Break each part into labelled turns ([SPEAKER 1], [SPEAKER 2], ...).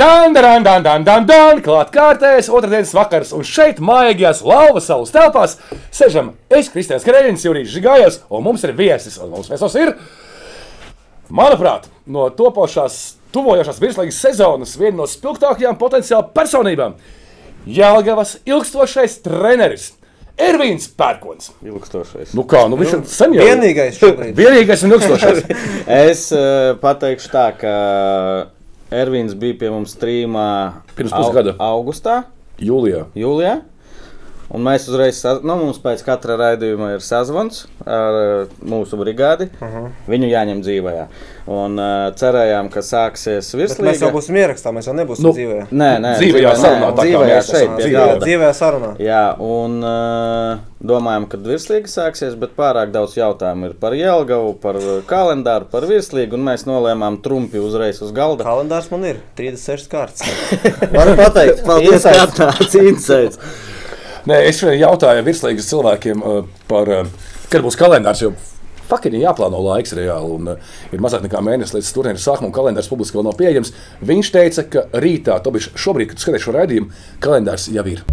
[SPEAKER 1] Dan, dan, dan, dan, dan, dan, klāt kārtēs, otrdienas vakars, un šeit, mājagajās lauvas salas telpās, sežam es, Kristians Kreļins, Jurijas Žigājos, un mums ir viesis, un mums viesos ir, manuprāt, no topošās, tuvojošās virslaigas sezonas viena no spilgtākajām potenciāla personībām - Jelgavas ilgstošais treneris Ervīns Pērkons.
[SPEAKER 2] Ilgstošais.
[SPEAKER 1] Nu kā, nu viņš ir sen jau
[SPEAKER 3] Vienīgais šobrīd.
[SPEAKER 1] vienīgais un ilgstošais.
[SPEAKER 2] Es uh, pateikšu tā, ka Ervīns bija pie mums trījumā
[SPEAKER 1] Pirms pusgada.
[SPEAKER 2] au- Augustā,
[SPEAKER 1] Jūlijā.
[SPEAKER 2] jūlijā. Un mēs uzreiz, sa- nu, mums pēc katra raidījuma ir sazvans ar uh, mūsu brigādi. Uh -huh. Viņu jāņem dzīvē. jā. Un uh, cerējām, ka sāksies
[SPEAKER 3] Bet mēs
[SPEAKER 2] virslija.
[SPEAKER 3] jau būsim ierakstā, mēs jau nebūsim
[SPEAKER 1] Nu,
[SPEAKER 3] nu, dzīvē.
[SPEAKER 2] Nē, nē,
[SPEAKER 1] Dzīvē
[SPEAKER 2] dzīvē,
[SPEAKER 1] jāsarunā tā
[SPEAKER 2] nē,
[SPEAKER 1] kā
[SPEAKER 2] dzīvē, jā,
[SPEAKER 1] mēs
[SPEAKER 2] šeit
[SPEAKER 1] esam
[SPEAKER 2] pie
[SPEAKER 1] dzīvē.
[SPEAKER 2] galda.
[SPEAKER 3] dzīvē sarunā.
[SPEAKER 2] Jā, un uh, domājam, ka virslija sāksies, bet pārāk daudz jautājumu ir par Jēlgavu, par uh, kalendāru, par virsliju, un mēs nolēmām trumpi uzreiz uz galda.
[SPEAKER 3] Kalendārs man ir 36 kārtas.
[SPEAKER 2] Varu pateikt,
[SPEAKER 3] Paldies, Insights.
[SPEAKER 2] tāds insights.
[SPEAKER 1] Nē, es šodien jautāju virslīgas cilvēkiem uh, par uh, kad būs kalendārs. Jo... Faktiski jāplāno laiks reāli, un uh, ir mazāk nekā mēnesis līdz turnīra sākumam, un kalendārs publiski vēl nav pieejams. Viņš teica, ka rītā, to bišķi šobrīd, kad skaties šo raidījumu, kalendārs jau ir.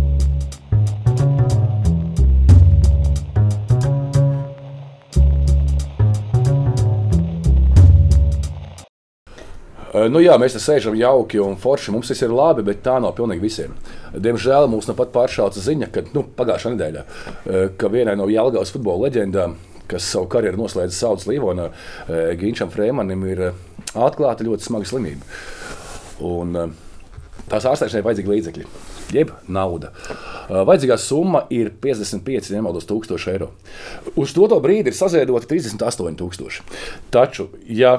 [SPEAKER 1] Uh, Nu jā, mēs te sēžam jauki un forši. Mums viss ir labi, bet tā nav pilnīgi visiem. Diemžēl mums nu pat pāršāca ziņa, ka nu, pagājušā nedēļā, uh, ka vienai no Jālgājas futbola leģendām, kas savu karjeru noslēdz Saudas Līvonā, uh, Ginčam Frēmanim ir uh, atklāta ļoti smaga slimība. Un, uh, Tās ārstēšanai vajadzīgi līdzekļi, jeb nauda. Uh, Vajadzīgā summa ir 55, ja nemaldos, 1000 eiro. Uz to, to brīdi ir saziedota 38,000. Taču, ja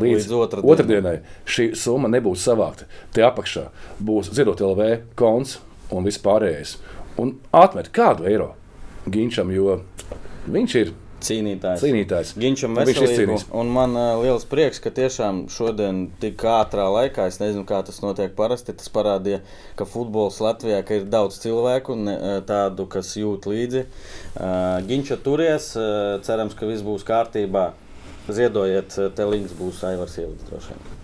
[SPEAKER 1] līdz,
[SPEAKER 2] Līdz otrdienai.
[SPEAKER 1] otrdienai dienai šī summa nebūs savākta. Te apakšā būs ziedot LV konts un viss pārējais. Un atmet kādu eiro Ginčam, jo viņš ir
[SPEAKER 2] Cīnītājs.
[SPEAKER 1] cīnītājs.
[SPEAKER 2] Ginčam
[SPEAKER 1] Un viņš
[SPEAKER 2] veselību.
[SPEAKER 1] izcīnīs.
[SPEAKER 2] Un man uh, liels prieks, ka tiešām šodien tik ātrā laikā, es nezinu, kā tas notiek parasti, tas parādīja, ka futbols Latvijā ka ir daudz cilvēku, ne, uh, tādu, kas jūt līdzi. Uh, Ginča turies, uh, cerams, ka viss būs kārtībā. Ziedojiet, uh, te links būs Aivars Ievits droši vien.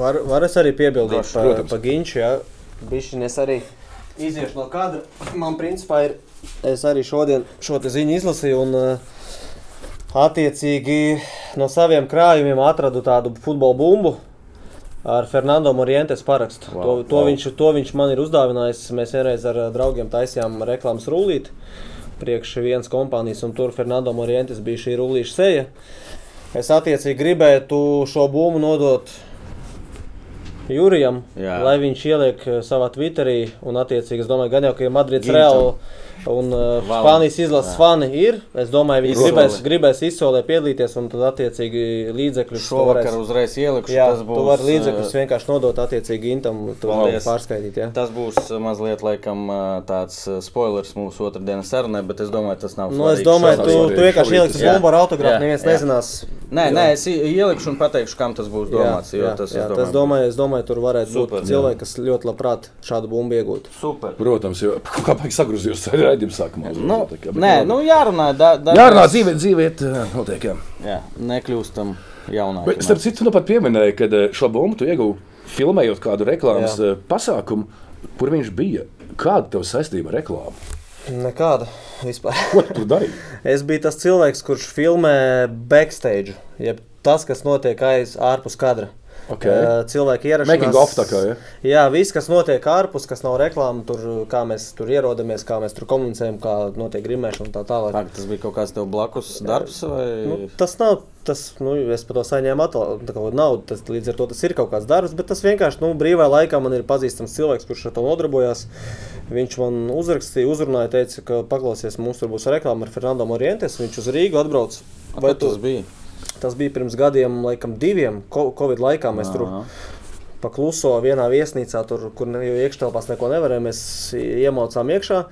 [SPEAKER 3] Var, var es arī piebildīt par
[SPEAKER 1] protams.
[SPEAKER 3] pa Ginču, jā. Bišķiņ es arī iziešu no kadra. Man principā ir, es arī šodien šo te ziņu izlasīju un uh, attiecīgi no saviem krājumiem atradu tādu futbola bumbu. Ar Fernando Morientes parakstu. Wow, to, to, wow. Viņš, to viņš man ir uzdāvinājis. Mēs vienreiz ar uh, draugiem taisījām reklāmas rullīti. Priekš vienas kompānijas, un tur Fernando Morientes bija šī rullīša seja. Es attiecīgi gribētu šo bumbu nodot Jurijam,
[SPEAKER 2] Jā.
[SPEAKER 3] Jā. lai viņš ieliek eh, savā Twitterī. Un, attiecīgi, es domāju, gan jau, ka ja Madrids
[SPEAKER 2] Gintam.
[SPEAKER 3] Real un uh,
[SPEAKER 2] Valam.
[SPEAKER 3] Spānijas izlases
[SPEAKER 2] Jā.
[SPEAKER 3] fani ir. Es domāju, viņi
[SPEAKER 2] Izsolē.
[SPEAKER 3] gribēs, gribēs izsolē piedalīties, un tad, attiecīgi, līdzekļus tu
[SPEAKER 2] Šovakar
[SPEAKER 3] varēsi-
[SPEAKER 2] uzreiz ielikšu,
[SPEAKER 3] Jā,
[SPEAKER 2] tas būs.
[SPEAKER 3] tu vari līdzekļus
[SPEAKER 2] uh,
[SPEAKER 3] vienkārši nodot attiecīgi Intam, to
[SPEAKER 2] Paldies.
[SPEAKER 3] pārskaitīt. Ja?
[SPEAKER 2] Tas būs uh, mazliet laikam, uh, tāds uh, spoilers mūsu otrdienas sarunai, bet es domāju, tas nav.
[SPEAKER 3] Nu, es
[SPEAKER 2] svarīgi
[SPEAKER 3] domāju,
[SPEAKER 2] šobrīd.
[SPEAKER 3] tu,
[SPEAKER 1] šobrīd,
[SPEAKER 3] tu vienkārši
[SPEAKER 1] šobrīd
[SPEAKER 3] ieliksi
[SPEAKER 2] tas-
[SPEAKER 3] bumbu ar
[SPEAKER 2] Jā,
[SPEAKER 3] autogrāfu, neviens
[SPEAKER 2] jā.
[SPEAKER 3] nezinās.
[SPEAKER 2] Nē, nē, es i- ielikšu un pateikšu, kam tas būs domāts. Jā, jā, tas,
[SPEAKER 3] jā,
[SPEAKER 2] es
[SPEAKER 3] tas domāju, es domāju, tur varētu
[SPEAKER 2] Super.
[SPEAKER 3] būt cilvēki, kas ļoti labprāt šādu bumbu iegūtu.
[SPEAKER 2] Super.
[SPEAKER 1] Protams, jo kā pēc sagrozījus raidījuma sākumā.
[SPEAKER 2] Nu,
[SPEAKER 1] uzreiz tā kā, bet
[SPEAKER 2] nē, nu jārunā. Da, da,
[SPEAKER 1] Jārunā dzīvē, dzīvē, eh, notiek. Jā.
[SPEAKER 2] Jā, nekļūstam jaunākam.
[SPEAKER 1] Bet, starp citu, nu pat pieminēja, ka eh, šo bumbu tu iegūji filmējot kādu reklāmas
[SPEAKER 3] Jā.
[SPEAKER 1] eh, pasākumu, kur viņš bija. Kāda tev saistība ar reklāmu?
[SPEAKER 3] Nekāda vispār.
[SPEAKER 1] Ko tu tur darīji?
[SPEAKER 3] Es biju tas cilvēks, kurš filmē backstage, jeb tas, kas notiek aiz ārpus kadra.
[SPEAKER 1] Ok.
[SPEAKER 3] Eh, Cilvēki ierakstā.
[SPEAKER 1] Making of tā kā, ja?
[SPEAKER 3] Jā, viss, kas notiek ārpus, kas nav reklāmas, tur kā mēs tur ierodamies, kā mēs tur komunicējam, kā notiek grimēšana un tā tālāk.
[SPEAKER 2] Ak, tas bija kaut kāds tev blakus darbs vai
[SPEAKER 3] Nu, tas nav tas, nu, es par to saņēmu atal- tā kā naudu. Tas, līdz ar to tas ir kaut kāds darbs, bet tas vienkārši nu, brīvā laikā man ir pazīstams cilvēks, kurš ar to nodarbojās. Viņš man uzrakstīja, uzrunāja, teica, ka paklausies, mums tur būs reklāma ar Fernando Morientes. Viņš uz Rīgu atbrauc.
[SPEAKER 2] vai tas bija?
[SPEAKER 3] Tas bija pirms gadiem, laikam, diviem ko- Covid laikā. Mēs
[SPEAKER 2] Aha.
[SPEAKER 3] tur pakluso vienā viesnīcā, tur, kur ne- jo iekštelpās neko nevarēja, mēs i- iemaucām iekšā.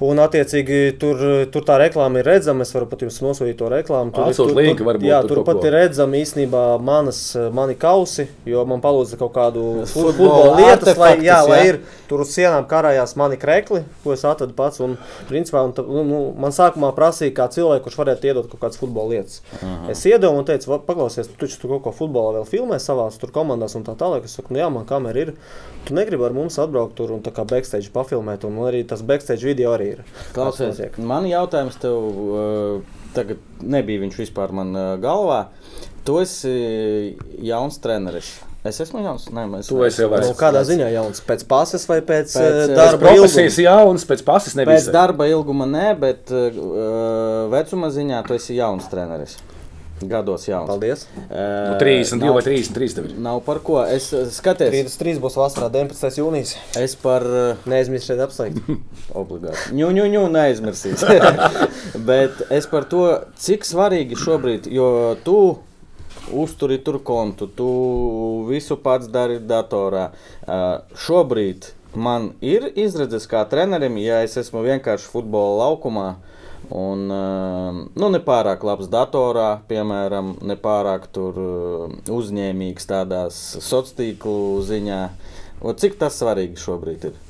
[SPEAKER 3] Un, attiecīgi, tur, tur tā reklāma ir redzama. Es varu pat jums nosūtīt to reklāmu. Tur,
[SPEAKER 1] Atsūt
[SPEAKER 3] tur-
[SPEAKER 1] linku,
[SPEAKER 3] tur-
[SPEAKER 1] varbūt,
[SPEAKER 3] jā,
[SPEAKER 1] tur
[SPEAKER 3] tur
[SPEAKER 1] kaut
[SPEAKER 3] pat
[SPEAKER 1] ko.
[SPEAKER 3] ir redzama īstenībā manas, mani kausi, jo man palūdza kaut kādu
[SPEAKER 2] Futbola
[SPEAKER 3] fut- futbola lietas, lai,
[SPEAKER 2] artefaktus,
[SPEAKER 3] jā,
[SPEAKER 2] jā.
[SPEAKER 3] lai ir tur uz sienām karājās mani krekli, ko es atradu pats. Un, principā, un, tā- nu, nu, man sākumā prasīja, kā cilvēku, kurš varētu iedot kaut kādas futbola lietas. Aha. Es iedomu un teicu, "Va, paklausies, tu taču tur kaut ko futbolā vēl filmē savā tur komandās un tā tālāk. Es saku, nu jā, man kamera ir. Tu negribi ar mums atbraukt tur un tā kā backstage papilmēt, un man arī tas backstage video arī ir.
[SPEAKER 2] Klausies,
[SPEAKER 3] Kas notiek.
[SPEAKER 2] man jautājums tev, uh, tagad nebija viņš vispār man uh, galvā. Tu esi uh, jauns treneris. Es esmu jauns. Nē, es
[SPEAKER 1] Tu esi jau
[SPEAKER 3] Nu,
[SPEAKER 1] vairs-
[SPEAKER 3] kādā ziņā jauns? Pēc pasas vai pēc,
[SPEAKER 2] Pēc,
[SPEAKER 3] pēc
[SPEAKER 2] eh,
[SPEAKER 3] darba?
[SPEAKER 1] Profesijas jauns, pēc pasas nevis.
[SPEAKER 2] Pēc darba ilguma nē, bet uh, vecuma ziņā tu esi jauns treneris. Gados jauns.
[SPEAKER 3] Paldies!
[SPEAKER 2] Uh,
[SPEAKER 1] 32 Nu, vai 33 tev ir.
[SPEAKER 2] Nav par ko. Es uh, skaties,
[SPEAKER 3] 33 būs vasarā, 19. jūnijas.
[SPEAKER 2] es par. Uh,
[SPEAKER 3] Neaizmirstiet apsveikt.
[SPEAKER 2] Obligāti. Ņū, ņū, ņū, neaizmirsīs. Bet es par to, cik svarīgi šobrīd, jo tu uzturi tur kontu, tu visu pats dari datorā. Ā, Šobrīd man ir izredzes kā trenerim, ja es esmu vienkārši futbola laukumā. Un, ā, nu, nepārāk labs datorā, piemēram, nepārāk tur ā, uzņēmīgs tādās sociālās tīklu ziņā. O, cik tas svarīgi šobrīd ir?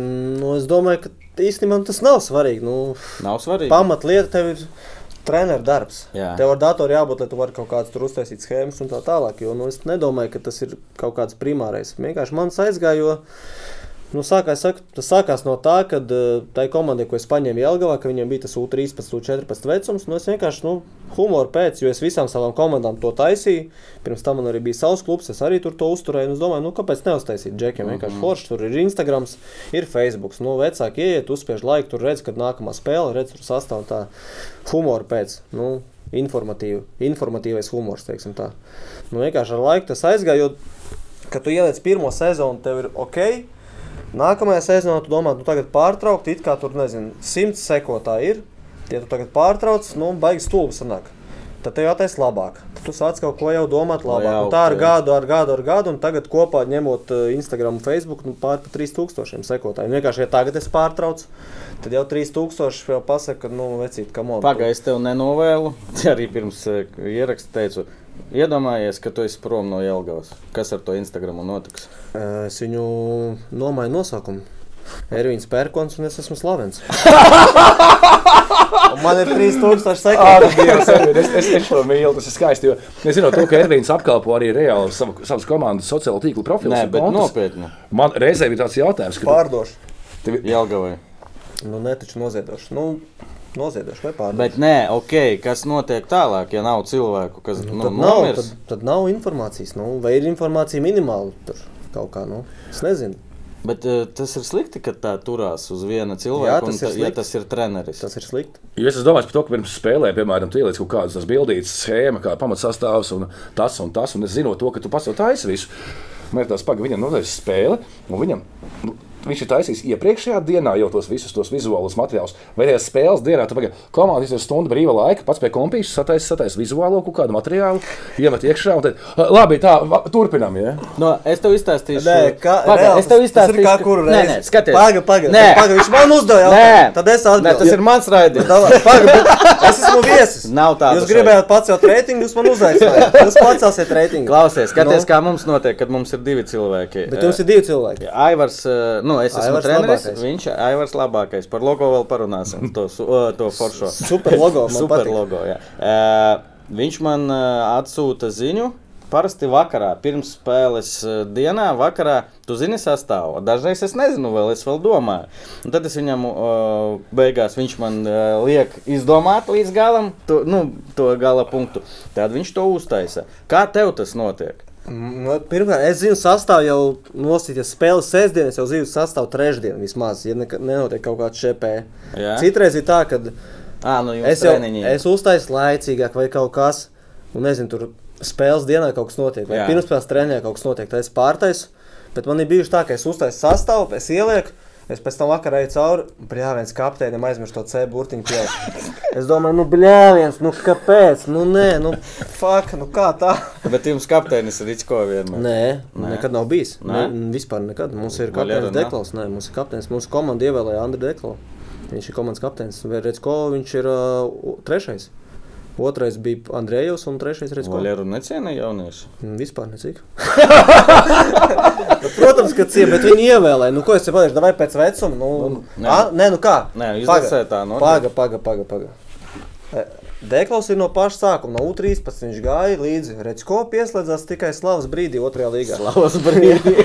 [SPEAKER 3] Nu, es domāju, ka īstenībā tas nav svarīgi. Nu,
[SPEAKER 2] Nav svarīgi.
[SPEAKER 3] pamatlieta tev ir treneru darbs.
[SPEAKER 2] Jā.
[SPEAKER 3] Tev ar datoru jābūt, lai tu varētu kaut kādas tur uztaisīt schēmas un tā tālāk. Jo, nu, es nedomāju, ka tas ir kaut kāds primārais. Vienkārši man aizgāja, jo nu, sākās, saku, tas sākās no tā, ka tai komandai, ko es paņēmu Jēlgavā, ka viņiem bija tas U13, U14 vecums. Nu, es vienkārši nu, humoru pēc, jo es visām savām komandām to taisīju. Pirms tam man arī bija savs klubs, es arī tur to uzturēju. Un Es domāju, nu, kāpēc neuztaisīt džekiem? Vienkārši forši tur ir Instagram, ir Facebook. Nu, vecāki ieiet, uzspiež laiku, tur redz, kad nākamā spēle, redz, tur sastāv tā humoru pēc. Nu, informatīvi, informatīvais humors, teiksim tā. Nu, vienkārši ar laiku tas aizgāja, jo, kad tu ieliec pirmo sezonu, tev ir ok. Nākamajā sezonā tu domā, nu tagad pārtraukt, it kā tur, nezinu, simts sekotāji ir. Ja tu tagad pārtrauc, nu, baigs stulbi sanāk. Tad tev jātais labāk. Tad tu sāc kaut ko jau domāt labāk.
[SPEAKER 2] Lai
[SPEAKER 3] un tā ar
[SPEAKER 2] augtu, jā.
[SPEAKER 3] gadu, ar gadu, ar gadu, un tagad kopā ņemot eh, Instagram un Facebook, nu, pār pa 3000 sekotājiem. Vienkārši, ja tagad es pārtraucu, tad jau 3000 jau pasaka, ka, nu, vecīt, kam on.
[SPEAKER 2] Pagaidzi, es tev nenovēlu. Te Arī pirms eh, ieraksta teicu, iedomājies, ka tu esi prom no Jelgavas. Kas ar to Instagramu notiks?
[SPEAKER 3] Eh, Es viņu nomainu nosaukumu. Ervīns Pērkons un es esmu slavens. Un man ir 3000 sekotāji.
[SPEAKER 1] Ak, Dievs, Ervin, Es, es, es to mīlu, tas ir skaisti. jo Es zinu, to, ka Ervīns apkalpo arī reāli savu, savas komandas sociālo tīklu profilu.
[SPEAKER 2] Nē, bet nopietni.
[SPEAKER 1] Man reizē bija tāds jautājums, ka tu-
[SPEAKER 3] Pārdošu.
[SPEAKER 1] tev ir
[SPEAKER 2] Jelgavai.
[SPEAKER 3] Nu, ne taču noziedošu. Nu, noziedošu vai pārdošu.
[SPEAKER 2] Bet nē, ok, kas notiek tālāk, ja nav cilvēku, kas nu,
[SPEAKER 3] tad, nav, tad,
[SPEAKER 2] nomirs?
[SPEAKER 3] tad nav informācijas. Nu, vai ir informācija minimāla tur kaut kā? Nu, es nezinu.
[SPEAKER 2] Bet eh, tas ir slikti, ka tā turās uz viena
[SPEAKER 3] Jā,
[SPEAKER 2] cilvēka.
[SPEAKER 3] tas
[SPEAKER 2] un
[SPEAKER 3] ir
[SPEAKER 2] ta- ja
[SPEAKER 3] slikti.
[SPEAKER 2] tas ir treneris.
[SPEAKER 3] Tas ir slikti.
[SPEAKER 1] Jo Es domāju par to, ka pirms spēlēm, piemēram, tu ieliec kaut kādas tās bildītas, schēma, kā pamatsastāvs un tas un tas. Un es zinu to, ka tu pats to taisi visu. Man ir tāds pagaidi, viņam nodevis spēle, un viņam, nu, viņš ir taisījis iepriekšējā dienā jau tos visus tos vizuālos materiālus. Vai tajā spēles dienā, tad komandas ir stunda brīva laika, pats pie kompijas sataisa, sataisa vizuālo kaut kādu materiālu, iemet iekšā un tad, labi, tā, va- turpinam, ja?
[SPEAKER 2] No, es tev izstāstīšu,
[SPEAKER 3] Nē, kā,
[SPEAKER 2] Pagaid,
[SPEAKER 3] reāli,
[SPEAKER 2] es tev
[SPEAKER 3] tas- tas ir
[SPEAKER 2] izstāstīšu,
[SPEAKER 3] kā
[SPEAKER 2] ka-
[SPEAKER 3] kuru
[SPEAKER 2] Nē,
[SPEAKER 3] reizi.
[SPEAKER 2] nē, skaties.
[SPEAKER 3] Paga, paga,
[SPEAKER 2] Nē.
[SPEAKER 3] paga, viņš man uzdev jautājumu.
[SPEAKER 2] Nē.
[SPEAKER 3] Tad es
[SPEAKER 2] Nē, tas ir
[SPEAKER 3] atbildēju.
[SPEAKER 2] mans raidījums.
[SPEAKER 3] Davai, Paga, bet es esmu viesis.
[SPEAKER 2] Nav tādas
[SPEAKER 3] Jūs gribējāt pats jau reitingu, jūs man uzaicinājāt. Jūs pats esat reitingu.
[SPEAKER 2] Klausies, skaties, kā mums notiek, kad mums ir divi cilvēki.
[SPEAKER 3] Bet jums ir divi cilvēki.
[SPEAKER 2] Aivars, eh, nu, es esmu
[SPEAKER 3] Aivars
[SPEAKER 2] treneris.
[SPEAKER 3] labākais.
[SPEAKER 2] Viņš ir Aivars labākais. Par logo vēl parunāsim. To, su- eh, to foršo.
[SPEAKER 3] Super logo, man
[SPEAKER 2] Super
[SPEAKER 3] patika.
[SPEAKER 2] logo. jā. Eh, Viņš man eh, atsūta ziņu. Parasti vakarā, pirms spēles eh, dienā, vakarā, tu zini sastāvu. Dažreiz es nezinu, vēl es vēl domāju. Un tad es viņam eh, beigās, viņš man eh, liek izdomāt līdz galam, to, nu, to gala punktu. Tad viņš to uztaisa. Kā tev tas notiek?
[SPEAKER 3] Nu, Pirmkārt, es zinu, sastāv jau nosīties spēles sestdienas, jau zinu, sastāv trešdien vismaz, ja neka- nenotiek kaut kāds šepē.
[SPEAKER 2] Jā.
[SPEAKER 3] Citreiz ir tā, ka
[SPEAKER 2] À, nu, jums
[SPEAKER 3] es jau
[SPEAKER 2] treniņi.
[SPEAKER 3] es uztaisu laicīgāk vai kaut kas, un nezinu, tur spēles dienā kaut kas notiek, vai
[SPEAKER 2] Jā.
[SPEAKER 3] pirmspēles treniņā kaut kas notiek, tad es pārtaisu, bet man ir bijuši tā, ka es uztaisu sastāvu, es ielieku, es pēc tam vakarā eju cauri, un bļāviens kapteinim aizmirst to C burtiņu pie. Es domāju, nu bļāviens, nu kāpēc, nu nē, nu fuck, nu kā tā?
[SPEAKER 2] Bet jums kapteinis ir Ričko vienmēr.
[SPEAKER 3] Nē,
[SPEAKER 2] Nē.
[SPEAKER 3] Nē, nekad nav bijis.
[SPEAKER 2] Nē?
[SPEAKER 3] Nē? Ne, vispār nekad. Mums ir
[SPEAKER 2] Valjera
[SPEAKER 3] kapteinis
[SPEAKER 2] nav?
[SPEAKER 3] Deklaus. Nē, mums ir kapteinis. Mūsu komanda ievēlēja Andriu Deklaus. Viņš ir komandas kapteinis. Redzko, viņš ir uh, o- trešais. Otrais bija Andrejevs, un trešais ir Redzko.
[SPEAKER 2] Vaļeru necienīja jaunieši.
[SPEAKER 3] Mm, Vispār necik. Nu, Protams, ka cieta, bet viņi ievēlēja. Nu, ko es te pateikšu, vai pēc vecuma? Nu,
[SPEAKER 2] nē.
[SPEAKER 3] nē. A, nē, nu kā?
[SPEAKER 2] Nē, izlasē tā nu, notiek.
[SPEAKER 3] Paga, paga, paga, paga. E, Deklaus ir no paša sākuma, no U13. Viņš gāja līdzi. Redz, ko pieslēdzās tikai slavas brīdī, otrajā līgā. Slavas brīdī.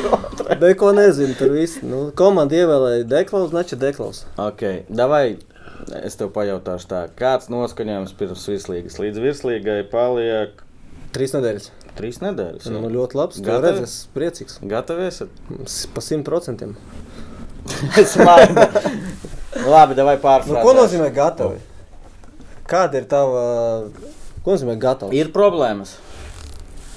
[SPEAKER 3] Bet ko nezinu, tur viss. Nu, komanda ievēlēja Deklaus, neče Deklaus.
[SPEAKER 2] Okay. Davai, es tev pajautāšu, tā, kāds noskaņojums pirms virslīgas līdz virslīgai paliek
[SPEAKER 3] Trīs nedēļas.
[SPEAKER 2] trīs nedēļas.
[SPEAKER 3] Nu, ļoti labs. Tu
[SPEAKER 2] Gatavi?
[SPEAKER 3] redz, es priecīgs.
[SPEAKER 2] Gatavies?
[SPEAKER 3] S- Pa simt procentiem.
[SPEAKER 2] Es domāju, labi, davai
[SPEAKER 3] Nu,
[SPEAKER 2] pārspēt.
[SPEAKER 3] ko nozīmē gatavi?
[SPEAKER 1] Oh.
[SPEAKER 3] Kāda ir tava? Ko nozīmē gatavi?
[SPEAKER 2] Ir problēmas.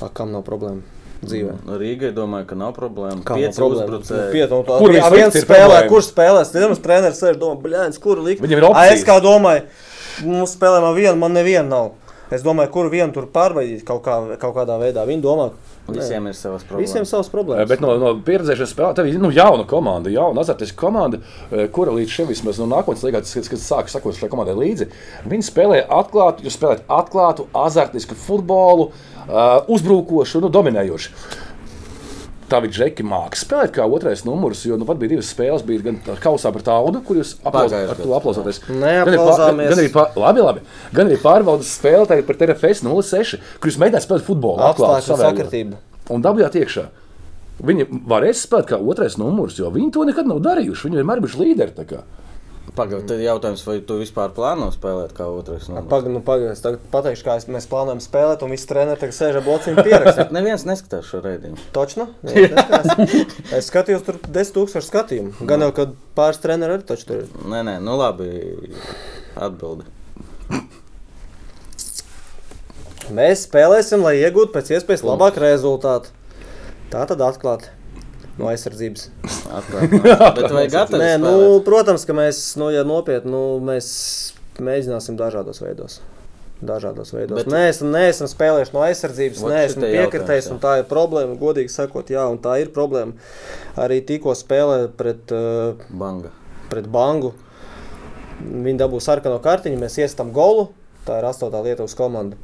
[SPEAKER 2] Nu,
[SPEAKER 3] A, kam nav problēma dzīvē?
[SPEAKER 2] Rīgai domāju, ka nav problēma.
[SPEAKER 3] Kā nav
[SPEAKER 2] Pieci
[SPEAKER 3] problēma? Nu,
[SPEAKER 2] uzbrucēji.
[SPEAKER 3] Piet, un
[SPEAKER 1] Kur
[SPEAKER 3] tā, kur
[SPEAKER 1] viss
[SPEAKER 3] viens
[SPEAKER 1] ir
[SPEAKER 3] spēlē,
[SPEAKER 1] problēma?
[SPEAKER 3] kurš spēlēs? Pirms treneris sēž domā, blēņas, kuru likt.
[SPEAKER 1] Viņam ir
[SPEAKER 3] A, Es
[SPEAKER 1] opcijas.
[SPEAKER 3] kā domāju, mums spēlē no viena, man neviena nav. Es domāju, kuru vienu tur pārbaudīt kaut, kā, kaut kādā veidā. Viņi domā,
[SPEAKER 2] Visiem ir savas
[SPEAKER 3] ka visiem
[SPEAKER 2] problēmas.
[SPEAKER 3] savas problēmas.
[SPEAKER 1] Eh, Bet nu, no, no pieredzēšanas spēlē, tev ir nu, jauna komanda, jauna azartiska komanda, eh, kura līdz šim vismaz no nākotnes līgās, kas, kas sāk sakot šai komandai līdzi, viņi spēlē atklātu, jūs spēlējat atklātu, azartisku futbolu, eh, uzbrukošu, nu, dominējošu. Tā bija Džeki mākslinieks. Spēlēt kā otrais numurs, jo nu, pat bija divas spēles. Bija gan tā kausā par tādu, kur jūs aplauz,
[SPEAKER 2] Pagājušajā
[SPEAKER 1] ar to
[SPEAKER 2] gadā.
[SPEAKER 1] aplausāties.
[SPEAKER 3] Nē,
[SPEAKER 1] Gan arī pār-
[SPEAKER 3] aplauzāmies.
[SPEAKER 1] Gan arī, pār, labi, labi. Gan arī pārbaudas spēle tagad par TRFS 06, kur jūs mēģināt spēlēt futbolu. atklātu,
[SPEAKER 3] apstākļu
[SPEAKER 1] savējo
[SPEAKER 3] sakritība.
[SPEAKER 1] un dabūjāt iekšā. Viņi varēs spēlēt kā otrais numurs, jo viņi to nekad nav darījuši. Viņi vienmēr ir bijuši līderi. tā kā.
[SPEAKER 2] Pagaidām, tad jautājums, vai tu vispār plāno spēlēt kā otrais? numurs?
[SPEAKER 3] Pagaidām, nu, pagaidām, es tagad pateikšu, kā es, mēs plānojam spēlēt, un viss treneris tagad sēž ar blūziņu pierakstā.
[SPEAKER 2] Neviens neskatās šo raidījumu.
[SPEAKER 3] Točno? Nu, Nē, neskatās. es skatījos, tur 10,000 skatījumu. Gan jau, kad pāris treniņi arī taču tur ir.
[SPEAKER 2] Nē, nē, nu labi. Atbildi.
[SPEAKER 3] Mēs spēlēsim, lai iegūtu pēc iespējas labāku rezultātu. Tā tad atklāti no aizsardzības.
[SPEAKER 2] Atklāt, Bet vai gatavi?
[SPEAKER 3] Nē,
[SPEAKER 2] spēlēt?
[SPEAKER 3] nu, protams, ka mēs, nu, ja nopietni, nu, mēs mēģināsim dažādos veidos. Dažādos veidos.
[SPEAKER 2] Bet-
[SPEAKER 3] Bet... Nē, esam, nē, esam spēlējuši no aizsardzības,
[SPEAKER 2] Vot
[SPEAKER 3] nē, esam
[SPEAKER 2] šitie jautājums,
[SPEAKER 3] piekritējis, un tā ir problēma. Godīgi sakot, jā, un tā ir problēma. Arī tikko spēlēja pret, uh,
[SPEAKER 2] Banga.
[SPEAKER 3] pret Bangu. Viņi dabūja sarkano kartiņu, mēs iestam golu. Tā ir astotā Lietuvas komanda.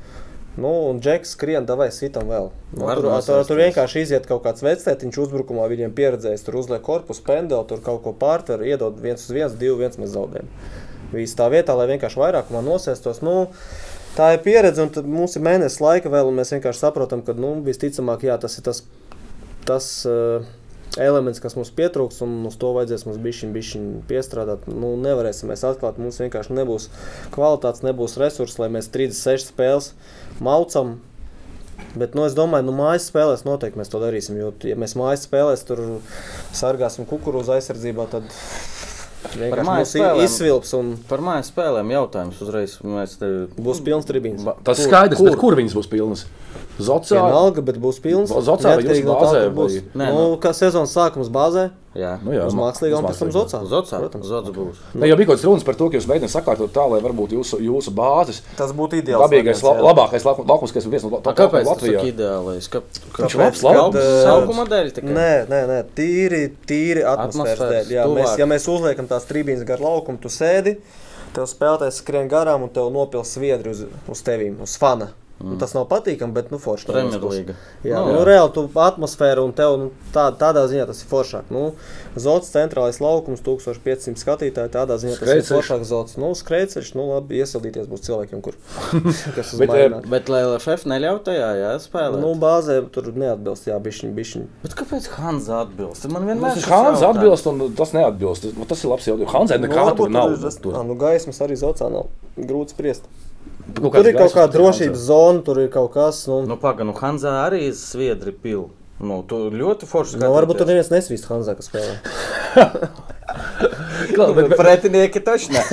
[SPEAKER 3] Nu, un Džeks skrien, davai sitam vēl. Nu,
[SPEAKER 2] Var
[SPEAKER 3] tur, tur,
[SPEAKER 2] nosaisties.
[SPEAKER 3] tur vienkārši iziet kaut kāds vecētiņš uzbrukumā, viņiem pieredzējis, tur uzliek korpusu, pendeli, tur kaut ko pārtver, iedod viens uz viens, divi, viens mēs zaudējam. Viss tā vietā, lai vienkārši vairākumā nosēstos. Nu, tā ir pieredze, un tad mums ir mēnesis laika vēl, un mēs vienkārši saprotam, ka nu, visticamāk, jā, tas ir tas, tas uh, elements, kas mums pietrūks, un uz to vajadzēs mums bišķiņ, bišķiņ piestrādāt. Nu, nevarēsim mēs atklāt, mums vienkārši nebūs kvalitātes, nebūs resursi, lai mēs 36 spēles maucam. Bet nu, es domāju, ka nu, mājas spēlēs noteikti mēs to darīsim. Jo, ja mēs mājas spēlēs tur sargāsim kukurūzu aizsardzībā, tad
[SPEAKER 2] mājas
[SPEAKER 3] vienkārši mums i-
[SPEAKER 2] spēlēm.
[SPEAKER 3] izsvilps un
[SPEAKER 2] Par mājas spēlēm jautājums uzreiz. Mēs te...
[SPEAKER 3] būs pilns tribīns.
[SPEAKER 2] Ba-
[SPEAKER 1] Tas
[SPEAKER 2] kur-
[SPEAKER 1] ir skaidrs,
[SPEAKER 2] kur?
[SPEAKER 1] kur, kur viņas būs pilnas. Zocā,
[SPEAKER 3] Vienalga, bet būs pilns.
[SPEAKER 1] Ba- Zocā vai
[SPEAKER 3] Neatkarīgi
[SPEAKER 1] jūs
[SPEAKER 3] no tā,
[SPEAKER 1] bāzē
[SPEAKER 3] kur būs.
[SPEAKER 1] vai-
[SPEAKER 2] Nē,
[SPEAKER 3] Nu, kā sezonas sākums bāzē,
[SPEAKER 2] Jā,
[SPEAKER 1] nu, jā,
[SPEAKER 3] uz
[SPEAKER 1] ma-
[SPEAKER 3] mākslīgām,
[SPEAKER 1] uz
[SPEAKER 3] pēc tam
[SPEAKER 1] mākslīgām.
[SPEAKER 3] zocā.
[SPEAKER 2] Zocā,
[SPEAKER 3] Protams.
[SPEAKER 2] Zots būs.
[SPEAKER 1] Ne, jau bija kaut kas runas par to, ka jūs mēģināt sakārtot tā, lai varbūt jūsu, jūsu bāzes
[SPEAKER 3] Tas būtu ideāls.
[SPEAKER 1] dabīgais, la,
[SPEAKER 3] variants, jā.
[SPEAKER 1] labākais laku- laukums, kas ir viens no la-
[SPEAKER 2] Tā kāpēc tas ir
[SPEAKER 1] Latvijā.
[SPEAKER 2] ideālais? Ka, ka
[SPEAKER 1] Viņš labs,
[SPEAKER 2] kaut-
[SPEAKER 1] labs.
[SPEAKER 2] Saukuma dēļ tikai.
[SPEAKER 3] eh, Nē, nē, nē, tīri, tīri atmosfēras
[SPEAKER 2] Atmosfēras,
[SPEAKER 3] dēļ. Jā,
[SPEAKER 2] tuvāk.
[SPEAKER 3] mēs, ja mēs uzliekam tās tribīnes gar laukumu, tu sēdi, tev spēlētājs skrien garām un tev nopils sviedri uz, uz tevīm, uz fana. Mm. Tas nav patīkami, bet nu, forši. no vienas puses.
[SPEAKER 2] Premjerlīga.
[SPEAKER 3] Jā, nu, nu, reāli tu atmosfēru un tev nu, tā, tādā ziņā tas ir foršāk. Nu, zots centrālais laukums, 1500 skatītāji, tādā ziņā tas ir
[SPEAKER 1] Skrejceļš.
[SPEAKER 3] foršāk zots. Nu, skrejceļš, nu labi, iesildīties būs cilvēkiem, kur kas uz
[SPEAKER 1] Bet,
[SPEAKER 3] mājām. nāk.
[SPEAKER 2] Bet LFF neļauj tajā jā, spēlēt.
[SPEAKER 3] Nu, bāzē tur neatbilst, jā, bišķiņ, bišķiņ.
[SPEAKER 2] Bet kāpēc Hanza atbilst? Man vienmēr šis
[SPEAKER 1] Nu, Hans
[SPEAKER 2] jautājums.
[SPEAKER 1] atbild, un tas neatbilst. Tas- Tas ir labs jautājums. Hanzai nekā Nu, tur nav.
[SPEAKER 3] Nu, Tur. Nu, gaismas arī zocā nav grūti spriest.
[SPEAKER 1] kaut
[SPEAKER 3] Tur
[SPEAKER 1] kāds
[SPEAKER 3] ir kaut
[SPEAKER 1] gaismas,
[SPEAKER 3] kāda
[SPEAKER 1] tur ir
[SPEAKER 3] drošības zona, tur ir kaut kas. Nu, nu,
[SPEAKER 2] Nu, pagaidi, nu, Hanza arī ir sviedri pil. Nu, tu ļoti forši
[SPEAKER 3] nu, varbūt tur
[SPEAKER 2] skaties.
[SPEAKER 3] neviens nesvīst Hanzā, kas spēlē.
[SPEAKER 1] Klau, bet- bet-
[SPEAKER 2] Pretinieki taču ne.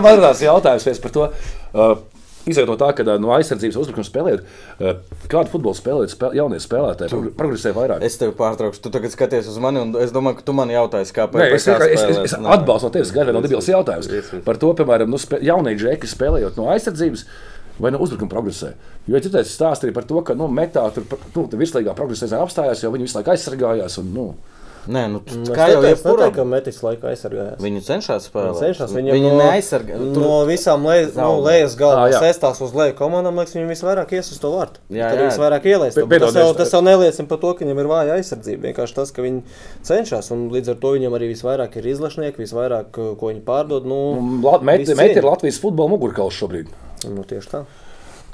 [SPEAKER 1] Man radās jautājums viens par to. Uh, Izejot no tā, ka uh, no aizsardzības uzbrukuma spēlējot, uh, kādu futbolu spēlējot, spēl, jaunie spēlētāji progr- progresē vairāk.
[SPEAKER 2] Es tevi pārtraukšu. Tu tagad skaties uz mani, un es domāju, ka tu man jautāsi, kāpēc.
[SPEAKER 1] Nē, es, es, es, es, es atbalstu no tevis gan vienu debilu jautājumu. Par to, piemēram, nu, spē, jaunie džeki spēlējot no aizsardzības. Vai no uzbrukuma progresē? Jo es dzirdēju, stāstīja par to, ka nu, metā tur nu, virslīgā progresē apstājās, jo viņi visu laiku aizsargājās. Un, nu,
[SPEAKER 2] Nē, nu, t-
[SPEAKER 3] Mm, Es
[SPEAKER 2] kā jau
[SPEAKER 3] neteicu-
[SPEAKER 2] jebkurā
[SPEAKER 3] neteicu, ka Metis laiku aizsargājās.
[SPEAKER 2] Viņi cenšas
[SPEAKER 3] Viņi
[SPEAKER 2] spēlēt.
[SPEAKER 3] cenšas, viņam
[SPEAKER 2] Viņi
[SPEAKER 3] no-
[SPEAKER 2] neaizsargā. Tur...
[SPEAKER 3] No visām lejas- nu,
[SPEAKER 2] Zaudē.
[SPEAKER 3] lejas
[SPEAKER 1] Ā,
[SPEAKER 3] galvām,
[SPEAKER 1] Ah, jā.
[SPEAKER 3] sestās uz leju komandām, liekas, viņam visvairāk ies uz to vārtu.
[SPEAKER 2] Jā,
[SPEAKER 3] Tad
[SPEAKER 2] jā.
[SPEAKER 3] viņš vairāk ielaist.
[SPEAKER 1] Pie-
[SPEAKER 3] Bet Tas
[SPEAKER 1] piedodies,
[SPEAKER 3] jau, tas jau neliecina par to, ka viņam ir vāja aizsardzība. Vienkārši tas, ka viņi cenšas, un līdz ar to viņam arī visvairāk ir izlašnieki, visvairāk, uh, ko viņi pārdod. Nu, visi
[SPEAKER 1] Mēģinājums
[SPEAKER 3] cīņa.
[SPEAKER 1] ir Latvijas futbola mugurkauls šobrīd.
[SPEAKER 3] Nu, tieši tā.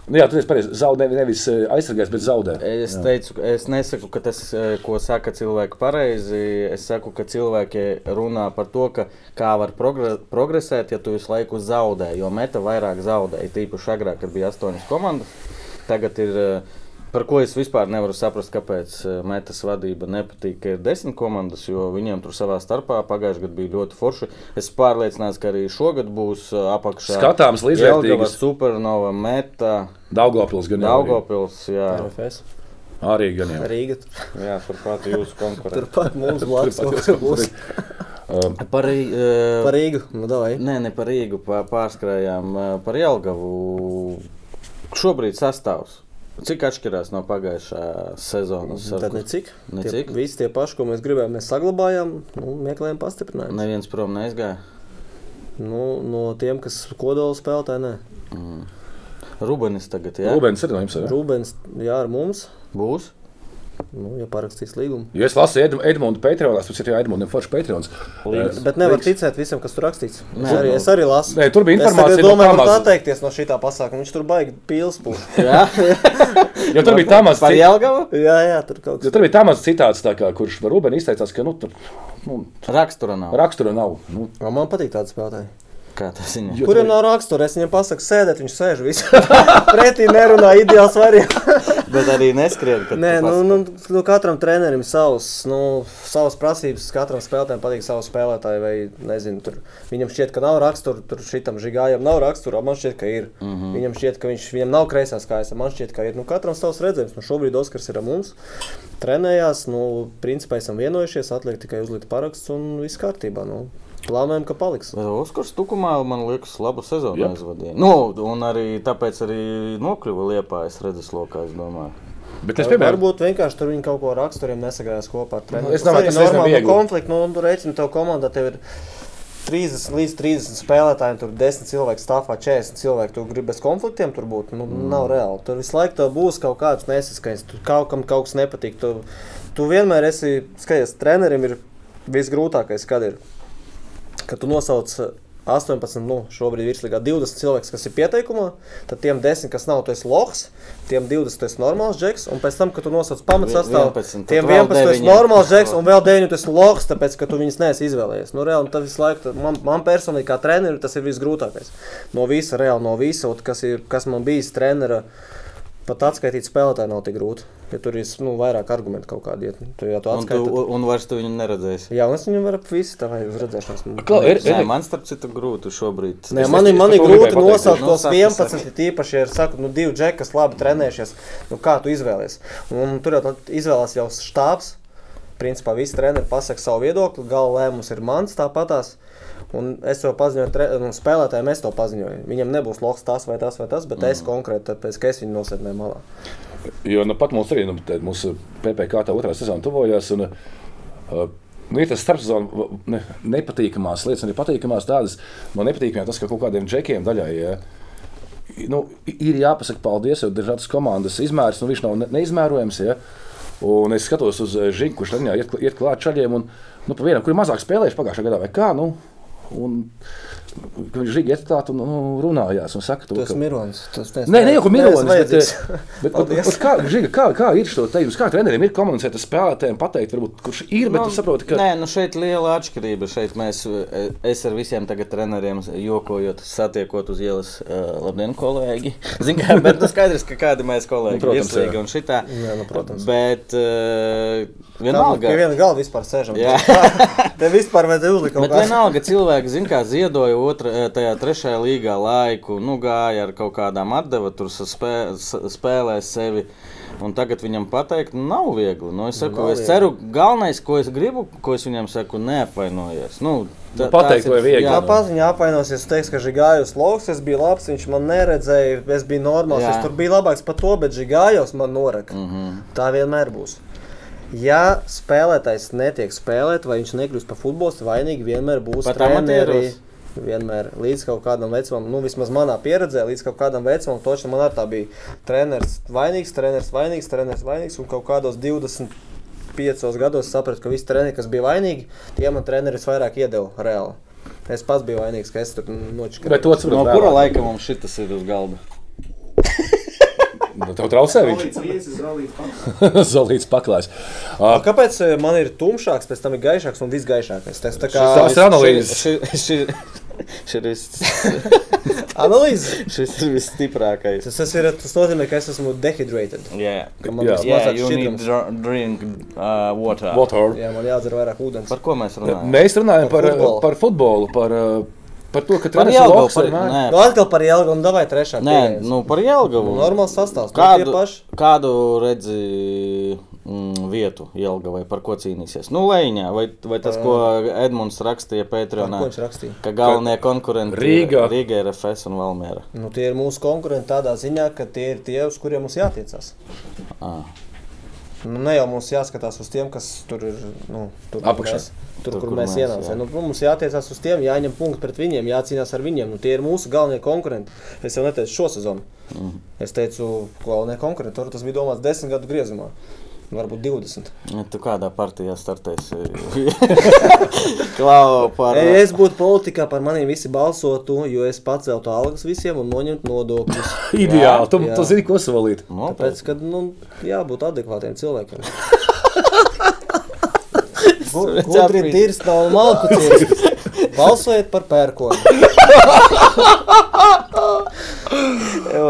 [SPEAKER 1] Nu, jā, tur ir pareizi. Zaudē nevis eh, aizsargājis, bet zaudē.
[SPEAKER 2] Es teicu, ka- es nesaku, ka tas, eh, ko saka cilvēki, ir pareizi. Es saku, ka cilvēki runā par to, ka kā var progre- progresēt, ja tu visu laiku zaudē. Jo meta vairāk zaudēja. Tīpaši agrāk, kad bija astoņas komandas. Tagad ir. eh, Par ko es vispār nevaru saprast, kāpēc eh, metas vadība nepatīk, ka ir desmit komandas, jo viņiem tur savā starpā pagājušajā gadā bija ļoti forši. Es pārliecināts, ka arī šogad būs eh, apakšā.
[SPEAKER 1] Skatāms
[SPEAKER 2] Jelgava,
[SPEAKER 1] līdzvērtīgas.
[SPEAKER 2] Supernova, Meta,
[SPEAKER 1] Daugopils gan jau. arī.
[SPEAKER 2] Daugopils. Jā,
[SPEAKER 3] RFS.
[SPEAKER 1] Arī gan jau.
[SPEAKER 3] Rīga.
[SPEAKER 2] Nu jā turpat jūsu konkurence.
[SPEAKER 3] Turpat mums blakus kaut kas būs.
[SPEAKER 2] Par, uh,
[SPEAKER 3] Par Rīgu. Nu, davai.
[SPEAKER 2] Nē, ne par Rīgu pa- pārskrējām, eh, par Jālgavu. Šobrīd sastāvs. Cik atšķirās no pagājušā sezonas?
[SPEAKER 3] Nu, Tad necik.
[SPEAKER 2] Necik?
[SPEAKER 3] Tie, visi tie paši, ko mēs gribējām, mēs saglabājām un meklējām pastiprinājumu.
[SPEAKER 2] Neviens prom neizgāja.
[SPEAKER 3] Nu, no tiem, kas kodola spēlētāji, nē.
[SPEAKER 2] Rubenis tagad jā?
[SPEAKER 1] Rūbens ir no jums. vai ne?
[SPEAKER 3] Rūbens, jā, ar mums.
[SPEAKER 2] būs.
[SPEAKER 3] Nu, ja parakstīs līgumu.
[SPEAKER 1] Jo es lasu Edm Edmundu Patreonās, tas ir jau Edmunds Falšs Patreons.
[SPEAKER 2] Līdz.
[SPEAKER 1] Eh,
[SPEAKER 3] Bet nevar ticēt visam, kas tur rakstīts.
[SPEAKER 2] Nē,
[SPEAKER 3] Nē, es, arī,
[SPEAKER 2] nu.
[SPEAKER 3] es arī lasu.
[SPEAKER 1] Nē, tur bija
[SPEAKER 3] Es
[SPEAKER 1] informācija.
[SPEAKER 3] tagad domāju,
[SPEAKER 1] no
[SPEAKER 3] kā
[SPEAKER 1] Tamaz.
[SPEAKER 3] atteikties no šī pasākuma. Viņš tur baigi pils pūš.
[SPEAKER 2] Jā,
[SPEAKER 1] Jo tur bija tā
[SPEAKER 2] par
[SPEAKER 1] mazā.
[SPEAKER 2] Jālgavu.
[SPEAKER 3] jā, jā, tur kaut
[SPEAKER 1] Jo
[SPEAKER 3] kas.
[SPEAKER 1] tur bija tā mazā citāts, tā kā, kurš par Rūbeni izteicās, ka nu, tur nu,
[SPEAKER 2] Rakstura nav.
[SPEAKER 1] rakstura nav. Nu,
[SPEAKER 3] O, man patīk tāds spēlētājs.
[SPEAKER 2] Kā tas viņa?
[SPEAKER 1] Jo
[SPEAKER 3] Kuriem
[SPEAKER 1] tur-
[SPEAKER 3] nav rakstura? Es viņam pasaku, sēdiet, viņš sēž visur. Pretī nerunā, ideāls variants.
[SPEAKER 2] Bet arī neskrien. kad
[SPEAKER 3] Nē,
[SPEAKER 2] tu
[SPEAKER 3] nu,
[SPEAKER 2] pas-
[SPEAKER 3] nu, nu, katram trenerim savs, nu, savas prasības, katram spēlētājam patīk savs spēlētājs. Vai, nezinu, tur, viņam šķiet, ka nav rakstura, tur šitam žigājam nav rakstura, man šķiet, ka ir. Mm
[SPEAKER 2] Mhm.
[SPEAKER 3] -hmm. Viņam šķiet, ka viņš, viņam nav kreisās kājas, man šķiet, ka ir. Nu, katram savs redzējums. Nu, šobrīd Oskars ir ar mums, trenējās, nu, principā esam vienojušies, atliek tikai uzlikt paraksts un viss kārtībā. Nu. Plānojam, ka paliks.
[SPEAKER 2] Bet Oskars Tukumā, man liekas, labu sezonu
[SPEAKER 1] Jep.
[SPEAKER 2] yep. aizvadīja. Nu, un arī tāpēc arī nokļuva Liepā, es redzes lokā, es domāju.
[SPEAKER 1] Bet es piemēram,
[SPEAKER 3] Varbūt vienkārši tur viņi kaut ko ar raksturiem nesagrājās kopā ar treniņu.
[SPEAKER 1] es domāju, tas diezgan
[SPEAKER 3] normāli
[SPEAKER 1] viegli.
[SPEAKER 3] konflikts. Nu, tur rēķina, tev komandā tev ir 30 līdz 30 spēlētāji, tur 10 cilvēku stāvā, 40 cilvēku. Tu gribi bez konfliktiem tur būt. Nu, mm. Nav reāli. Tur visu laiku tev būs kaut kāds nesaskaņas, tur kaut kam kaut kas nepatīk. Tu, tu vienmēr esi skaties, trenerim ir visgrūtākais, kad ir. Kad tu nosauc 18, nu, šobrīd ir virslīgā 20 cilvēks, kas ir pieteikumā, tad tiem 10, kas nav, tu esi loks, tiem 20 tu esi normāls džeks, un pēc tam, kad tu nosauc pamatsastāvu,
[SPEAKER 2] 11, tad
[SPEAKER 3] tiem
[SPEAKER 2] vēl
[SPEAKER 3] 11 tu esi
[SPEAKER 2] deviņiem.
[SPEAKER 3] normāls džeks, un vēl 9 tu esi loks, tāpēc, ka tu viņus neesi izvēlējies. Nu, reāli, un tad visu laiku, tad man, man personīgi kā trenerim, tas ir visgrūtākais. No visa, reāli no visa, un kas, ir, kas man bijis trenera. Pat atskaitīt spēlētāju nav tik grūti, ja tur ir nu, vairāk argumentu kaut kādā veidā. Tu jau to
[SPEAKER 2] Un, tu,
[SPEAKER 3] atskaiti. tad-
[SPEAKER 2] un vairs tu viņu neredzēsi.
[SPEAKER 3] Jā, un es viņam varu visi tā vai uz redzēšanas.
[SPEAKER 1] Klau, ir,
[SPEAKER 2] Nē,
[SPEAKER 1] ir,
[SPEAKER 2] man starp citu grūti šobrīd.
[SPEAKER 3] Nē,
[SPEAKER 1] Es-
[SPEAKER 3] man ir,
[SPEAKER 1] es
[SPEAKER 3] man
[SPEAKER 1] par
[SPEAKER 3] ir
[SPEAKER 1] to
[SPEAKER 3] grūti
[SPEAKER 1] gribēju pateikt.
[SPEAKER 3] nosaukt tos
[SPEAKER 2] Nosaki,
[SPEAKER 3] 11, it īpaši, ja ir saku, nu, divi džeki, kas labi trenējušies. Nu, kā tu izvēlies? Un, tur jau tad izvēlās jau štābs. Principā visi treneri pasaka savu viedokli, gala lēmums ir mans tāpatās. Un es to paziņoju, tre... nu, spēlētājiem es to paziņoju. Viņam nebūs loks tas vai tas vai tas, bet mm.
[SPEAKER 2] Mhm.
[SPEAKER 3] es konkrēti, tāpēc ka es viņu nosēdināju malā.
[SPEAKER 1] jo nu, pat mums arī nu, tā mūsu PPC tā otrā sezona tuvojās. Un, uh, Nu, ir tas starpsezonu va- ne, nepatīkamās lietas, un ir patīkamās tādas. Man nepatīk, tas, ka kaut kādiem džekiem daļai ja, nu, ir jāpasaka paldies, jo dažādas komandas izmērs, nu, viņš nav ne- neizmērojams. Ja, un es skatos uz eh, Žinku, kurš tam iet, kl- iet klāt čaļiem, un nu, pa vienam, kur ir mazāk spēlējuši pagājušā gadā, vai kā. Nu, un, kad viņš Žigi iet klāt un nu, runājās un saka, to,
[SPEAKER 3] Tas ir Mirons. Tas
[SPEAKER 1] Nē, ne jau ka Mironis, bet,
[SPEAKER 3] ir.
[SPEAKER 1] eh, bet, bet, bet, bet kā, Žiga, kā, kā ir šo teikumu? Kā treneriem ir komunicēt ar spēlētājiem, pateikt, varbūt, kurš ir, bet tu saproti, ka
[SPEAKER 2] Nē, nu šeit ir liela atšķirība. Šeit mēs, eh, es ar visiem tagad treneriem jokojot, satiekot uz ielas, eh, labdien, kolēģi. Zin, kā, bet nu, skaidrs, ka kādi mēs
[SPEAKER 1] Nu,
[SPEAKER 2] kolēģi ir
[SPEAKER 1] protams,
[SPEAKER 2] virslīgi
[SPEAKER 1] jā.
[SPEAKER 2] un šitā.
[SPEAKER 3] Jā, nu, protams.
[SPEAKER 2] Bet eh,
[SPEAKER 3] Pie
[SPEAKER 2] vienalga.
[SPEAKER 3] viena galva vispār sēžam.
[SPEAKER 2] Jā.
[SPEAKER 3] Te vispār vajadzēja uzlikt kaut
[SPEAKER 2] Bet
[SPEAKER 3] kādu.
[SPEAKER 2] vienalga cilvēki, zin, kā ziedoja otrā, eh, tajā trešajā līgā laiku, nu, gāja ar kaut kādām atdeva, tur sa- spē, sa- spēlēja sevi. Un tagad viņam pateikt, nu, nav viegli. Nu, es, saku,
[SPEAKER 3] Nav
[SPEAKER 2] es
[SPEAKER 3] viegli.
[SPEAKER 2] ceru, galvenais, ko es gribu, ko es viņam saku, neapvainojies. Nu,
[SPEAKER 1] Nu, pateikt,
[SPEAKER 2] tās ir-
[SPEAKER 1] vai viegli.
[SPEAKER 2] jā,
[SPEAKER 1] Jā,
[SPEAKER 2] nu.
[SPEAKER 3] Tāpat viņa apvainosies, teiks, ka Žigājos loks, es biju labs, viņš man neredzēja, es biju normāls,
[SPEAKER 2] Jā. Mhm.
[SPEAKER 3] es tur biju labāks par to, bet Žigājos man noraka. Mm -hmm. Tā vienmēr būs. Ja spēlētājs netiek spēlēts, vai viņš nekļūst par futbolistu, vainīgi vienmēr būs
[SPEAKER 2] Pat
[SPEAKER 3] treneri.
[SPEAKER 2] amatieros?
[SPEAKER 3] Vienmēr līdz kaut kādam vecumam, nu vismaz manā pieredzē, līdz kaut kādam vecumam, točā man arī tā bija treneris vainīgs, treneris vainīgs, treneris vainīgs, un kaut kādos 25 gados sapratu, ka visi treneri, kas bija vainīgi, tie man treneris vairāk iedeva reāli. Es pats biju vainīgs, ka es tur nočakarēju.
[SPEAKER 1] Bet to saprotu.
[SPEAKER 2] No kura laika mums šis ir uz galda?
[SPEAKER 1] Nu, Tev traucē viņš
[SPEAKER 4] Zolīts viesis, zolīts pakaļ.
[SPEAKER 1] zolīts Ah, paklājs.
[SPEAKER 3] A, Kāpēc e, man ir tumšāks, pēc tam ir gaišāks un viss gaišākais? Tas tā kā
[SPEAKER 1] Šis tās ir analīzes.
[SPEAKER 2] Šis
[SPEAKER 3] analīze.
[SPEAKER 2] ir visstiprākais.
[SPEAKER 3] Tas, tas, ir, tas nozīmē, ka es esmu dehydrated.
[SPEAKER 2] Jā,
[SPEAKER 3] Ka man
[SPEAKER 1] Jā.
[SPEAKER 3] būs
[SPEAKER 2] jā,
[SPEAKER 3] mazāk
[SPEAKER 2] you need
[SPEAKER 3] šķidrums.
[SPEAKER 2] dr- drink uh, water.
[SPEAKER 1] Water.
[SPEAKER 3] Jā, man jādzer vairāk ūdens.
[SPEAKER 2] Par ko mēs runājam?
[SPEAKER 1] Mēs runājam
[SPEAKER 3] Par
[SPEAKER 1] par, eh,
[SPEAKER 3] futbolu.
[SPEAKER 1] par futbolu, par, uh, par to, ka
[SPEAKER 2] par
[SPEAKER 1] treneris ir
[SPEAKER 2] Jelgavu.
[SPEAKER 1] labs
[SPEAKER 2] Par,
[SPEAKER 1] vienmēr.
[SPEAKER 2] nē,
[SPEAKER 3] Nu, atkal par Jēlgu un davai trešā.
[SPEAKER 2] nē,
[SPEAKER 3] pieejas.
[SPEAKER 2] nu par Jelgavu.
[SPEAKER 3] Normāls sastāvs. nu, tie
[SPEAKER 2] Kādu,
[SPEAKER 3] paši.
[SPEAKER 2] kādu redzi mm, vietu Jelgavai, par ko cīnīsies? Nu, Leņķā, vai, vai tas, ko Edmunds rakstīja
[SPEAKER 3] Par
[SPEAKER 2] Patreonā,
[SPEAKER 3] Ko viņš rakstīja?
[SPEAKER 2] ka galvenie konkurenti
[SPEAKER 1] Rīga.
[SPEAKER 2] ir Rīga, RFS un Valmiera.
[SPEAKER 3] Nu, tie ir mūsu konkurenti tādā ziņā, ka tie ir tie, uz kuriem mums jātiecās.
[SPEAKER 2] Ah.
[SPEAKER 3] Nu, ne jau mums jāskatās uz tiem, kas tur ir. Nu, tur, kur
[SPEAKER 1] Apakšā.
[SPEAKER 3] Mēs, tur, tur, kur mēs, mēs
[SPEAKER 2] jā.
[SPEAKER 3] ienācām. Nu, mums jātiecās uz tiem, jāņem punkti pret viņiem, jācīnās ar viņiem. Nu, tie ir mūsu galvenie konkurenti. Es jau neteicu šo sezonu. Mm. Es teicu, galvenie konkurenti. Tur tas bija domāts desmit gadu griezumā. Varbūt 20.
[SPEAKER 2] Ja tu kādā partijā startēsi? Klau, par,
[SPEAKER 3] Ja es būtu politikā, par maniem visi balsotu, jo es paceltu algas visiem un noņemtu nodokļus.
[SPEAKER 1] Ideāli. Tu,
[SPEAKER 3] Jā.
[SPEAKER 1] tu zini, ko savalīt.
[SPEAKER 2] Nopietni.
[SPEAKER 3] Tāpēc, ka nu, jābūt adekvātiem cilvēkiem. Gudri
[SPEAKER 2] Saprītu.
[SPEAKER 3] tirs nav malku ciets. Balsojiet par pērkonu.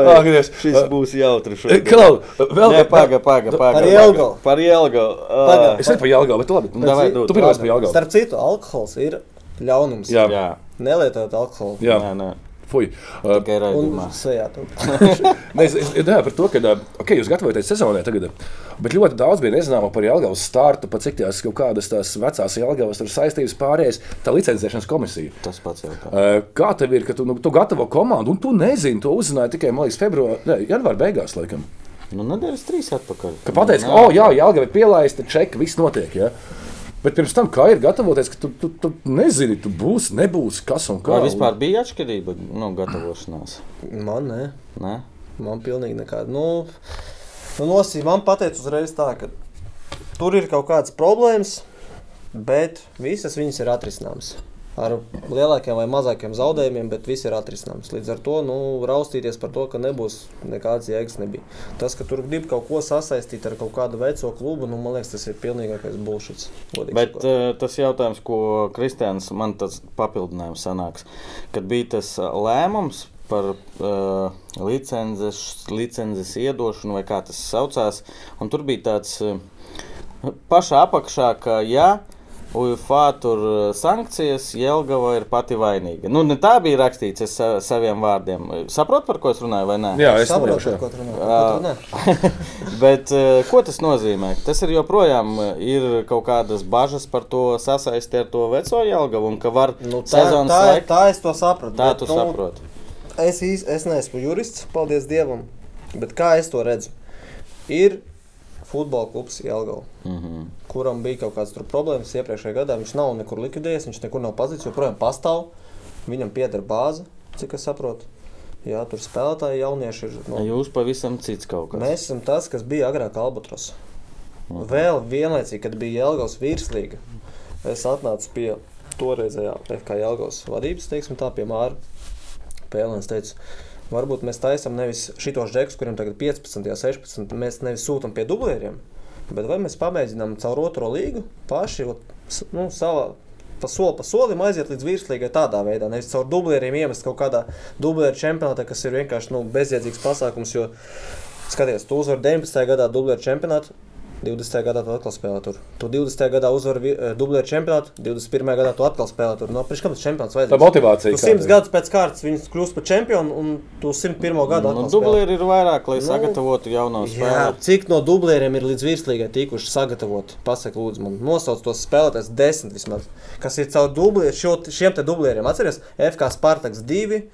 [SPEAKER 1] Ak, Dievs.
[SPEAKER 2] Šis būs jautri
[SPEAKER 1] E,
[SPEAKER 2] šodien.
[SPEAKER 1] Klau, vēl
[SPEAKER 2] Nē, paga, paga, paga.
[SPEAKER 3] Par Jelgavu.
[SPEAKER 2] Par Jelgavu. Ā,
[SPEAKER 3] Paga.
[SPEAKER 1] Es redzu, pa Jālgā, bet labi.
[SPEAKER 2] Nu, davai,
[SPEAKER 1] tu
[SPEAKER 2] dod.
[SPEAKER 1] pirmais pa Jālgā.
[SPEAKER 3] Starp citu, alkohols ir ļaunums.
[SPEAKER 1] Jā, jā.
[SPEAKER 2] Jā,
[SPEAKER 3] Nelietot alkoholu.
[SPEAKER 1] jā.
[SPEAKER 2] nē, nē.
[SPEAKER 1] Fuj. Uh,
[SPEAKER 2] Tikai
[SPEAKER 3] Un
[SPEAKER 2] raidījumā.
[SPEAKER 3] sejā tur.
[SPEAKER 1] Ne, Nu, es, es domāju par to, ka ā, okay, jūs gatavojaties sezonai tagad, bet ļoti daudz bija nezināma par Jālgavas startu, pat cik tās kaut kādas tās vecās Jālgavas tur saistības pārējais, tā licencēšanas komisija.
[SPEAKER 2] Tas pats jautājums.
[SPEAKER 1] Ā, Kā tev ir, ka tu, nu, tu gatavo komandu, un tu nezini, to uzzināji tikai, man liekas, februārī, janvārī beigās, laikam.
[SPEAKER 2] Nu, nedēļas trīs atpakaļ.
[SPEAKER 1] Ka pateic, ka,
[SPEAKER 2] Nē.
[SPEAKER 1] oh, jā, Jālgava ir pielaista, čeka, viss notiek. Ja? Bet pirms tam, kā ir gatavoties, ka tu, tu, tu nezini, tu būsi, nebūsi, kas un kā.
[SPEAKER 2] Vai vispār bija atšķirība no nu, gatavošanās?
[SPEAKER 3] Man ne.
[SPEAKER 2] Nē?
[SPEAKER 3] Man pilnīgi nekāda. Nu, nu nosī, man pateica uzreiz tā, ka tur ir kaut kādas problēmas, bet visas viņas ir atrisināmas. Ar lielākiem vai mazākiem zaudējumiem, bet viss ir atrisināms. Līdz ar to nu, raustīties par to, ka nebūs nekādas jēgas. Nebija. Tas, ka tur grib kaut ko sasaistīt ar kaut kādu veco klubu, nu, man liekas, tas ir pilnīgais bullshits. godīgi
[SPEAKER 2] Bet
[SPEAKER 3] sakot.
[SPEAKER 2] uh, tas jautājums, ko Kristians man tas papildinājums sanāks, kad bija tas ā, lēmums par uh, licences, licences iedošanu vai kā tas saucās, un tur bija tāds uh, pašā apakšā, ka jā. UFA tur ā, sankcijas, Jelgava ir pati vainīga. Nu, ne tā bija rakstīts es sa- saviem vārdiem. Saprotu, par ko es Uh, runāju, vai nē?
[SPEAKER 1] Jā, es
[SPEAKER 3] saprotu,
[SPEAKER 1] saprotu.
[SPEAKER 3] par ko
[SPEAKER 1] jā.
[SPEAKER 3] tur runā. Par ko tur runā.
[SPEAKER 2] Bet, eh, ko tas nozīmē? Tas ir joprojām eh, ir kaut kādas bažas par to sasaisti ar to veco jēlgavu, un ka var
[SPEAKER 3] Nu, tā,
[SPEAKER 2] sezonas
[SPEAKER 3] tā,
[SPEAKER 2] laikā.
[SPEAKER 3] tā es to sapratu.
[SPEAKER 2] Tā
[SPEAKER 3] bet,
[SPEAKER 2] tu
[SPEAKER 3] nu,
[SPEAKER 2] saproti.
[SPEAKER 3] Es īstenībā es neesmu jurists, paldies Dievam. Bet kā es to redzu? Ir futbola klubs Jālgava,
[SPEAKER 2] Mhm.
[SPEAKER 3] kuram bija kaut kādas tur problēmas iepriekšējā gadā. Viņš nav nekur likvidējies, viņš nekur nav pazudis, joprojām pastāv. Viņam pieder bāze, cik es saprotu. Jā, tur spēlētāji jaunieši ir. No,
[SPEAKER 2] Jūs pavisam cits kaut kas.
[SPEAKER 3] nu, Mēs esam tas, kas bija agrāk Albatros. Vēl vienlaicīgi, kad bija Jēlgavas virslīga, es atnācu pie toreizējā FK Jēlgavas vadības, teiksim tā, pie Māra Pēlēns. Teicu, varbūt mēs taisām nevis šitos džekus, kuriem tagad 15, jā, 16, mēs nevis sūtām pie dublieriem, bet vai mēs pamēģinām caur otro līgu paši, ot, s- nu, savā. Pa soli pa solim aiziet līdz virslīgai tādā veidā. Nevis caur dublieriem iemest kaut kādā dublieru čempionātā, kas ir vienkārši nu, bezjēdzīgs pasākums. Jo Skaties, tu uzvari 19. gadā dublēta čempionātu, 20. gadā tu atkal spēlē tur. Tu 20. gadā uzvari dublēta čempionātu, 21. gadā tu atkal spēlē tur. No, priekš, kam tas čempionāts
[SPEAKER 1] Tā
[SPEAKER 3] vajadzīgs?
[SPEAKER 1] motivācija.
[SPEAKER 3] Tu 100 gadus pēc kārtas viņus kļūst par čempionu, un tu 101.
[SPEAKER 2] Nu,
[SPEAKER 3] gadu atkal spēlē.
[SPEAKER 2] Dublīri ir vairāk, lai
[SPEAKER 3] Nu,
[SPEAKER 2] sagatavotu jauno
[SPEAKER 3] Jā,
[SPEAKER 2] spēli.
[SPEAKER 3] cik no dublējiem ir līdz virslīgai tikuši sagatavoti? Pasaka, lūdzu, man nosauc tos spēlētājus, desmit vismaz, kas ir caur dublējiem, šiem te dublējiem. Atceries, FK Spartaks 2,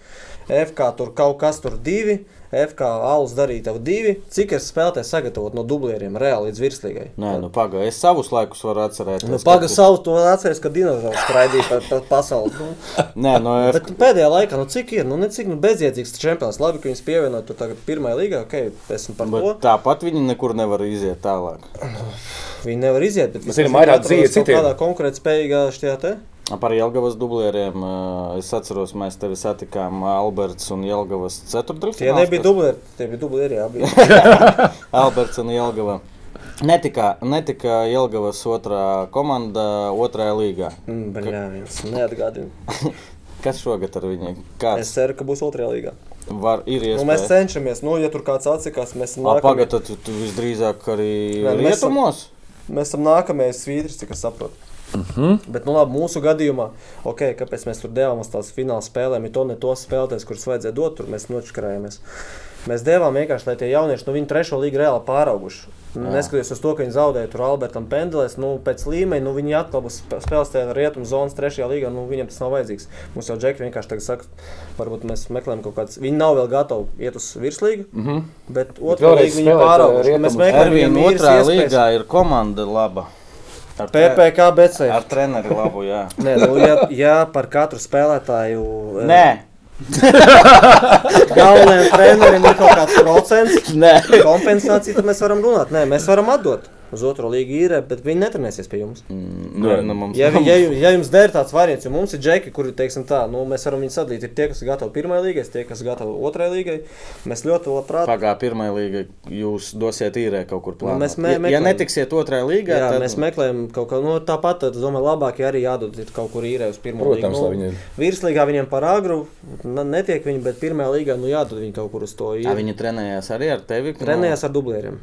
[SPEAKER 3] FK tur kaut kas tur divi, FK alus darīja divi. Cik es spēlēju sagatavot no dublieriem reāli līdz virslīgai?
[SPEAKER 2] Nē, nu pagaidi, es savus laikus varu atcerēties.
[SPEAKER 3] Nu,
[SPEAKER 2] kad
[SPEAKER 3] Pagaidā,
[SPEAKER 2] tu-
[SPEAKER 3] savus to atceries, ka dinozaurs skraidīja pa, pa pasauli. Nu,
[SPEAKER 2] Nē, no
[SPEAKER 3] Bet pēdējā laikā, nu cik ir, nu necik nu, bezjēdzīgs tas čempions. Labi, ka viņas pievienoja to tagad pirmajā līgā, ok, esmu par to.
[SPEAKER 2] Bet tāpat viņi nekur nevar iziet tālāk.
[SPEAKER 3] Viņi nevar iziet, bet
[SPEAKER 1] Mēs zinām, vairāk dzīve citiem.
[SPEAKER 3] Kādā konkurētspējīgā šajā te?
[SPEAKER 2] Par Jālgavas dublieriem eh, es atceros, mēs tevi satikām Alberts un Jālgavas ceturtdaļfinālā.
[SPEAKER 3] Tie nebija dubleri, tie bija dubleri, jā, bija.
[SPEAKER 2] Alberts un Jālgava. Netika, netika Jelgavas otrā komanda, otrajā līgā.
[SPEAKER 3] Mm, Bļā, viens neatgādina.
[SPEAKER 2] Kas šogad ar viņiem? Kāds
[SPEAKER 3] Es ceru, ka būs otrajā līgā.
[SPEAKER 2] var, ir
[SPEAKER 3] Nu, mēs
[SPEAKER 2] iespēja?
[SPEAKER 3] cenšamies, nu, ja tur kāds atsakās, mēs esam nākamie-
[SPEAKER 2] Pagaidā, tu, tu visdrīzāk arī
[SPEAKER 3] Nē, nu, mēs esam-
[SPEAKER 2] rietumos.
[SPEAKER 3] Mēs esam nākamais svītris, cik es saprotu. Mm -hmm. Bet, nu, labi, mūsu gadījumā, okay, kāpēc mēs tur devām uz tās fināla spēlēm, ja to ne tos spēlētājus, kurus vajadzēja dot, tur mēs nočakarājāmies. Mēs devām vienkārši, lai tie jaunieši, nu, viņi trešo līgu reāli pārauguši. Neskatoties uz to, ka viņi zaudēja tur Albertam Pendelēs, nu, pēc līmeņa, nu, viņi atkal būs spē- spēlēs tajā rietumu zonas trešajā līgā, nu, viņiem tas nav vajadzīgs. Mums jau džeki vienkārši tagad saka, varbūt mēs meklējam kaut kādas, viņi nav vēl gatavi iet uz virslīgu, mm -hmm. bet otrā
[SPEAKER 1] vēlreiz
[SPEAKER 3] līga viņi
[SPEAKER 1] spēlēt,
[SPEAKER 3] pārauguši.
[SPEAKER 1] rietumu
[SPEAKER 3] Mēs meklējam
[SPEAKER 2] Ervīna
[SPEAKER 3] viņiem īres
[SPEAKER 2] otrā
[SPEAKER 3] iespējas.
[SPEAKER 2] līgā ir komanda laba. Ar tre-
[SPEAKER 3] PPC BC.
[SPEAKER 2] Ar treneri labu, jā.
[SPEAKER 3] Nē, nu, ja, ja par katru spēlētāju eh,
[SPEAKER 2] Nē,
[SPEAKER 3] galvenajam trenerim ir kaut kāds procents
[SPEAKER 2] nē.
[SPEAKER 3] kompensācija, tad mēs varam runāt. Nē, mēs varam atdot uz otro līgu īrē, bet viņi netrenēsies pie jums.
[SPEAKER 2] Nē, nu mums
[SPEAKER 3] Ja, vi- ja, jums- ja jums der tāds variants, jo mums ir džeki, kuri, teiksim tā, nu, mēs varam viņus sadalīt. Ir tie, kas ir gatavi pirmajai līgai, tie, kas ir gatavi otrajai līgai. Mēs ļoti labprāt.
[SPEAKER 2] Pagājušā pirmā līga jūs dosiet īrē kaut kur plānot.
[SPEAKER 3] mēs me-
[SPEAKER 2] Ja- ja
[SPEAKER 3] meklējam.
[SPEAKER 2] netiksiet otrajā līgā,
[SPEAKER 3] Jā,
[SPEAKER 2] tad
[SPEAKER 3] mēs meklējam kaut ko nu, tāpat. tad, Es domāju, labāk, ja arī jādod ir kaut kur īrē uz pirmo
[SPEAKER 1] Protams,
[SPEAKER 3] līgu. Nu,
[SPEAKER 1] lai viņi-
[SPEAKER 3] Virslīgā viņiem par agru na- netiek viņi, bet pirmajā līgā nu, jādod viņi kaut kur uz to
[SPEAKER 2] Jā,
[SPEAKER 3] īrē.
[SPEAKER 2] viņi trenējās arī ar tevi.
[SPEAKER 3] Trenējās ar dublējiem.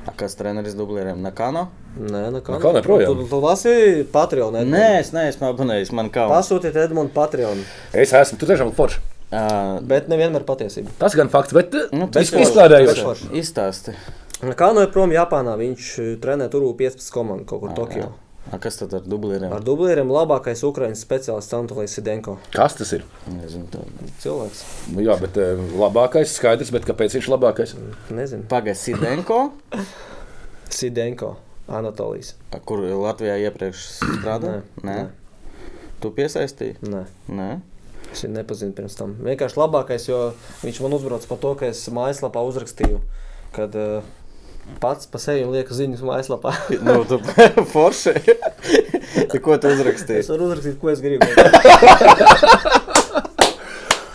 [SPEAKER 2] No... Kas treneris dublieriem? Nakano?
[SPEAKER 3] Nē, no kā.
[SPEAKER 1] Nu, kā neprojām?
[SPEAKER 3] Tu, tu lasi Patreon. Edmund?
[SPEAKER 2] Nē, es neesmu abonējis. Man kā
[SPEAKER 3] Pasūtiet Edmunds Patreon.
[SPEAKER 1] Es esmu, tu tiešām forši.
[SPEAKER 2] Uh,
[SPEAKER 3] Bet nevienmēr patiesība.
[SPEAKER 1] Tas gan fakts, bet nu,
[SPEAKER 2] Nu,
[SPEAKER 1] tas
[SPEAKER 2] tas jau-
[SPEAKER 1] ir izstrādājoši.
[SPEAKER 3] tas
[SPEAKER 2] izstāsti.
[SPEAKER 3] Kā no prom Japānā viņš eh, trenē turu 15 komandu kaut kur Tokijā.
[SPEAKER 2] A, kas tad ar dublieriem?
[SPEAKER 3] Ar dublējiem labākais ukraiņu speciālists Antolais Sidenko.
[SPEAKER 1] Kas tas ir?
[SPEAKER 2] Nezinu. tā.
[SPEAKER 3] Cilvēks.
[SPEAKER 1] Nu, jā, bet eh, labākais skaidrs, bet kāpēc viņš ir labākais?
[SPEAKER 3] Nezinu.
[SPEAKER 2] Pagaidā, Sidenko,
[SPEAKER 3] Sidenko. Anatolijs.
[SPEAKER 2] kur Latvijā iepriekš strādāja? Nē. Tu piesaistīji?
[SPEAKER 3] Nē,
[SPEAKER 2] Nē.
[SPEAKER 3] es viņu nepazinu pirms tam. Vienkārši labākais, jo viņš man uzbrauc par to, ka es mājaslapā uzrakstīju, kad uh, pats pa sevi lieku ziņas mājaslapā.
[SPEAKER 2] Nu, tu forši. Tu ko tu uzrakstīji?
[SPEAKER 3] es varu uzrakstīt, ko es gribu.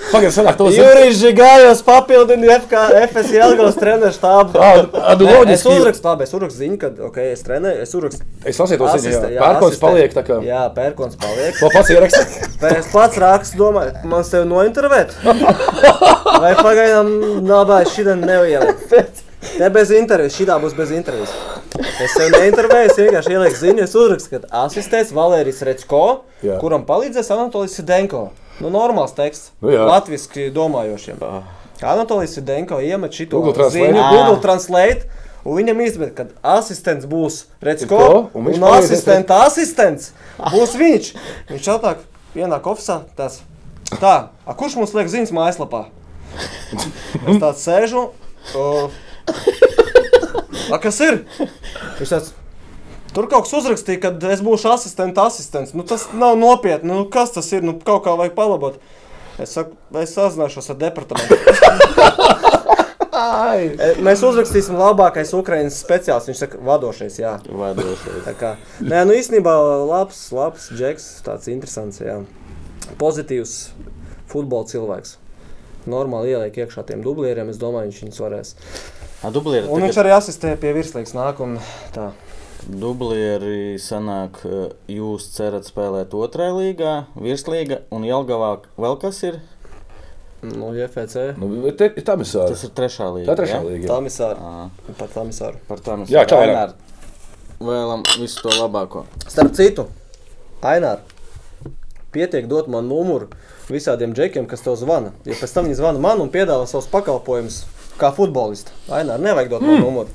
[SPEAKER 1] Pagaidiet, sanāk, to zinu.
[SPEAKER 3] Jurijs Žigājos papildina FS Jēlgavas treneru štābu.
[SPEAKER 1] Ā, nu,
[SPEAKER 3] Es
[SPEAKER 1] loģiski.
[SPEAKER 3] uzrakstu, labi, es uzrakstu ziņu, kad okay, es trenēju, es uzrakstu.
[SPEAKER 1] Es lasīju to ziņu.
[SPEAKER 3] asistē-
[SPEAKER 1] jā.
[SPEAKER 3] jā,
[SPEAKER 1] Pērkons
[SPEAKER 3] asistē.
[SPEAKER 1] paliek tā kā.
[SPEAKER 3] Jā, pērkons paliek.
[SPEAKER 1] To pats ieraksta.
[SPEAKER 3] Es pats rakstu, domāju, man sevi nointervēt. Vai pagaidām nabā šitā nevielikt. Te bez intervijas, šitā būs bez intervijas. Es sev neintervēju, es vienkārši ielieku ziņu, es uzrakstu, ka asistēs Valērijas Recko,
[SPEAKER 1] Jā.
[SPEAKER 3] kuram palīdzēs Anatolijs Sidenko. Nu, normāls teksts.
[SPEAKER 1] Nu jā. Ah.
[SPEAKER 3] Latviski domājošiem. Anatolijs Sidenko iemet šito
[SPEAKER 1] Google Translate. Ah.
[SPEAKER 3] ziņu,
[SPEAKER 1] Ā.
[SPEAKER 3] Google Translate. Un viņam īstenībā, kad asistents būs Recko,
[SPEAKER 1] Recko, un
[SPEAKER 3] un,
[SPEAKER 1] viņš
[SPEAKER 3] un
[SPEAKER 1] palīdzēs
[SPEAKER 3] asistenta asistents būs viņš. Viņš atnāk, ienāk ofisā, tas tā, a kurš mums liek ziņas mājaslapā? Es tāds sēžu, o, a kas ir? Viņš tāds, tur kaut kas uzrakstīja, kad es būšu asistenta asistents. Nu tas nav nopietni, nu kas tas ir, nu kaut kā vajag palabot. Es saku, es sazināšos ar departamentu. E, Mēs uzrakstīsim labākais Ukraiņas speciālists. Viņš saka, vadošais, jā.
[SPEAKER 2] Vadošais.
[SPEAKER 3] Tā kā, nē, nu īstenībā labs, labs džeks, tāds interesants, jā. pozitīvs futbola cilvēks. Normāli ieliek iekšā tiem dublieriem, es domāju, viņš viņus varēs.
[SPEAKER 2] A, dublieri.
[SPEAKER 3] Un viņš
[SPEAKER 2] tagad-
[SPEAKER 3] arī asistē pie virslīgas nākamā. Tā.
[SPEAKER 2] Dublieri sanāk, eh, jūs cerat spēlēt otrajā līgā, virslīga un Jelgavā vēl kas ir?
[SPEAKER 3] Nu, JFC.
[SPEAKER 1] Nu, bet te ir
[SPEAKER 2] Tas
[SPEAKER 1] tamisārs.
[SPEAKER 2] ir trešā līga.
[SPEAKER 1] Tā ir trešā
[SPEAKER 2] ja?
[SPEAKER 1] līga.
[SPEAKER 3] Tamisāra.
[SPEAKER 2] Ā,
[SPEAKER 3] Par tamisāru.
[SPEAKER 2] Par tām es
[SPEAKER 1] Jā, čau, Ainār.
[SPEAKER 2] Ainār, Vēlam visu to labāko.
[SPEAKER 3] Starp citu, Ainār, pietiek dot man numuru visādiem džekiem, kas tev zvana. Ja pēc tam viņi zvana man un piedāvā savus pakalpojumus kā futbolistu, Ainār, nevajag dot man numuru.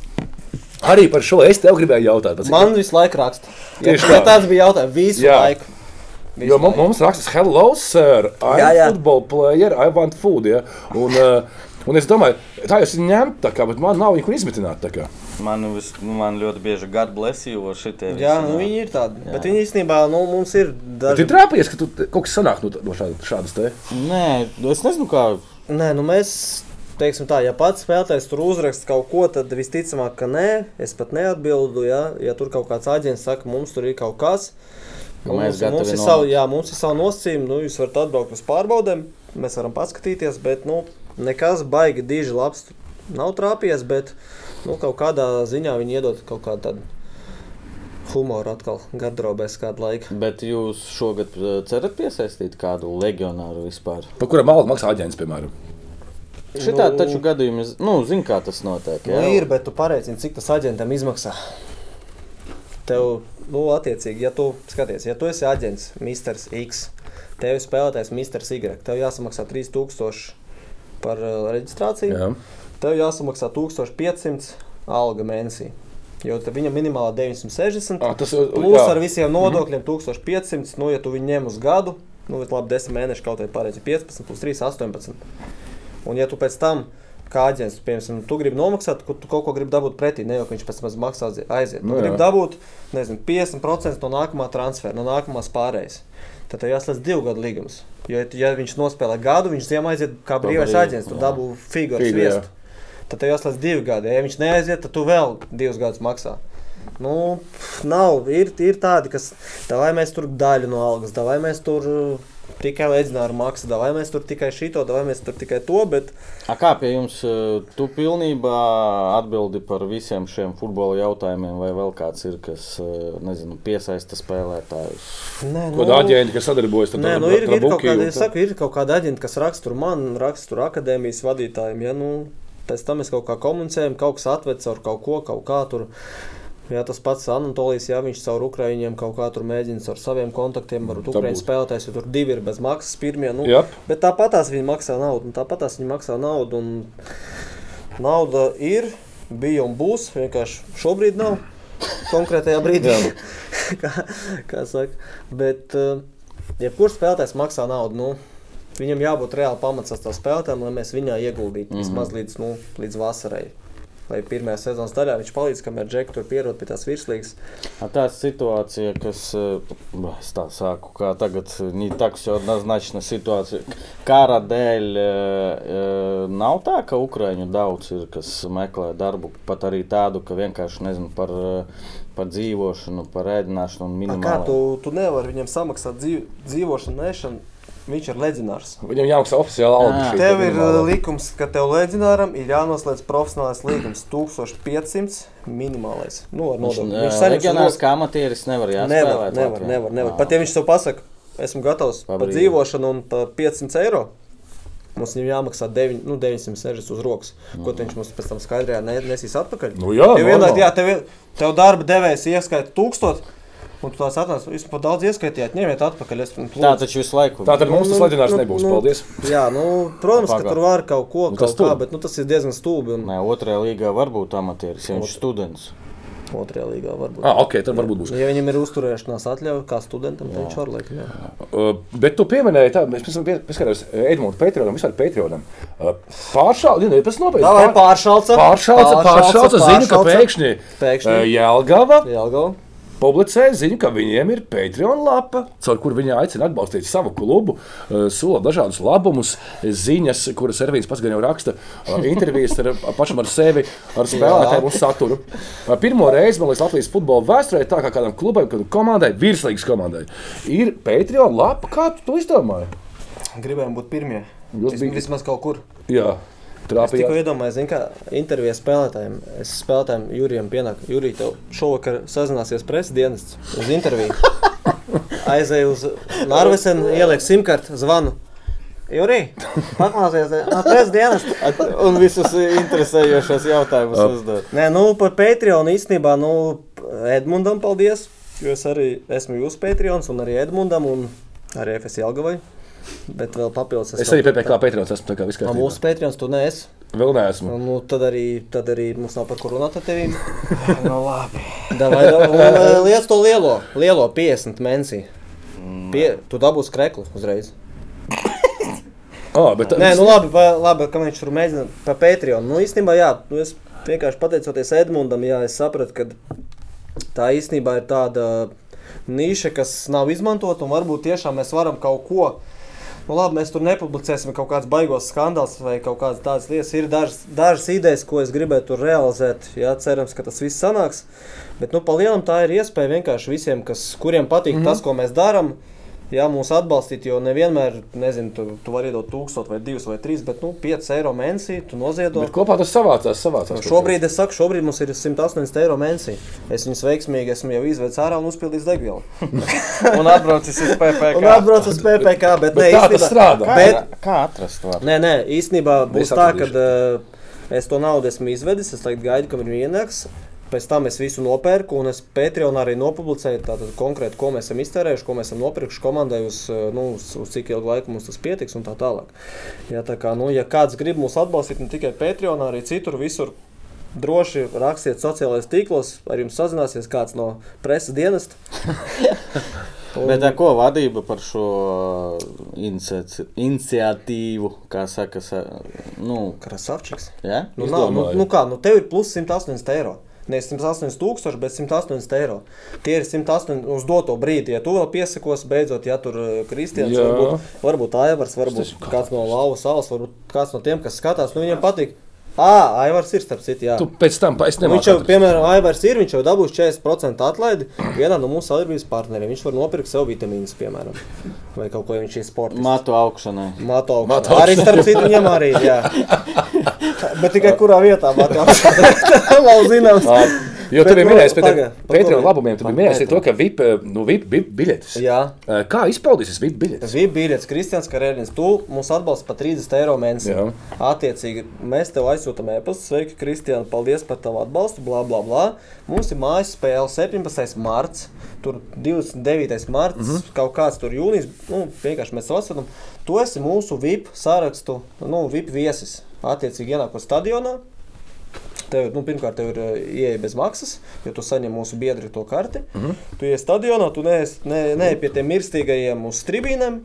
[SPEAKER 1] Arī par šo es tev gribēju jautāt. pats.
[SPEAKER 3] Man visu laiku raksta. Ja,
[SPEAKER 1] Tieši
[SPEAKER 3] ja
[SPEAKER 1] tā.
[SPEAKER 3] tāds bija jautājums. Visu
[SPEAKER 1] Jā.
[SPEAKER 3] Jā. laiku.
[SPEAKER 1] Jo mums, mums rakstīs, hello, sir, I'm
[SPEAKER 5] Jā, jā.
[SPEAKER 1] a football player, I want food. Ja? Un, uh, un es domāju, tā jūs ņemt, tā kā, bet man nav viņa kur izmitināt. tā kā.
[SPEAKER 2] Man, vis, nu, man ļoti bieži ir God bless you, un šitie
[SPEAKER 3] Jā,
[SPEAKER 2] visi,
[SPEAKER 3] nu, viņi ir tādi. Bet viņi īstenībā nu, mums ir
[SPEAKER 1] Bet
[SPEAKER 3] daži.
[SPEAKER 1] ir trāpījies, ka tu te- kaut kas sanāk no, tā- no šāda- šādas te.
[SPEAKER 2] Nē, es nezinu, kā.
[SPEAKER 3] Nē, nu mēs teiksim tā, ja pats spēlētājs tur uzraksta kaut ko, tad visticamāk, ka nē, es pat neatbildu. Ja, ja tur kaut kāds aģents saka, mums tur ir kaut kas,
[SPEAKER 2] Ka
[SPEAKER 3] un
[SPEAKER 2] mēs
[SPEAKER 3] mums,
[SPEAKER 2] gatavi
[SPEAKER 3] mums, ir
[SPEAKER 2] nomākt.
[SPEAKER 3] savu, jā, mums ir savu nosacījumu, nu jūs varat atbraukt uz pārbaudēm, mēs varam paskatīties, bet nu, nekas baigi diži labs tur nav trāpījies, bet nu, kaut kādā ziņā viņi iedod kaut kādu tādu humoru atkal gardrobēs kādu laiku.
[SPEAKER 2] Bet jūs šogad eh, cerat piesaistīt kādu legionāru vispār?
[SPEAKER 1] Par kura malu maksā aģents, piemēram.
[SPEAKER 2] Šitā
[SPEAKER 3] Nu-
[SPEAKER 2] taču gadījumā, nu, zinu, kā tas notiek.
[SPEAKER 3] Nu, ir, bet tu pareizi, cik tas aģentam izmaksā. Tev, nu, attiecīgi, ja tu skaties, ja tu esi aģents, Mr. X, tev ir spēlētājs Mr. Y, tev jāsamaksā 3000 par uh, reģistrāciju, Jā.
[SPEAKER 1] Jā.
[SPEAKER 3] tev jāsamaksā 1500 alga mēnesī. Jo tad viņam minimālā 960,
[SPEAKER 1] Ah, tas ir
[SPEAKER 3] plus jā. ar visiem nodokļiem 1500, nu, ja tu viņu ņem uz gadu, nu, bet labi, 10 mēneši kaut vai pareizi 15, plus 3, 18. Un, ja tu pēc tam, kā aģents, piemēram, tu gribi nomaksāt, kur tu kaut ko gribi dabūt pretī, ne jau ka viņš pēc tam maksā aizie- aiziet.
[SPEAKER 1] Nu,
[SPEAKER 3] Tu gribi
[SPEAKER 1] jā.
[SPEAKER 3] dabūt, nezinu, 50% no nākamā transfera, no nākamās pārējas. Tad tev jāslēdz divu gadu līgums. Jo, ja tu- ja viņš nospēlē gadu, viņš ziemā aiziet kā brīvais
[SPEAKER 2] brīvu,
[SPEAKER 3] aģents, tu
[SPEAKER 2] jā.
[SPEAKER 3] dabū figūru
[SPEAKER 1] Figu, jā.
[SPEAKER 3] sviestu. Tad tev jāslēdz divi gadi. Ja viņš neaiziet, tad tu vēl divus gadus maksā. Nu, pf, nav, ir, ir tādi, kas, vai mēs tur daļu no algas, vai mēs tur uh, tikai leģendāru maksu, vai mēs tur tikai šito, vai mēs tur tikai to, bet
[SPEAKER 2] A kā pie jums, eh, tu pilnībā atbildi par visiem šiem futbola jautājumiem, vai vēl kāds ir, kas, eh, nezinu, piesaista spēlētājus?
[SPEAKER 3] nē, nu,
[SPEAKER 1] Kāda aģenta, kas sadarbojas ar
[SPEAKER 3] Nē, nu,
[SPEAKER 1] Trabuki
[SPEAKER 3] ir, ir, kaut
[SPEAKER 1] un
[SPEAKER 3] kādi,
[SPEAKER 1] tā-
[SPEAKER 3] es saku, ir kaut kāda aģenta, kas raksta tur man, raksta tur akadēmijas vadītājiem. Ja, nu, pēc tam mēs kaut kā komunicējam, kaut kas atved caur kaut ko, kaut kā tur. Jā, tas pats Anatolijas, ja viņš caur Ukrāņiem kaut kā tur mēģina ar saviem kontaktiem, varbūt
[SPEAKER 1] Dabūt.
[SPEAKER 3] Ukrāņu spēlētājs, jo tur divi ir bez maksas pirmie. Nu,
[SPEAKER 1] Jep.
[SPEAKER 3] bet tāpat tās viņi maksā naudu, un tāpat tās viņi maksā naudu. Un nauda ir, bija un būs, vienkārši šobrīd nav. Konkrētajā brīdī, kā, kā saka. Bet, eh, jebkurš spēlētājs maksā naudu, nu, viņam jābūt reāli pamatsas tā spēlētājiem, lai mēs viņā ieguldītu mm -hmm. vismaz līdz, nu, līdz vasarai. Lai pirmā sezonas daļā viņš palīdz, kamēr Džeks tur pierod pie tās virslīgas.
[SPEAKER 2] А та ситуация, kas, э, б- tā sāku, kā tagad, э, не так все однозначно ситуация. Kara dēļ э, э, nav tā, ka Ukraiņu daudz ir, kas meklē darbu, pat arī tādu, ka vienkārši nezinu par, э, par dzīvošanu, par ēdināšanu un
[SPEAKER 3] A Kā
[SPEAKER 2] minimālu.
[SPEAKER 3] tu, tu nevari viņam samaksāt dzīv, dzīvošanu, nešanu? Viņš ir leģendārs.
[SPEAKER 1] Viņam jāmaksā oficiāla alga.
[SPEAKER 2] Ā.
[SPEAKER 1] šī
[SPEAKER 3] Tev ir
[SPEAKER 1] minimālā.
[SPEAKER 3] uh, likums, ka tev leģendāram ir jānoslēdz profesionālais līgums 1500 minimālais. Nu, ar nodokļiem.
[SPEAKER 2] Viņš e,
[SPEAKER 3] saņems uz
[SPEAKER 2] reģionāls
[SPEAKER 3] nodokļiem.
[SPEAKER 2] kā amatieris nevar
[SPEAKER 3] Nevar,
[SPEAKER 2] jāspēlēt.
[SPEAKER 3] nevar,
[SPEAKER 2] Latvijā.
[SPEAKER 3] nevar, nevar.
[SPEAKER 2] Ā.
[SPEAKER 3] Pat ja viņš tev pasaka, esmu gatavs par
[SPEAKER 2] Labrīt.
[SPEAKER 3] dzīvošanu un par 500 eiro. Mums viņam jāmaksā 9, nu, 960 uz rokas. Ko tad viņš mums pēc tam skaidrā ne, nesīs atpakaļ?
[SPEAKER 1] Nu jā,
[SPEAKER 3] tev, vienā,
[SPEAKER 1] normāli.
[SPEAKER 3] jā tev, vien- tev darba devējs ieskaita 1000, un tu tās atnāc, jūs pat daudz ieskaitījāt, ņemiet atpakaļ. Es, nu,
[SPEAKER 2] Tā taču visu laiku.
[SPEAKER 1] Tātad mums tas leģendārs nebūs. Paldies.
[SPEAKER 3] Jā, nu, protams, ka
[SPEAKER 2] Pagaid.
[SPEAKER 3] tur var kaut ko,
[SPEAKER 1] Nu, tas
[SPEAKER 3] kaut kā,
[SPEAKER 1] stulbi.
[SPEAKER 3] bet nu, tas ir diezgan stulbi. Un
[SPEAKER 2] Nē, otrajā līgā var būt amatieris, ja viņš ir students.
[SPEAKER 3] otrajā līgā varbūt.
[SPEAKER 1] Ah, ok, tad varbūt būs.
[SPEAKER 3] Ja viņam ir uzturēšanās atļauja, kā studentam, tad viņš var laikam. jā.
[SPEAKER 1] Uh, bet tu pieminēji, ka mēs esam pieskarējušies Edmunds Patrionam, vispār Patrionam. Uh, Pāršādi, nē, tas nopietni.
[SPEAKER 3] Davai, pāršalca.
[SPEAKER 1] Pāršāca, pāršāca ziņu, ka pēkšņi,
[SPEAKER 3] Pēkšņi.
[SPEAKER 1] uh, Jelgava
[SPEAKER 3] Jelgava.
[SPEAKER 1] publicēja ziņu, ka viņiem ir Patreon lapa, caur kuru viņi aicina atbalstīt savu klubu, uh, sola dažādus labumus, ziņas, kuras Ervīns pats gan jau raksta, uh, intervijas ar ar pašam ar sevi, ar spēlētājiem un saturu. Uh, Pirmo reizi, man liekas, Latvijas futbola vēsturē tā kā kādam klubam, kādam komandai, virslīgas komandai, ir Patreon lapa. Kā tu to izdomāji?
[SPEAKER 3] Gribējām būt pirmie.
[SPEAKER 1] Jūs
[SPEAKER 3] Vis-
[SPEAKER 1] bijat-
[SPEAKER 3] Vismaz kaut kur.
[SPEAKER 1] Jā,
[SPEAKER 3] Es tikko
[SPEAKER 1] trāpīja.
[SPEAKER 3] iedomājos, zin kā intervijā spēlētājiem. Es spēlētājiem Jurijam pienāku. Jurij, tev šovakar sazināsies preses dienests uz interviju. Aizēju uz Narvesen, ielieku simtkartu, zvanu. Jurij, paklausies, no preses dienestu.
[SPEAKER 2] Un visus interesējošos jautājumus uzdot.
[SPEAKER 3] Nē, nu par Patreon īstenībā, nu, Edmundam paldies. Jo es arī esmu jūsu Patreons un arī Edmundam un arī FS Jelgavai. Bet vēl papildus
[SPEAKER 1] Es arī PPC Patreons esmu tā kā
[SPEAKER 3] No
[SPEAKER 1] vispār.
[SPEAKER 3] mūsu Patreons tu neesi.
[SPEAKER 1] Vēl neesmu.
[SPEAKER 3] Nu, tad, arī, tad arī mums nav par ko runāt ar tevi.
[SPEAKER 2] Nu, labi.
[SPEAKER 3] Liec to lielo, lielo 50 mēnesī.
[SPEAKER 2] Mm.
[SPEAKER 3] Pie, tu dabūsi kreklu uzreiz.
[SPEAKER 1] Ah, bet,
[SPEAKER 3] Nē, nu labi, pa, labi ka viņš tur mēģina pa Patreon. Nu, īstenībā, jā, nu, es vienkārši pateicoties Edmundam, jā, es sapratu, ka tā īstenībā ir tāda niša, kas nav izmantota, un varbūt tiešām mēs varam kaut ko. Nu, labi, mēs tur nepublicēsim kaut kādas baigos skandālus vai kaut kādas tādas lietas. Ir dažas, dažas idejas, ko es gribētu tur realizēt. Jā, cerams, ka tas viss sanāks. Bet nu, palielam tā ir iespēja vienkārši visiem, kas, kuriem
[SPEAKER 1] Mhm.
[SPEAKER 3] patīk mm -hmm. tas, ko mēs darām. Jā, mūs atbalstīt, jo nevienmēr, nezinu, tu, tu vari iedot 1000 vai 2 vai 3, bet nu, 5 eiro mēnesī tu noziedot.
[SPEAKER 1] bet kopā tas savācās. savācās
[SPEAKER 3] Šobrīd es saku, šobrīd mums ir 180 eiro mēnesī. Es viņus veiksmīgi esmu jau izvedis ārā un uzpildījis degvielu.
[SPEAKER 2] Un atbraucis uz PPC.
[SPEAKER 3] Un atbraucu uz PPC, bet,
[SPEAKER 1] Bet
[SPEAKER 3] ne,
[SPEAKER 1] kā tas
[SPEAKER 3] īstenībā-
[SPEAKER 1] strādā?
[SPEAKER 2] Kā,
[SPEAKER 3] Bet,
[SPEAKER 2] ir- kā atrast to?
[SPEAKER 3] Nē, nē, īstenībā būs
[SPEAKER 1] Es
[SPEAKER 3] tā, ka
[SPEAKER 1] atradīšu.
[SPEAKER 3] es to naudu esmu izvedis, es tagad gaidu, kad viņi ienāks. Pēc tam es visu nopērku, un es Patreonā arī nopublicēju tātad, konkrēti, ko mēs esam iztērējuši, ko mēs esam nopirkuši komandai, uz, eh, nu, uz, uz cik ilgu laiku mums tas pietiks un tā tālāk. Ja, tā kā, nu, ja kāds grib mūs atbalstīt, ne tikai Patreonā, arī citur, visur, droši rakstiet sociālajos tīklos, ar jums sazināsies kāds no preses dienesta. Un-
[SPEAKER 2] Bet ar ko vadība par šo inici- iniciatīvu, kā saka, sa- nu,
[SPEAKER 3] Krasavčiks!
[SPEAKER 2] ja?
[SPEAKER 3] Nu, nav, nu,
[SPEAKER 1] Izdomāju.
[SPEAKER 3] nu kā, nu tev ir plus 180 eiro. Ne 180 tūkstoši, bet 180 eiro. Tie ir 180 uz doto brīdi. Ja tu vēl piesakos, beidzot, ja tur eh, Kristians,
[SPEAKER 1] Jā.
[SPEAKER 3] varbūt, varbūt Aivars, varbūt kāds no Lauvas salas, varbūt kāds no tiem, kas skatās, nu viņiem patīk. Ā, Aivars ir starp citu, jā.
[SPEAKER 1] Tu pēc tam pa- es
[SPEAKER 3] Nu,
[SPEAKER 1] nemāku.
[SPEAKER 3] Viņš jau,
[SPEAKER 1] atrast.
[SPEAKER 3] piemēram, Aivars ir, viņš jau dabūs 40% atlaidi vienā no mūsu sadarbības partneriem. Viņš var nopirkt sev vitamīnus, piemēram, vai kaut ko, ja viņš ir sports.
[SPEAKER 2] matu augšanai?
[SPEAKER 3] Mato
[SPEAKER 1] Mato
[SPEAKER 3] augšā. Arī starp citu viņam arī ir. jā. Bet tikai kurā vietā mato augšā. Tas nav zināms.
[SPEAKER 1] Ā, Jo tu
[SPEAKER 3] Bet,
[SPEAKER 1] biji
[SPEAKER 3] nu,
[SPEAKER 1] minējis,
[SPEAKER 3] paga,
[SPEAKER 1] ka
[SPEAKER 3] par ko
[SPEAKER 1] Pēteram
[SPEAKER 3] mēs-
[SPEAKER 1] labumiem tu
[SPEAKER 3] par
[SPEAKER 1] biji minējis arī
[SPEAKER 3] Patreon.
[SPEAKER 1] to, ka VIP, nu, VIP, VIP biļetes.
[SPEAKER 3] Jā.
[SPEAKER 1] Ā, Kā izpaudīsies VIP biļetes?
[SPEAKER 3] Zvība Bīrēts, Kristians Karēļins, tu mums atbalsti par 30 eiro mēnesī.
[SPEAKER 1] Jā.
[SPEAKER 3] Attiecīgi, mēs tev aizsūtām e-pastu. Sveiki, Kristian, paldies par tavu atbalstu, bla, bla, bla. Mums ir mājas spēle 17. marts, tur 29. marts, mm
[SPEAKER 1] Mhm.
[SPEAKER 3] -hmm. kaut kāds tur jūnijas, nu, vienkārši mēs tev atsūtām. Tu esi mūsu VIP sārakstu, nu, VIP viesis. Attiecīgi, ienākot stadionā, Tev, nu, pirmkārt, tev ir eh, ieeja bez maksas, jo tu saņem mūsu biedru to karti. Mm
[SPEAKER 2] Mhm.
[SPEAKER 3] -hmm. Tu ej stadionā, tu neesi ne, ne pie tiem mirstīgajiem uz tribīnēm.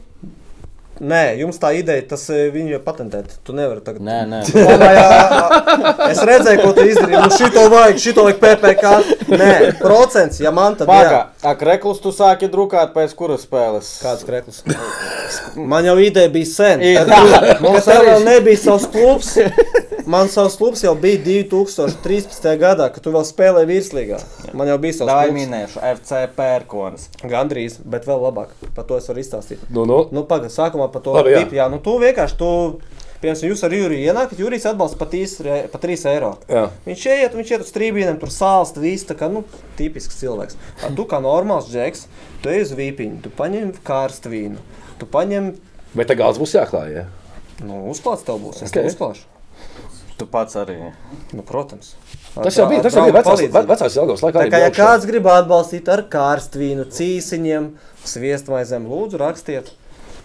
[SPEAKER 3] Nē, jums tā ideja, tas eh, viņi ir patentēti. Tu nevari tagad.
[SPEAKER 2] Nē, nē.
[SPEAKER 3] Domā, jā, jā. Es redzēju, ko tu izdarīji. Nu, šito vajag, šito vajag PPC. Nē, procents, ja man tad jā.
[SPEAKER 2] Pagā, ak, reklus tu sāki drukāt pēc kuras spēles?
[SPEAKER 3] Kāds krekls? Man jau ideja bija sen.
[SPEAKER 2] Ir.
[SPEAKER 3] Tad, kad
[SPEAKER 2] Mums
[SPEAKER 3] Mums vēl
[SPEAKER 2] arī-
[SPEAKER 3] nebija savs klubs. Man savs klubs jau bija 2013. gadā, kad tu vēl spēlēji virslīgā. Man jau bija savs
[SPEAKER 2] Davai
[SPEAKER 3] klubs.
[SPEAKER 2] minēšu, FC pērkons.
[SPEAKER 3] Gan drīz, bet vēl labāk. Par to es varu izstāstīt.
[SPEAKER 1] Nu, nu,
[SPEAKER 3] Nu, pagaidi, sākumā par to
[SPEAKER 1] Labi, jā.
[SPEAKER 3] tipu. Jā, nu tu vienkārši, tu, piemēram, jūs ar Juriju ienākat, Jurijs atbalsta pat 3 eiro.
[SPEAKER 1] Jā.
[SPEAKER 3] Viņš ieiet, viņš iet uz trījiem, tur sāls, viss tā kā, nu, tipisks cilvēks. A, tu kā normāls džeks, tu ej uz vīpiņu, tu paņem karstu vīnu, tu paņem,
[SPEAKER 1] bet tā gals būs jāklāj. Ja?
[SPEAKER 3] nu, uzklāts tev būs, es
[SPEAKER 1] Ok.
[SPEAKER 3] okay. tev uzklāšu.
[SPEAKER 2] Tu pats arī.
[SPEAKER 3] Nu, protams. Ar
[SPEAKER 1] Tas jau
[SPEAKER 3] tra-
[SPEAKER 1] bija,
[SPEAKER 3] ar
[SPEAKER 1] tas jau bija
[SPEAKER 3] traumu
[SPEAKER 1] vecās,
[SPEAKER 3] palīdzību.
[SPEAKER 1] ve- vecās ilgās laikā.
[SPEAKER 3] Tā
[SPEAKER 1] arī
[SPEAKER 3] kā
[SPEAKER 1] bija
[SPEAKER 3] ja
[SPEAKER 1] augšā.
[SPEAKER 3] kāds grib atbalstīt ar kārstvīnu, cīsiņiem, sviestmaizēm, lūdzu rakstiet.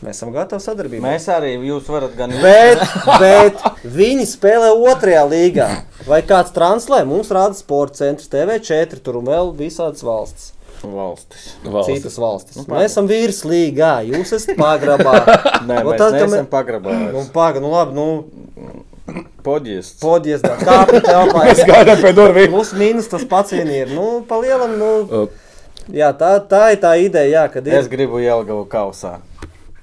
[SPEAKER 3] Mēs esam gatavi sadarbībai.
[SPEAKER 2] Mēs arī, jūs varat gan
[SPEAKER 3] Bet, bet viņi spēlē otrajā līgā. Vai kāds translē? Mums rāda Sports centrs, TV4, tur un vēl visādas valsts.
[SPEAKER 2] valstis.
[SPEAKER 1] Valsts.
[SPEAKER 3] Citas valstis.
[SPEAKER 1] Nu,
[SPEAKER 3] Mēs esam vīrs līgā, jūs esat pagrabā.
[SPEAKER 2] Nē,
[SPEAKER 3] Nu,
[SPEAKER 2] mēs
[SPEAKER 3] tad,
[SPEAKER 2] tad,
[SPEAKER 3] ka
[SPEAKER 2] neesam
[SPEAKER 3] mē- Nu,
[SPEAKER 2] pagrabājuši.
[SPEAKER 3] pagaidi, nu labi, nu,
[SPEAKER 2] Podies.
[SPEAKER 3] podies, dā, kāpj telpā.
[SPEAKER 1] Es gāju pie durvīm.
[SPEAKER 3] Plus mīnus tas pats vien ir. Nu, palielam, nu,
[SPEAKER 1] Uh,
[SPEAKER 3] jā, tā, tā ir tā ideja, jā, kad
[SPEAKER 2] Es
[SPEAKER 3] ir.
[SPEAKER 2] gribu Jelgavu kausā.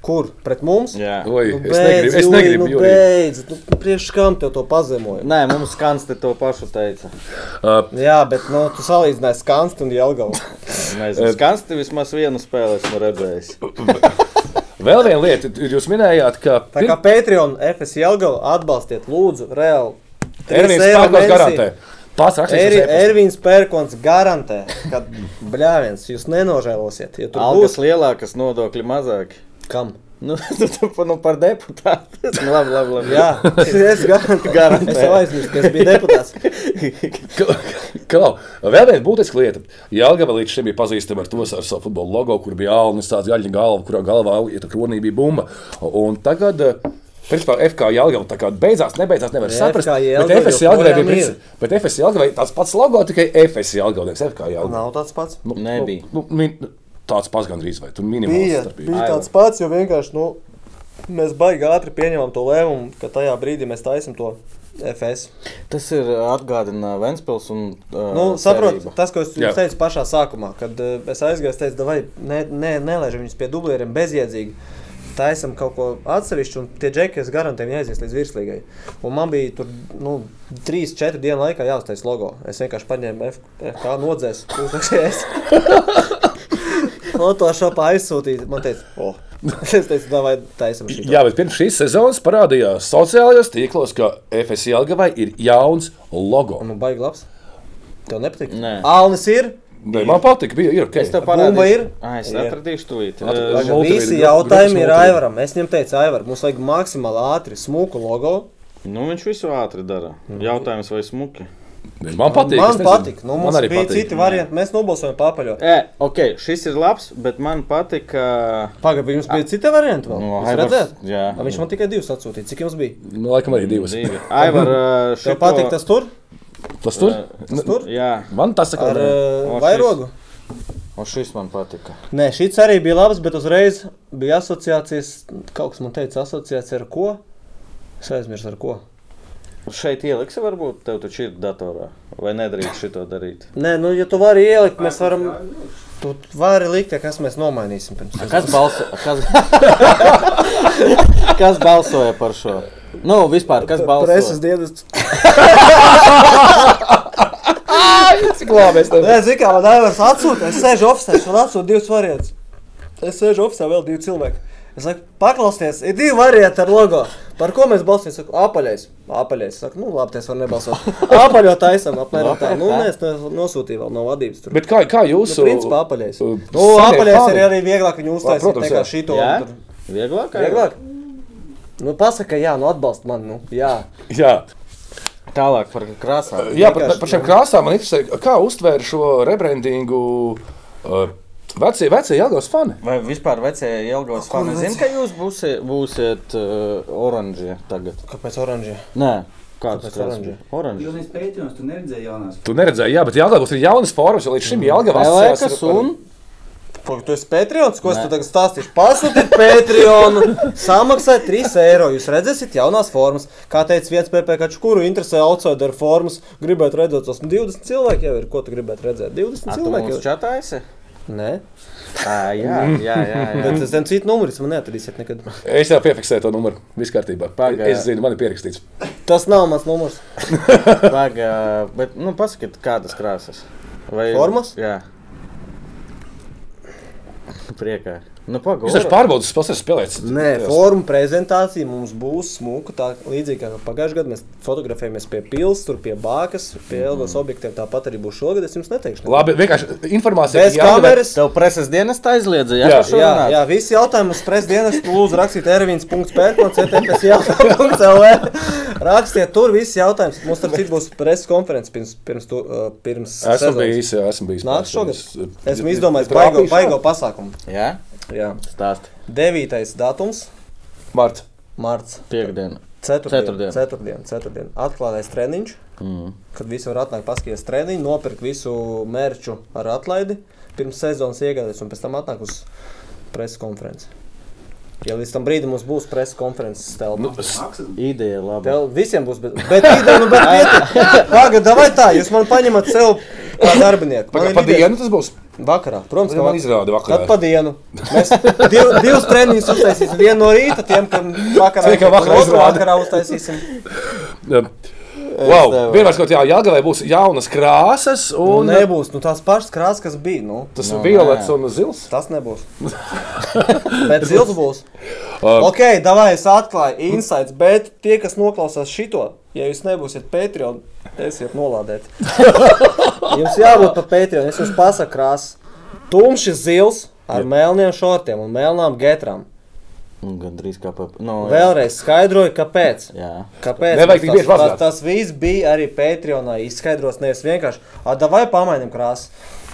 [SPEAKER 3] Kur? Pret mums?
[SPEAKER 2] Jā.
[SPEAKER 1] Oi,
[SPEAKER 3] Nu,
[SPEAKER 1] es negribu,
[SPEAKER 3] beidz,
[SPEAKER 1] es
[SPEAKER 3] Jūri,
[SPEAKER 1] negribu.
[SPEAKER 3] nu,
[SPEAKER 1] Jurij.
[SPEAKER 3] beidz, nu, priekš kam tev to pazemoju?
[SPEAKER 2] Nē, mums Kanste to pašu teica.
[SPEAKER 1] Uh,
[SPEAKER 3] Jā, bet nu, tu salīdzināji skanstu un jelgavu.
[SPEAKER 2] Nezinu, Kanste vismaz vienu spēli esmu redzējis.
[SPEAKER 1] Vēl viena lieta, jūs minējāt, ka
[SPEAKER 3] Tā kā
[SPEAKER 1] pir-
[SPEAKER 3] Patreon, FS Jelgavu atbalstiet, lūdzu, reāli.
[SPEAKER 1] Ervīns Pērkons garantē. Pats rakstīs. uz e-pastu.
[SPEAKER 3] Ervīns Pērkons garantē, ka bļāviens jūs nenožēlosiet. Ja tur
[SPEAKER 2] Algas
[SPEAKER 3] būs
[SPEAKER 2] lielākas, nodokļi mazāki.
[SPEAKER 3] kam?
[SPEAKER 2] Nu, tu, tu, pa- nu par deputātu. Nu, labi, labi, labi.
[SPEAKER 3] Jā, es garantēju.
[SPEAKER 2] Garantē.
[SPEAKER 3] Es jau aizmirsu, ka es biju deputāts.
[SPEAKER 1] Klau, vēl viena būtiska lieta. Jālgava līdz šim bija pazīstama ar to ar savu futbola logo, kur bija alnis, tāds gaļa galva, kurā galvā ja tā kronī bija bumba. Un tagad, eh, principā, FK Jālgava tā kā beidzās, nebeidzās, nevar
[SPEAKER 3] Jā,
[SPEAKER 1] saprast.
[SPEAKER 3] FK
[SPEAKER 1] Bet
[SPEAKER 3] Jelgava
[SPEAKER 1] FS Jālgava bija
[SPEAKER 3] joprojām ir.
[SPEAKER 1] principā, bet FS Jālgava tāds pats logo, tikai FS Jālgava, nevis FK Jālgava.
[SPEAKER 3] Nav tāds pats.
[SPEAKER 1] Nu,
[SPEAKER 2] Nebija.
[SPEAKER 1] Nu, nu, min- tāds pats gandrīz vai tur
[SPEAKER 3] Bija,
[SPEAKER 1] minimāls starpība.
[SPEAKER 3] bija tāds pats, jo vienkārši nu, mēs baigi ātri pieņemam to lēmumu, ka tajā brīdī mēs taisam to FS.
[SPEAKER 2] Tas ir eh, atgādina Ventspils un uh,
[SPEAKER 3] Nu, saprot,
[SPEAKER 2] cerība.
[SPEAKER 3] tas, ko es
[SPEAKER 1] Jā.
[SPEAKER 3] jums teicu pašā sākumā, kad eh, es aizgāju, es teicu, vai ne, ne, nelaižam viņus pie dublieriem bezjēdzīgi. Taisam kaut ko atsevišķu, un tie džekļi es garantēju jāizies līdz virslīgai. Un man bija tur nu, 3-4 dienu laikā jāuztais logo. Es vienkārši paņēmu F, FK nodzēs, uzrakstījos. Photoshopā aizsūtīt, man teica, o, es teicu, tā vai taisam šī.
[SPEAKER 1] Jā, bet pirms šīs sezonas parādījās sociālajos tīklos, ka FSJ Algavai ir jauns logo.
[SPEAKER 3] Nu, baigi labs. Tev nepatīk?
[SPEAKER 2] Nē.
[SPEAKER 3] Alnis ir.
[SPEAKER 1] Nē, man patīk, bija ir
[SPEAKER 2] Es tev
[SPEAKER 1] ok.
[SPEAKER 2] parādīšu.
[SPEAKER 3] Bumba ir?
[SPEAKER 2] Ah, es
[SPEAKER 3] Ir.
[SPEAKER 2] atradīšu tūlīt.
[SPEAKER 1] Atrad-
[SPEAKER 2] Uh,
[SPEAKER 1] Tagad
[SPEAKER 3] Tagad
[SPEAKER 1] Multivīdi
[SPEAKER 3] visi
[SPEAKER 1] gru-
[SPEAKER 3] jautājumi
[SPEAKER 1] grupas
[SPEAKER 3] ir
[SPEAKER 1] multivīdi.
[SPEAKER 3] Aivaram. Es viņam teicu, Aivar, mums vajag maksimāli ātri, smuku logo.
[SPEAKER 2] Nu, viņš visu ātri dara. Jautājums vai smuki?
[SPEAKER 1] Nē, Man patīk. es
[SPEAKER 3] man
[SPEAKER 1] nezinu.
[SPEAKER 3] patīk. Nu,
[SPEAKER 1] man
[SPEAKER 3] mums
[SPEAKER 1] arī
[SPEAKER 3] bija
[SPEAKER 1] patīk.
[SPEAKER 3] patīk. citi varianti. Mēs nobalsojām papaļo.
[SPEAKER 2] E, ok, šis ir labs, bet man patika. eh,
[SPEAKER 3] Pagaidām, jums bija citi varianti vēl.
[SPEAKER 2] Nu,
[SPEAKER 3] Jūs
[SPEAKER 2] Aivars-
[SPEAKER 3] redzat?
[SPEAKER 2] jā.
[SPEAKER 3] A, Viņš man tikai divus atsūtīja. Cik jums bija?
[SPEAKER 1] Nu, laikam arī divas.
[SPEAKER 2] Divi. Aivar, uh, šito...
[SPEAKER 3] Tev patīk tas tur?
[SPEAKER 1] Tas tur? Nu,
[SPEAKER 3] Tas tur?
[SPEAKER 2] Jā,
[SPEAKER 1] Man tas saka,
[SPEAKER 3] Ar
[SPEAKER 2] O,
[SPEAKER 3] uh,
[SPEAKER 2] šis.
[SPEAKER 3] vairogu?
[SPEAKER 2] un šis man patika.
[SPEAKER 3] Nē, šis arī bija labs, bet uzreiz bija asociācijas. Kaut kas man teica, asociācija ar ko? Es aizmirsu ar ko.
[SPEAKER 2] Šeit ieliksi, varbūt tev taču ir datorā. Vai nedrīkst šito darīt?
[SPEAKER 3] Nē, nu, ja tu vari ielikt, mēs varam. Tu vari likt, ja kas mēs nomainīsim pirms tam.
[SPEAKER 2] Kas, balso, kas, kas balsoja par šo? Nu, vispār, kas balsoja?
[SPEAKER 3] Preses dienas.
[SPEAKER 1] cik labi es tev.
[SPEAKER 3] Nē, zinu, kā man Aivars atsūta. Es sēžu oficiālā, un atsūta divas variants. Es sēžu oficiālā, vēl divi cilvēki. Es saku, paklausieties, ir divi varianti ar logo. Par ko mēs balsojam? Es Saku, apaļais. Apaļais. Es Saku, nu, labi, es varu nebalsot. Apaļo taisam, apmēram tā. Nu, nē, es nes- nosūtīju vēl no vadības. Tur.
[SPEAKER 1] Bet kā, kā jūsu?
[SPEAKER 3] Nu, principā apaļais.
[SPEAKER 1] uh,
[SPEAKER 3] Nu,
[SPEAKER 1] senie
[SPEAKER 3] apaļais
[SPEAKER 1] fani?
[SPEAKER 3] ir arī vieglāk viņu uztaisīt.
[SPEAKER 1] Protams,
[SPEAKER 3] Protams, kā
[SPEAKER 1] jā.
[SPEAKER 3] šito.
[SPEAKER 2] Jā?
[SPEAKER 3] tur.
[SPEAKER 2] Vieglāk? Aivar?
[SPEAKER 3] Vieglāk. Nu, pasaka, jā, nu atbalst mani. Nu, jā.
[SPEAKER 1] Jā.
[SPEAKER 2] Tālāk par krāsām.
[SPEAKER 1] Jā, par,
[SPEAKER 3] Vienkārši,
[SPEAKER 1] par šiem krāsām man interesē, kā uztvēra šo rebrandingu uh, vecie, vecie Jāgauts fani.
[SPEAKER 2] Vai vispār vecie ilgos fani zina, ka jūs būsiet, būsiet uh, oranžie tagad?
[SPEAKER 3] Kāpēc oranžie?
[SPEAKER 2] Nē, kāds
[SPEAKER 3] Kāpēc
[SPEAKER 2] tas
[SPEAKER 3] oranžie?
[SPEAKER 2] ir? Oranžie.
[SPEAKER 6] Jūs neesat pētījis, tu neredzēji jaunās.
[SPEAKER 1] Tu neredzēji, jā, bet Jāgauts ir jaunas formas, jo līdz šim
[SPEAKER 3] Mm.
[SPEAKER 1] Jāgauts
[SPEAKER 2] Pelēkas un
[SPEAKER 3] Ko tu esi Patreons? Ko es
[SPEAKER 2] Nē.
[SPEAKER 3] tev tagad stāstīšu? Pasūtiet Patreonu, samaksājiet 3 eiro. Jūs redzēsiet jaunās formas. Kā teica viens PPC, kuru interesē outsider formas, gribētu redzēt tos 20 cilvēki jau ir. Ko tu gribētu redzēt? 20
[SPEAKER 2] Ar to
[SPEAKER 3] cilvēki jau
[SPEAKER 2] mums
[SPEAKER 3] ir.
[SPEAKER 2] čatā esi?
[SPEAKER 3] Nē,
[SPEAKER 2] Ā, Jā, jā, jā. jā.
[SPEAKER 3] bet es zinu, citu numuru jūs man neatradīsiet nekad.
[SPEAKER 1] Es jau piefiksēju to numuru. Viss kārtībā.
[SPEAKER 2] Pagā.
[SPEAKER 1] Es zinu, man ir pierakstīts.
[SPEAKER 3] Tas nav mans numurs.
[SPEAKER 2] Pagaidā, bet nu, pasakiet, kādas krāsas? Vai...
[SPEAKER 3] Formas?
[SPEAKER 2] Jā, priekā. Nu,
[SPEAKER 1] Viņš taču
[SPEAKER 2] Pagaidā,
[SPEAKER 1] pārbaudas spēlēs spēlēts.
[SPEAKER 3] Nē, formu prezentācija mums būs smuka. Tā līdzīgi kā pagājušajā gadā mēs fotografējamies pie pilsētas, tur pie bākas, pie Elgas
[SPEAKER 2] Mhm.
[SPEAKER 3] objektiem. Tāpat arī būs šogad. Es jums neteikšu.
[SPEAKER 1] Labi, vienkārši informācija.
[SPEAKER 3] Bez
[SPEAKER 1] ka Jelgavai-
[SPEAKER 3] kameras.
[SPEAKER 2] tev preses dienas tā aizliedza. Jā,
[SPEAKER 1] Jā.
[SPEAKER 2] par šo
[SPEAKER 3] Jā,
[SPEAKER 2] runāt?
[SPEAKER 3] jā, visi jautājumi uz preses dienas lūdzu rakstīt ervīns.pērkoncertētājs.lv. Rakstiet tur visi jautājumus. Mums tur cits būs preses konferences pirms, pirms, tu, uh, pirms
[SPEAKER 1] Esmu
[SPEAKER 3] sezonas.
[SPEAKER 1] bijis, jā, esmu bijis.
[SPEAKER 3] Nāks šogad.
[SPEAKER 1] pārstāvis.
[SPEAKER 3] Esmu izdomājis
[SPEAKER 1] Ja
[SPEAKER 3] baigo,
[SPEAKER 1] trāpīšu?
[SPEAKER 3] baigo pasākumu.
[SPEAKER 2] jā?
[SPEAKER 3] Jā.
[SPEAKER 2] stāsti.
[SPEAKER 3] 9. datums,
[SPEAKER 1] Marta.
[SPEAKER 3] marts.
[SPEAKER 2] Piektdiena.
[SPEAKER 3] Ceturtdien,
[SPEAKER 2] Ceturtdien.
[SPEAKER 3] ceturtdien, ceturtdien. Atklātais treniņš,
[SPEAKER 2] Mm.
[SPEAKER 3] kad visi var atnākt, paskatīties treniņu, nopirkt visu mērķu ar atlaidi. Pirms sezonas iegādājas un pēc tam atnāk uz preses konferenci. Ja līdz tam brīdim mums būs preses konferences telpa.
[SPEAKER 1] Nu, s-
[SPEAKER 6] Maksas
[SPEAKER 2] Ideja laba.
[SPEAKER 3] Tev visiem būs, bet, bet ideja, nu, bet pietiek. Pagaid, davai tā, jūs man paņemat sev kā darbinieku. Man
[SPEAKER 1] Pagaidā,
[SPEAKER 3] ir
[SPEAKER 1] pa
[SPEAKER 3] ideja.
[SPEAKER 1] dienu tas būs.
[SPEAKER 3] Vakarā, protams,
[SPEAKER 1] Man izrāda vakarā.
[SPEAKER 3] Tad pa dienu. Mēs div, divus treniņus uztaisīsim. Vienu no rīta tiem, kam vakarā
[SPEAKER 1] Tie, kam vakarā
[SPEAKER 3] otru
[SPEAKER 1] izrāda.
[SPEAKER 3] vakarā uztaisīsim.
[SPEAKER 1] Wow, vienmēr kaut kā jāgavē būs jaunas krāsas
[SPEAKER 3] Un
[SPEAKER 1] un
[SPEAKER 3] nebūs, nu tās pašas krāsas, kas bija, nu.
[SPEAKER 1] tas
[SPEAKER 2] Nu,
[SPEAKER 1] violets
[SPEAKER 2] nē.
[SPEAKER 1] un zils.
[SPEAKER 3] Tas nebūs. Bet zils būs.
[SPEAKER 1] Um,
[SPEAKER 3] Ok, davai es atklāju insights, bet tie, kas noklausās šito, ja jūs nebūsiet Patreon, esiet nolādēti. jums jābūt pa Patreon, es jums pasaku krāsas. Tumši zils ar melniem šortiem un melnām getrām.
[SPEAKER 2] Nu, Gan drīz kā pap. Nu, jā.
[SPEAKER 3] Vēlreiz skaidroju, kāpēc.
[SPEAKER 2] Jā.
[SPEAKER 3] Kāpēc?
[SPEAKER 1] Nevajag tik
[SPEAKER 3] mums
[SPEAKER 1] bieži
[SPEAKER 3] tas,
[SPEAKER 1] mazgāt.
[SPEAKER 3] tas, tas viss bija arī Patreonā izskaidrots. Nevis vienkārši, ah, vai pamainām krāsas.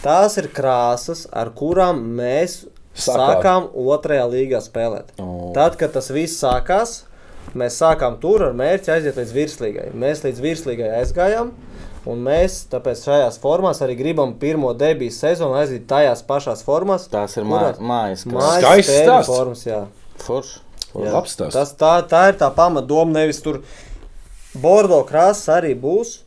[SPEAKER 3] Tās ir krāsas, ar kurām mēs
[SPEAKER 1] Sākāt.
[SPEAKER 3] sākām otrajā līgā spēlēt.
[SPEAKER 2] O.
[SPEAKER 3] Tad, kad tas viss sākās, mēs sākām tur ar mērķi aiziet līdz virslīgai. Mēs līdz virslīgai aizgājām. Un mēs tāpēc šajās formās arī gribam pirmo debiju sezonu aiziet tajās pašās formās.
[SPEAKER 2] Tās ir mā,
[SPEAKER 3] kurās-
[SPEAKER 2] mājas, kas
[SPEAKER 1] Mā- Skaists
[SPEAKER 3] Mājas spēļu
[SPEAKER 1] stāsts.
[SPEAKER 3] formas, jā.
[SPEAKER 2] foršs.
[SPEAKER 3] Jā.
[SPEAKER 1] Labs stāsts.
[SPEAKER 3] Tas tā, tā ir tā pamatdoma. Nevis tur bordo krāsa arī būs.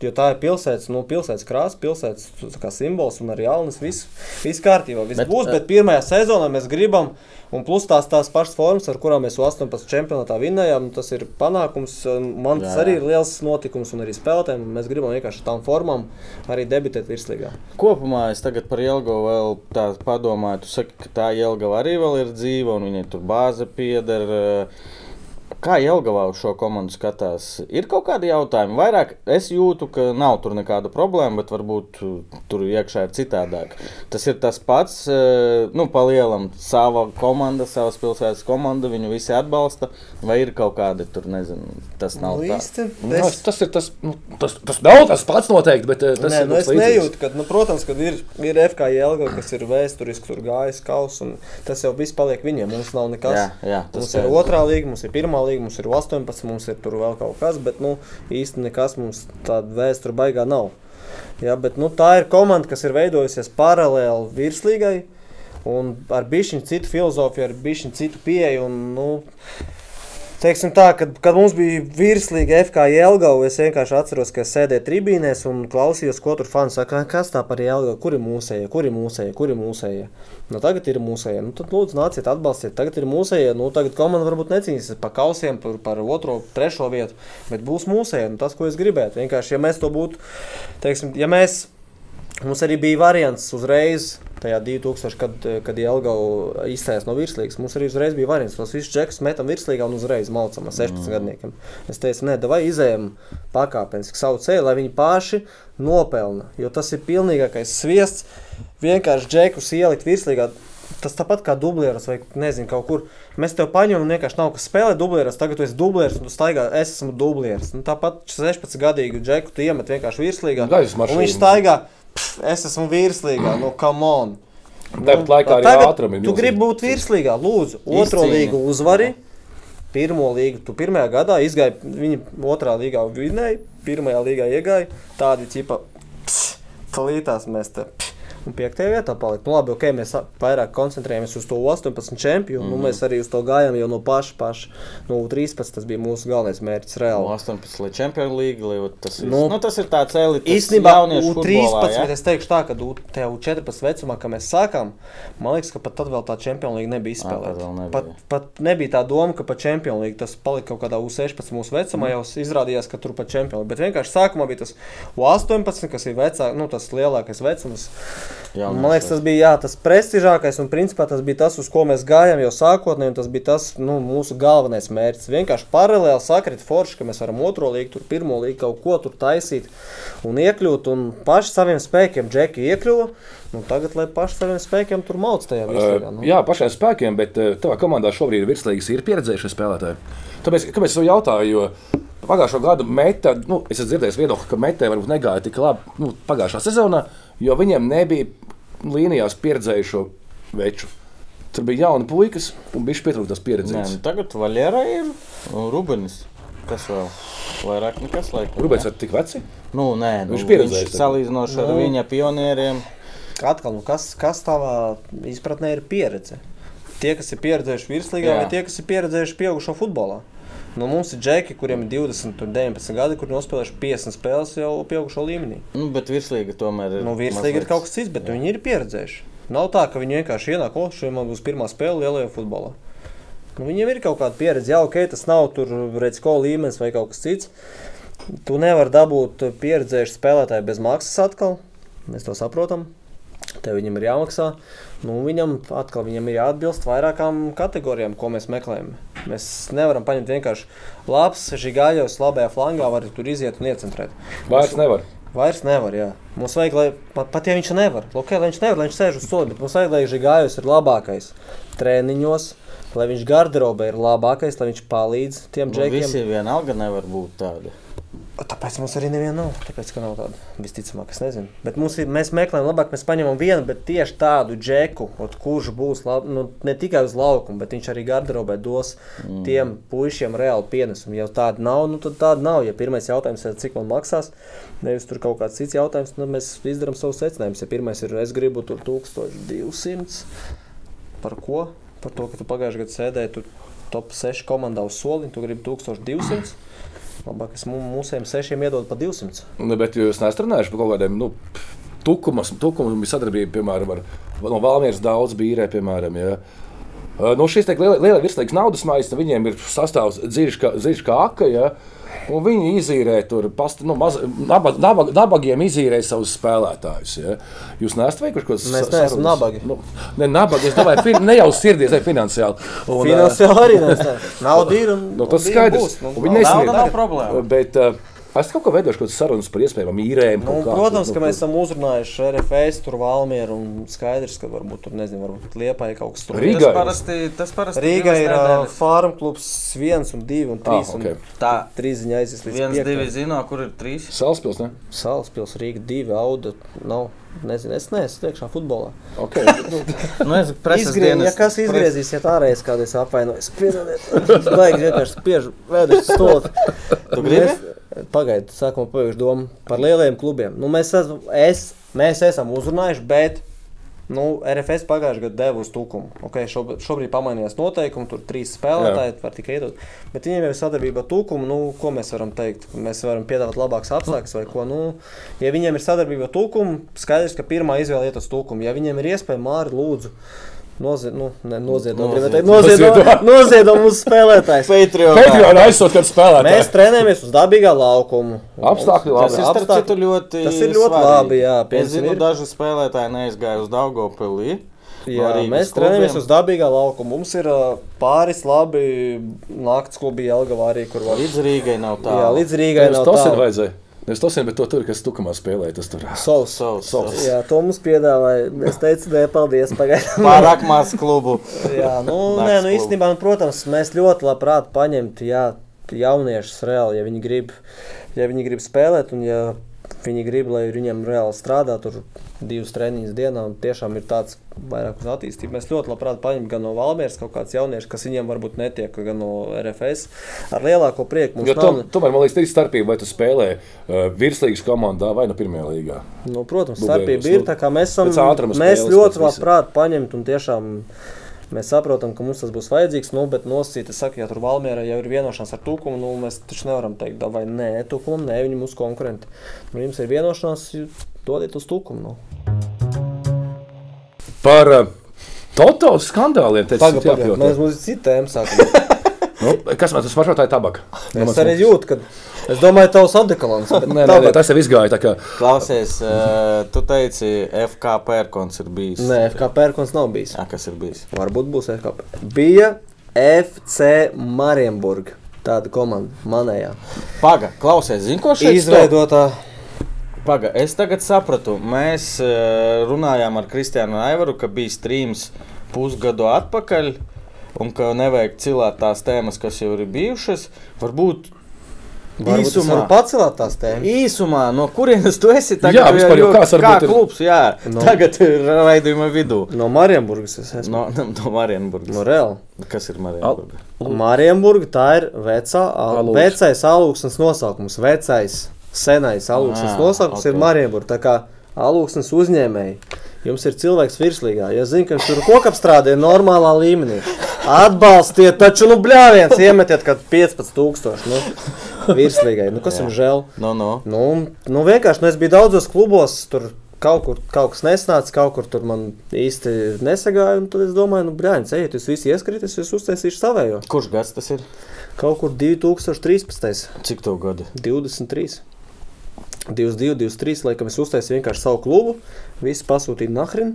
[SPEAKER 3] Jo tā ir pilsētas, nu, pilsētas krāsa, pilsētas tā kā simbols un arī jaunas. Viss, viss kārtībā, viss
[SPEAKER 2] Bet,
[SPEAKER 3] bet, būs.
[SPEAKER 2] eh,
[SPEAKER 3] Bet pirmajā sezonā mēs gribam, un plus tās, tās pašas formas, ar kurām mēs 18. čempionātā vinnējām, nu, tas ir panākums. un Man tas
[SPEAKER 2] Jā,
[SPEAKER 3] arī
[SPEAKER 2] jā.
[SPEAKER 3] ir liels notikums, un arī spēlētājiem un mēs gribam vienkārši ar tām formām arī debitēt virslīgā.
[SPEAKER 2] Kopumā es tagad par Jēlgo vēl tā padomāju. Tu saki, ka tā Jēlga arī vēl ir dzīva un viņai tur bāze pieder. Kā Jēlgavā uz šo komandu skatās? Ir kaut kādi jautājumi. Vairāk es jūtu, ka nav tur nekāda problēma, bet varbūt uh, tur iekšā ir citādāk. Tas ir tas pats, uh, nu, palielam, sava komanda, savas pilsētas komanda, viņu visi atbalsta. Vai ir kaut kādi tur, nezinu, tas nav
[SPEAKER 3] Nu,
[SPEAKER 2] tā.
[SPEAKER 3] īsti,
[SPEAKER 1] Nu,
[SPEAKER 3] es-
[SPEAKER 1] Tas, tas ir tas, nu, tas, tas nav tas pats noteikti, bet eh, tas
[SPEAKER 3] Nē,
[SPEAKER 1] ir
[SPEAKER 3] nu
[SPEAKER 1] kaut
[SPEAKER 3] es
[SPEAKER 1] kas līdzīgs.
[SPEAKER 3] nejūtu, ka, nu, protams, kad ir, ir FKJ Elga, kas ir vēsturiski tur gājis kaus, un tas jau viss paliek viņiem. Mums nav nekas.
[SPEAKER 2] Jā, jā, tas
[SPEAKER 3] mums ir
[SPEAKER 2] skaidrs.
[SPEAKER 3] otrā līga, mums ir pirmā līga, mums ir 18, mums ir tur vēl kaut kas, bet nu, īsti nekas mums tāda vēsture baigā nav. Jā, bet, nu, tā ir komanda, kas ir veidojusies paralēli virslīgai. Un ar bišķiņu citu filozofiju, ar bišķiņu citu pieeju. Un, nu, teiksim tā, kad, kad mums bija virslīga FKJ Elgava, es vienkārši atceros, ka es sēdēju tribīnēs un klausījos, ko tur fani saka, kas tā par Elgavu, kur ir mūsēja, kur ir mūsēja, kur ir mūsēja. Nu, tagad ir mūsēja, nu, tad lūdzu nāciet, atbalstiet. Tagad ir mūsēja, nu, tagad komanda varbūt necīnīsies par kausiem, par, par otro, trešo vietu, bet būs mūsēja, nu, tas, ko es gribētu. Vienkārši, ja mēs to būtu, teiksim, ja mēs. Mums arī bija variants uzreiz, tajā 2000, kad, kad Jēlgava izsēs no virslīgas. Mums arī uzreiz bija variants. Tos visus džekus metam virslīgā un uzreiz malcam ar 16 mm. gadniekiem. Es teicu, nē, vai izējām pakāpeniski savu ceļu, lai viņi paši nopelna. Jo tas ir pilnīgais sviests. Vienkārši džekus ielikt virslīgā. Tas tāpat kā dublieris vai nezinu, kaut kur. Mēs tev paņemam, un vienkārši nav kas spēlē dublieris. Tagad tu esi dublieris un tu staigā, es esmu dublieris. Nu, tāpat 16 gadīgu džeku tu iemet vienkārši virslīgā.
[SPEAKER 1] Gaisa
[SPEAKER 3] un
[SPEAKER 1] mašīna.
[SPEAKER 3] viņš staigā, pff, es esmu virslīgā, no come on. Nu,
[SPEAKER 1] Tāpat laikā arī
[SPEAKER 3] tagad
[SPEAKER 1] ātrumi ir
[SPEAKER 3] Tu
[SPEAKER 1] milzīgi.
[SPEAKER 3] gribi būt virslīgā, lūdzu, otro
[SPEAKER 2] Izcīņa.
[SPEAKER 3] līgu uzvari. Pirmā līga, tu pirmajā gadā izgāji, viņa otrā līgā vinēja, pirmajā līgā iegāja. Tādi tipa, plītās mēs te. pss, Un piektajā vietā palika. Nu, labi, ok, mēs a- vairāk koncentrējamies uz to 18 čempionu.
[SPEAKER 1] Mhm.
[SPEAKER 3] Mm. Nu, mēs arī uz to gājām jau no paša, paša. No 13 tas bija mūsu galvenais mērķis reāli.
[SPEAKER 2] No 18 līdz Champions League, lai vat tas, nu,
[SPEAKER 3] Nu,
[SPEAKER 2] nu, tas ir tāds elites
[SPEAKER 3] Īstenībā
[SPEAKER 2] jauniešu futbolā, ja?
[SPEAKER 3] U13, es teikšu tā, ka U- te U14 vecumā, kad mēs sākām, man liekas, ka pat tad vēl tā Champions League nebija
[SPEAKER 2] Ā, tad
[SPEAKER 3] izspēlēta.
[SPEAKER 2] vēl nebija.
[SPEAKER 3] Pat, pat nebija tā doma, ka pa Champions League tas palika kaut kādā U16 mūsu
[SPEAKER 2] Mm.
[SPEAKER 3] vecumā, jau izrādījās, ka tur pa Champions League. Bet vienkārši sākumā bija tas U18, kas ir vecā, nu, tas lielākais vecums.
[SPEAKER 2] Jauniešu.
[SPEAKER 3] Man liekas, tas bija jā, tas prestižākais un principā tas bija tas, uz ko mēs gājām jau sākotnēji. un Tas bija tas nu, mūsu galvenais mērķis. Vienkārši paralēli sakrit forši, ka mēs varam otro līgu, tur pirmo līgu kaut ko tur taisīt un iekļūt. Un paši saviem spēkiem džeki iekļuva. Nu, tagad, lai paši saviem spēkiem tur mauc tajā visā.
[SPEAKER 1] Uh,
[SPEAKER 3] Nu.
[SPEAKER 1] jā, pašiem spēkiem, bet uh, tavā komandā šobrīd ir virslīgas, ir pieredzējušie spēlētāji. Tāpēc, kāpēc es to jautāju? Jo pagājušo gadu metā, nu, es esmu dzirdējis viedokli, ka metē varbūt negāja tik labi nu, pagājušā sezonā, jo viņiem nebija līnijās pieredzējušo veču. Tur bija jauni puikas, un viņš pietrūka tas
[SPEAKER 2] Nē, nu,
[SPEAKER 1] pieredzes.
[SPEAKER 2] tagad Valjera ir un Rubens. Kas vēl? Vairāk nekas laikam.
[SPEAKER 1] Rūpēs
[SPEAKER 2] ne?
[SPEAKER 1] ir tik veci.
[SPEAKER 2] Nu, nē, nu,
[SPEAKER 1] Viņš pieredzējis tagad.
[SPEAKER 2] Salīdzinoši ar
[SPEAKER 3] Nu.
[SPEAKER 2] viņa pionieriem.
[SPEAKER 3] Atkal, nu, kas, kas tavā izpratnē ir pieredze? Tie, kas ir pieredzējuši virslīgā,
[SPEAKER 2] Jā.
[SPEAKER 3] vai tie, kas ir pieredzējuši pieaugušo futbolā? Nu, mums ir džeki, kuriem ir 20, un 19 gadi, kuriem nospēlējuši 50 spēles jau pieaugušo līmenī.
[SPEAKER 2] Nu, bet virslīga tomēr ir.
[SPEAKER 3] Nu, virslīgi ir kaut kas cits, bet jā. viņi ir pieredzējuši. Nav tā, ka viņi vienkārši ienāk, oh, šodien man būs pirmā spēle lielajā futbolā. Nu, viņiem ir kaut kāda pieredze, jau ok, tas nav tur redzes, ko līmenis vai kaut kas cits. Tu nevari dabūt pieredzējušu spēlētāju bez maksas atkal. Mēs to saprotam. Tev viņam ir jāmaksā. Nu, viņam atkal viņam ir jāatbilst vairākām kategorijām, ko mēs meklējam. Mēs nevaram paņemt vienkārši labs, žigāļos, labajā flangā, var tur iziet un iecentrēt.
[SPEAKER 1] Vairs nevar.
[SPEAKER 3] Vairs nevar, jā. Mums vajag, lai pat, pat ja viņš nevar, okay, lai viņš nevar, lai viņš sēž uz soda, bet mums vajag, lai Žigājus ir labākais treniņos, lai viņš garderobē ir labākais, lai viņš palīdz tiem
[SPEAKER 2] Nu,
[SPEAKER 3] džekiem.
[SPEAKER 2] visi vienalga nevar būt tādi.
[SPEAKER 3] Tāpēc mums arī neviena nav. Tāpēc, ka nav tāda visticamāk, es nezinu. Bet mums ir, mēs meklējam, labāk mēs paņemam vienu, bet tieši tādu džeku, ot, kurš būs lab, nu, ne tikai uz laukuma, bet viņš arī garderobē dos mm. tiem puišiem reāli pienesumu. Ja tāda nav, nu, tad tāda nav. Ja pirmais jautājums ir, cik man maksās, nevis tur kaut kāds cits jautājums, tad mēs izdarām savus secinājumus. Ja pirmais ir, es gribu tur 1200, par ko? Par to, ka tu pagājušajā gadā sēdēji tur top 6 komandā uz soliņa, tu gribi 1200. Labāk, es mūsiem sešiem iedodu pa 200.
[SPEAKER 1] Nu, bet jūs neesat runājuši par kaut kādiem nu, tukumiem, tukumiem sadarbību, piemēram, ar no Valmijas daudz bīrē, piemēram. Ja. nu, No šīs lielās virslīgas naudas maisa, viņiem ir sastāvs dziļš kā, dziļš kā aka. Ja. Un viņi izīrē tur, past, nu, maz, nabag, nabag, nabagiem izīrē savus spēlētājus. Ja? Jūs neesat veikuši kaut ko
[SPEAKER 3] Mēs neesam nabagi.
[SPEAKER 1] Nu, ne, nabagi, es domāju, fin, ne jau sirdies, ne finansiāli. Un, ā,
[SPEAKER 3] Finansiāli arī nav tā. Nauda ir un
[SPEAKER 1] Nu, tas
[SPEAKER 3] un ir
[SPEAKER 1] skaidrs.
[SPEAKER 3] būs, nu,
[SPEAKER 1] Un Viņi
[SPEAKER 3] nav-
[SPEAKER 1] nesmiedz.
[SPEAKER 3] nav- nav
[SPEAKER 2] problēma.
[SPEAKER 1] Bet, uh, es kaut kā veidoju kaut kādas sarunas par iespējamām īrēm.
[SPEAKER 3] Nu,
[SPEAKER 1] kaut kā,
[SPEAKER 3] protams,
[SPEAKER 1] nu,
[SPEAKER 3] ka
[SPEAKER 1] nu,
[SPEAKER 3] mēs esam uzrunājuši RFS, tur Valmieru un skaidrs, ka varbūt tur nezinu, varbūt Liepai kaut kas tur.
[SPEAKER 1] Rīga.
[SPEAKER 2] Tas parasti, tas parasti
[SPEAKER 3] Rīgā
[SPEAKER 2] divas
[SPEAKER 3] ir uh,
[SPEAKER 2] nedēļas.
[SPEAKER 3] farm klubs 1 un 2 un 3.
[SPEAKER 1] Ah, ok.
[SPEAKER 2] Tā,
[SPEAKER 3] Trīs ziņā aizies līdz
[SPEAKER 2] viens,
[SPEAKER 3] piektajai.
[SPEAKER 2] divi zino, kur ir trīs.
[SPEAKER 1] Salaspils, ne?
[SPEAKER 3] Salaspils, Rīga 2, Auda. Nav, nezinu, es neesmu iekšā futbolā.
[SPEAKER 1] Okay. nu,
[SPEAKER 2] Nu, es preses
[SPEAKER 3] Izgrie, ja
[SPEAKER 2] dienas.
[SPEAKER 3] kas izgriezīsies ārējais, kādā es apvainojos, piedodiet, baigs vienkārši spiež vēders stulbi.
[SPEAKER 2] Tu gribi?
[SPEAKER 3] Pagaidiet, sākumā pabeigšu domu par lielajiem klubiem. Nu, mēs, esam, es, mēs esam uzrunājuši, bet nu, RFS pagājušajā gadā deva uz tūkumu. Okay, šobrīd, šobrīd pamainījās noteikumi, tur trīs spēlētāji var tikai iedot. Bet viņiem jau ir sadarbība ar tūkumu, nu, ko mēs varam teikt? Mēs varam piedāvāt labākus apstākļus vai ko. Nu, ja viņiem ir sadarbība ar tūkumu, skaidrs, ka pirmā izvēle iet uz tūkumu. Ja viņiem ir iespēja, Māri, lūdzu. Noziedz, nu, ne, noziedz, noziedz, noziedz,
[SPEAKER 1] Noziedo.
[SPEAKER 3] noziedz, noziedz mūsu spēlētājs.
[SPEAKER 2] Patreon.
[SPEAKER 1] Patreon aizsūtīt kādu
[SPEAKER 3] Mēs
[SPEAKER 1] spēlētāju.
[SPEAKER 3] trenējamies uz dabīgā laukuma.
[SPEAKER 1] Apstākļi
[SPEAKER 2] Tas
[SPEAKER 1] labi.
[SPEAKER 2] ir
[SPEAKER 3] Apstākļi.
[SPEAKER 2] starp citu ļoti.
[SPEAKER 3] Tas ir ļoti
[SPEAKER 2] svarīgi.
[SPEAKER 3] labi, jā,
[SPEAKER 2] Es zinu,
[SPEAKER 3] piemēram, ir-
[SPEAKER 2] daži spēlētāji neizgāja uz Daugopilī.
[SPEAKER 3] Jā, mēs trenējamies uz dabīgā laukuma. Mums ir ā, pāris labi naktas klubi Jelgavā arī, kur var.
[SPEAKER 2] Līdz Rīgai nav tā.
[SPEAKER 3] Jā, līdz Rīgai
[SPEAKER 1] Nevis
[SPEAKER 3] nav
[SPEAKER 1] Tosina
[SPEAKER 3] tālu.
[SPEAKER 1] vajadzēja. Nevis Tosina, bet to tur, kas tukamā spēlē, tas tur.
[SPEAKER 3] Sovs.
[SPEAKER 2] Savs, savs.
[SPEAKER 3] Jā, to mums piedāvāja. Es teicu, nē, paldies. Pagaidām.
[SPEAKER 2] Pārāk maz klubu.
[SPEAKER 3] Jā, nu,
[SPEAKER 2] Nakts
[SPEAKER 3] nē, nu
[SPEAKER 2] klubu.
[SPEAKER 3] īstenībā, nu, protams, mēs ļoti labprāt paņemtu jā, jauniešus reāli, ja viņi, grib, ja viņi grib spēlēt un ja viņi grib, lai viņiem reāli strādā tur divas treniņas dienā un tiešām ir tāds vairāk uz attīstību. Mēs ļoti labprāt paņemtu gan no Valmieras kaut kāds jauniešus, kas viņiem varbūt netiek, gan no RFS. Ar lielāko prieku mums
[SPEAKER 1] Jo
[SPEAKER 3] jo,
[SPEAKER 1] tom,
[SPEAKER 3] nav.
[SPEAKER 1] tomēr man liekas, tā ir starpība, vai tu spēlē uh, virslīgas komandā vai no pirmajā līgā.
[SPEAKER 3] Nu, protams,
[SPEAKER 1] Bublējos,
[SPEAKER 3] starpība ir.
[SPEAKER 1] nu,
[SPEAKER 3] tā kā Mēs, esam,
[SPEAKER 1] pēc ātruma
[SPEAKER 3] mēs
[SPEAKER 1] spēles,
[SPEAKER 3] ļoti
[SPEAKER 1] pēc visa.
[SPEAKER 3] labprāt paņemt un tiešām. Mēs saprotam, ka mums tas būs vajadzīgs, nu, bet nosacīt, es saku, ja tur Valmjerā jau ir vienošanās ar Tūkumu, nu, mēs taču nevaram teikt, vai nē, Tūkumu, nē, viņi mūsu konkurenti. Nu, jums ir vienošanās, jūs dodiet uz Tūkumu. Nu.
[SPEAKER 1] Par uh, Toto skandāliem te
[SPEAKER 3] Pagaid, pagaid, mēs mums ir cita tēma sākumā.
[SPEAKER 1] Nu, kas man tas pašotāja tabaka?
[SPEAKER 3] Es arī jūtu, ka es domāju, tavs adekalons. bet
[SPEAKER 1] Nē, nē,
[SPEAKER 3] tagad-
[SPEAKER 1] nē, tas jau izgāja. tā Kā,
[SPEAKER 2] Klausies, eh, tu teici, FK pērkons ir bijis.
[SPEAKER 3] Nē, FK pērkons nav bijis.
[SPEAKER 2] Jā, kas ir bijis?
[SPEAKER 3] Varbūt būs FK. Bija FC Marienburg, tāda komanda manējā.
[SPEAKER 2] Paga, klausies, zini, ko šeit stāv?
[SPEAKER 3] Izveidotā.
[SPEAKER 2] Paga, es tagad sapratu, mēs eh, runājām ar Kristiānu Aivaru, ka bija strīms pusgadu atpakaļ, un ka nevajag cilāt tās tēmas, kas jau ir bijušas. Varbūt
[SPEAKER 3] Īsumā
[SPEAKER 2] īsumā,
[SPEAKER 3] pacelāt tās tēmas.
[SPEAKER 2] īsumā no kurienes tu esi tagad?
[SPEAKER 1] Jā, vispār jau kāds
[SPEAKER 2] kā
[SPEAKER 1] varbūt ir-
[SPEAKER 2] klubs, jā, no. tagad ir raidījuma vidū.
[SPEAKER 3] No Marienburgas es esmu.
[SPEAKER 2] No, no Marienburgas.
[SPEAKER 3] No Reāla.
[SPEAKER 2] Kas ir Marienburga?
[SPEAKER 3] Marienburga tā ir vecā, al
[SPEAKER 1] Alūks.
[SPEAKER 3] vecais alūksnes nosaukums. Vecais, senais alūksnes
[SPEAKER 2] Ah,
[SPEAKER 3] nosaukums
[SPEAKER 2] ok.
[SPEAKER 3] ir Marienburga. Tā kā alūksnes uzņēmēji. Jums ir cilvēks virslīgā. Ja zinu, ka viņš tur kokapstrādē normālā līmenī. Atbalstiet, taču, nu, bļāviens, iemetiet, kad 15,000 nu, virslīgai. Nu, kas jums žēl?
[SPEAKER 2] No, no.
[SPEAKER 3] Nu, nu vienkārši nu, es biju daudzos klubos, tur kaut, kur, kaut kas nesnāca, kaut kur tur man īsti nesagāja. un Tad es domāju, nu, brāļiņ, ejiet, jūs visi ieskrities, jūs uztaisīsiet savējo.
[SPEAKER 2] Kurš gads tas ir?
[SPEAKER 3] Kaut kur 2013,
[SPEAKER 2] Cik to gadu?
[SPEAKER 3] 23. 22, 23, laikam es uztaisīju vienkārši savu klubu, visu pasūtīju nahrin,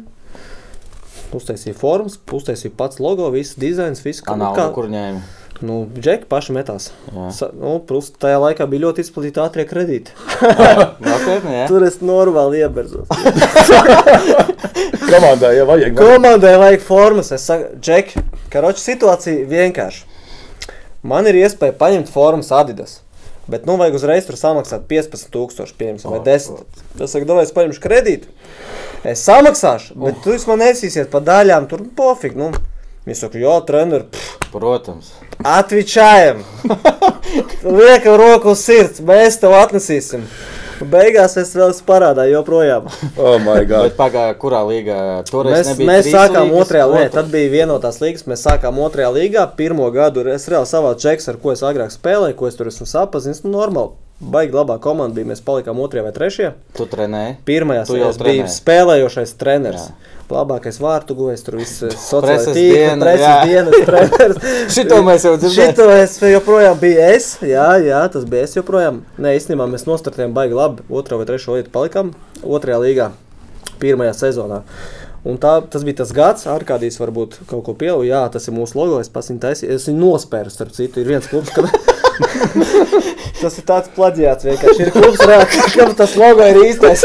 [SPEAKER 3] uztaisīju formas, uztaisīju pats logo, visu dizains, visu
[SPEAKER 2] Kā nav, kur ņēmi?
[SPEAKER 3] Nu, džeki paši metās.
[SPEAKER 2] Jā.
[SPEAKER 3] Sa, nu, plus tajā laikā bija ļoti izplatīta ātrie kredīti.
[SPEAKER 2] Nopietni, jā.
[SPEAKER 3] Tur es normāli ieberzos.
[SPEAKER 1] Komandai jau vajag.
[SPEAKER 3] Komandai vajag formas. Es saku, Džek, karoči, situācija vienkārši. Man ir iespēja paņemt formas Adidas. Bet, nu, vajag uzreiz tur samaksāt 15,000, piemēram, vai
[SPEAKER 2] O,
[SPEAKER 3] 10. Es saku, dabūj, es paņemšu kredītu. Es samaksāšu, bet tu jūs man nesīsiet pa daļām, tur pofīgi. Nu. Viņš saka, jo, treniņš,
[SPEAKER 2] Protams.
[SPEAKER 3] Atvičājam! Liekam, roku uz sirds, mēs tev atnesīsim. Beigās es vēl esmu parādā, joprojām.
[SPEAKER 1] Oh, my God!
[SPEAKER 2] Bet pagājušā kurā līgā toreiz
[SPEAKER 3] Mēs,
[SPEAKER 2] nebija
[SPEAKER 3] mēs
[SPEAKER 2] trīs
[SPEAKER 3] sākām
[SPEAKER 2] līgas,
[SPEAKER 3] otrajā līgā.
[SPEAKER 2] otru-
[SPEAKER 3] Tad bija vienotās līgas. Mēs sākām otrajā līgā. Pirmā gada es reāli savācu čekus, ar ko es agrāk spēlēju, ko es tur esmu sapazinies. Nu, normāli. Baigi labā komanda bija. Mēs palikām otrajā vai trešajā.
[SPEAKER 2] Tu trenēji.
[SPEAKER 3] Pirmajā
[SPEAKER 2] Tu jau
[SPEAKER 3] es biju
[SPEAKER 2] trenē.
[SPEAKER 3] spēlējošais treneris. Labākais vārtu guvējs, tur viss eh, sociālais
[SPEAKER 2] Preses
[SPEAKER 3] tīkls,
[SPEAKER 2] diena, jā.
[SPEAKER 3] preses dienas treneris.
[SPEAKER 2] Šito mēs jau dzirdējām.
[SPEAKER 3] Šito es joprojām biju es. Jā, jā, tas bija es joprojām. Nē, īstenībā mēs nostartējām baigi labi. Otrā vai trešā vietā palikām. Otrajā līgā, pirmajā sezonā. Un tā, tas bija tas gads, ar kādijas varbūt kaut ko pielūdzu. Jā, tas ir mūsu logs, es pats viņu taisīju. Es viņu nospēru, starp citu, ir viens klubs, kas Tas ir tāds plaģiāts vienkārši. Ir klubs, rā- kam tas logo ir īstais.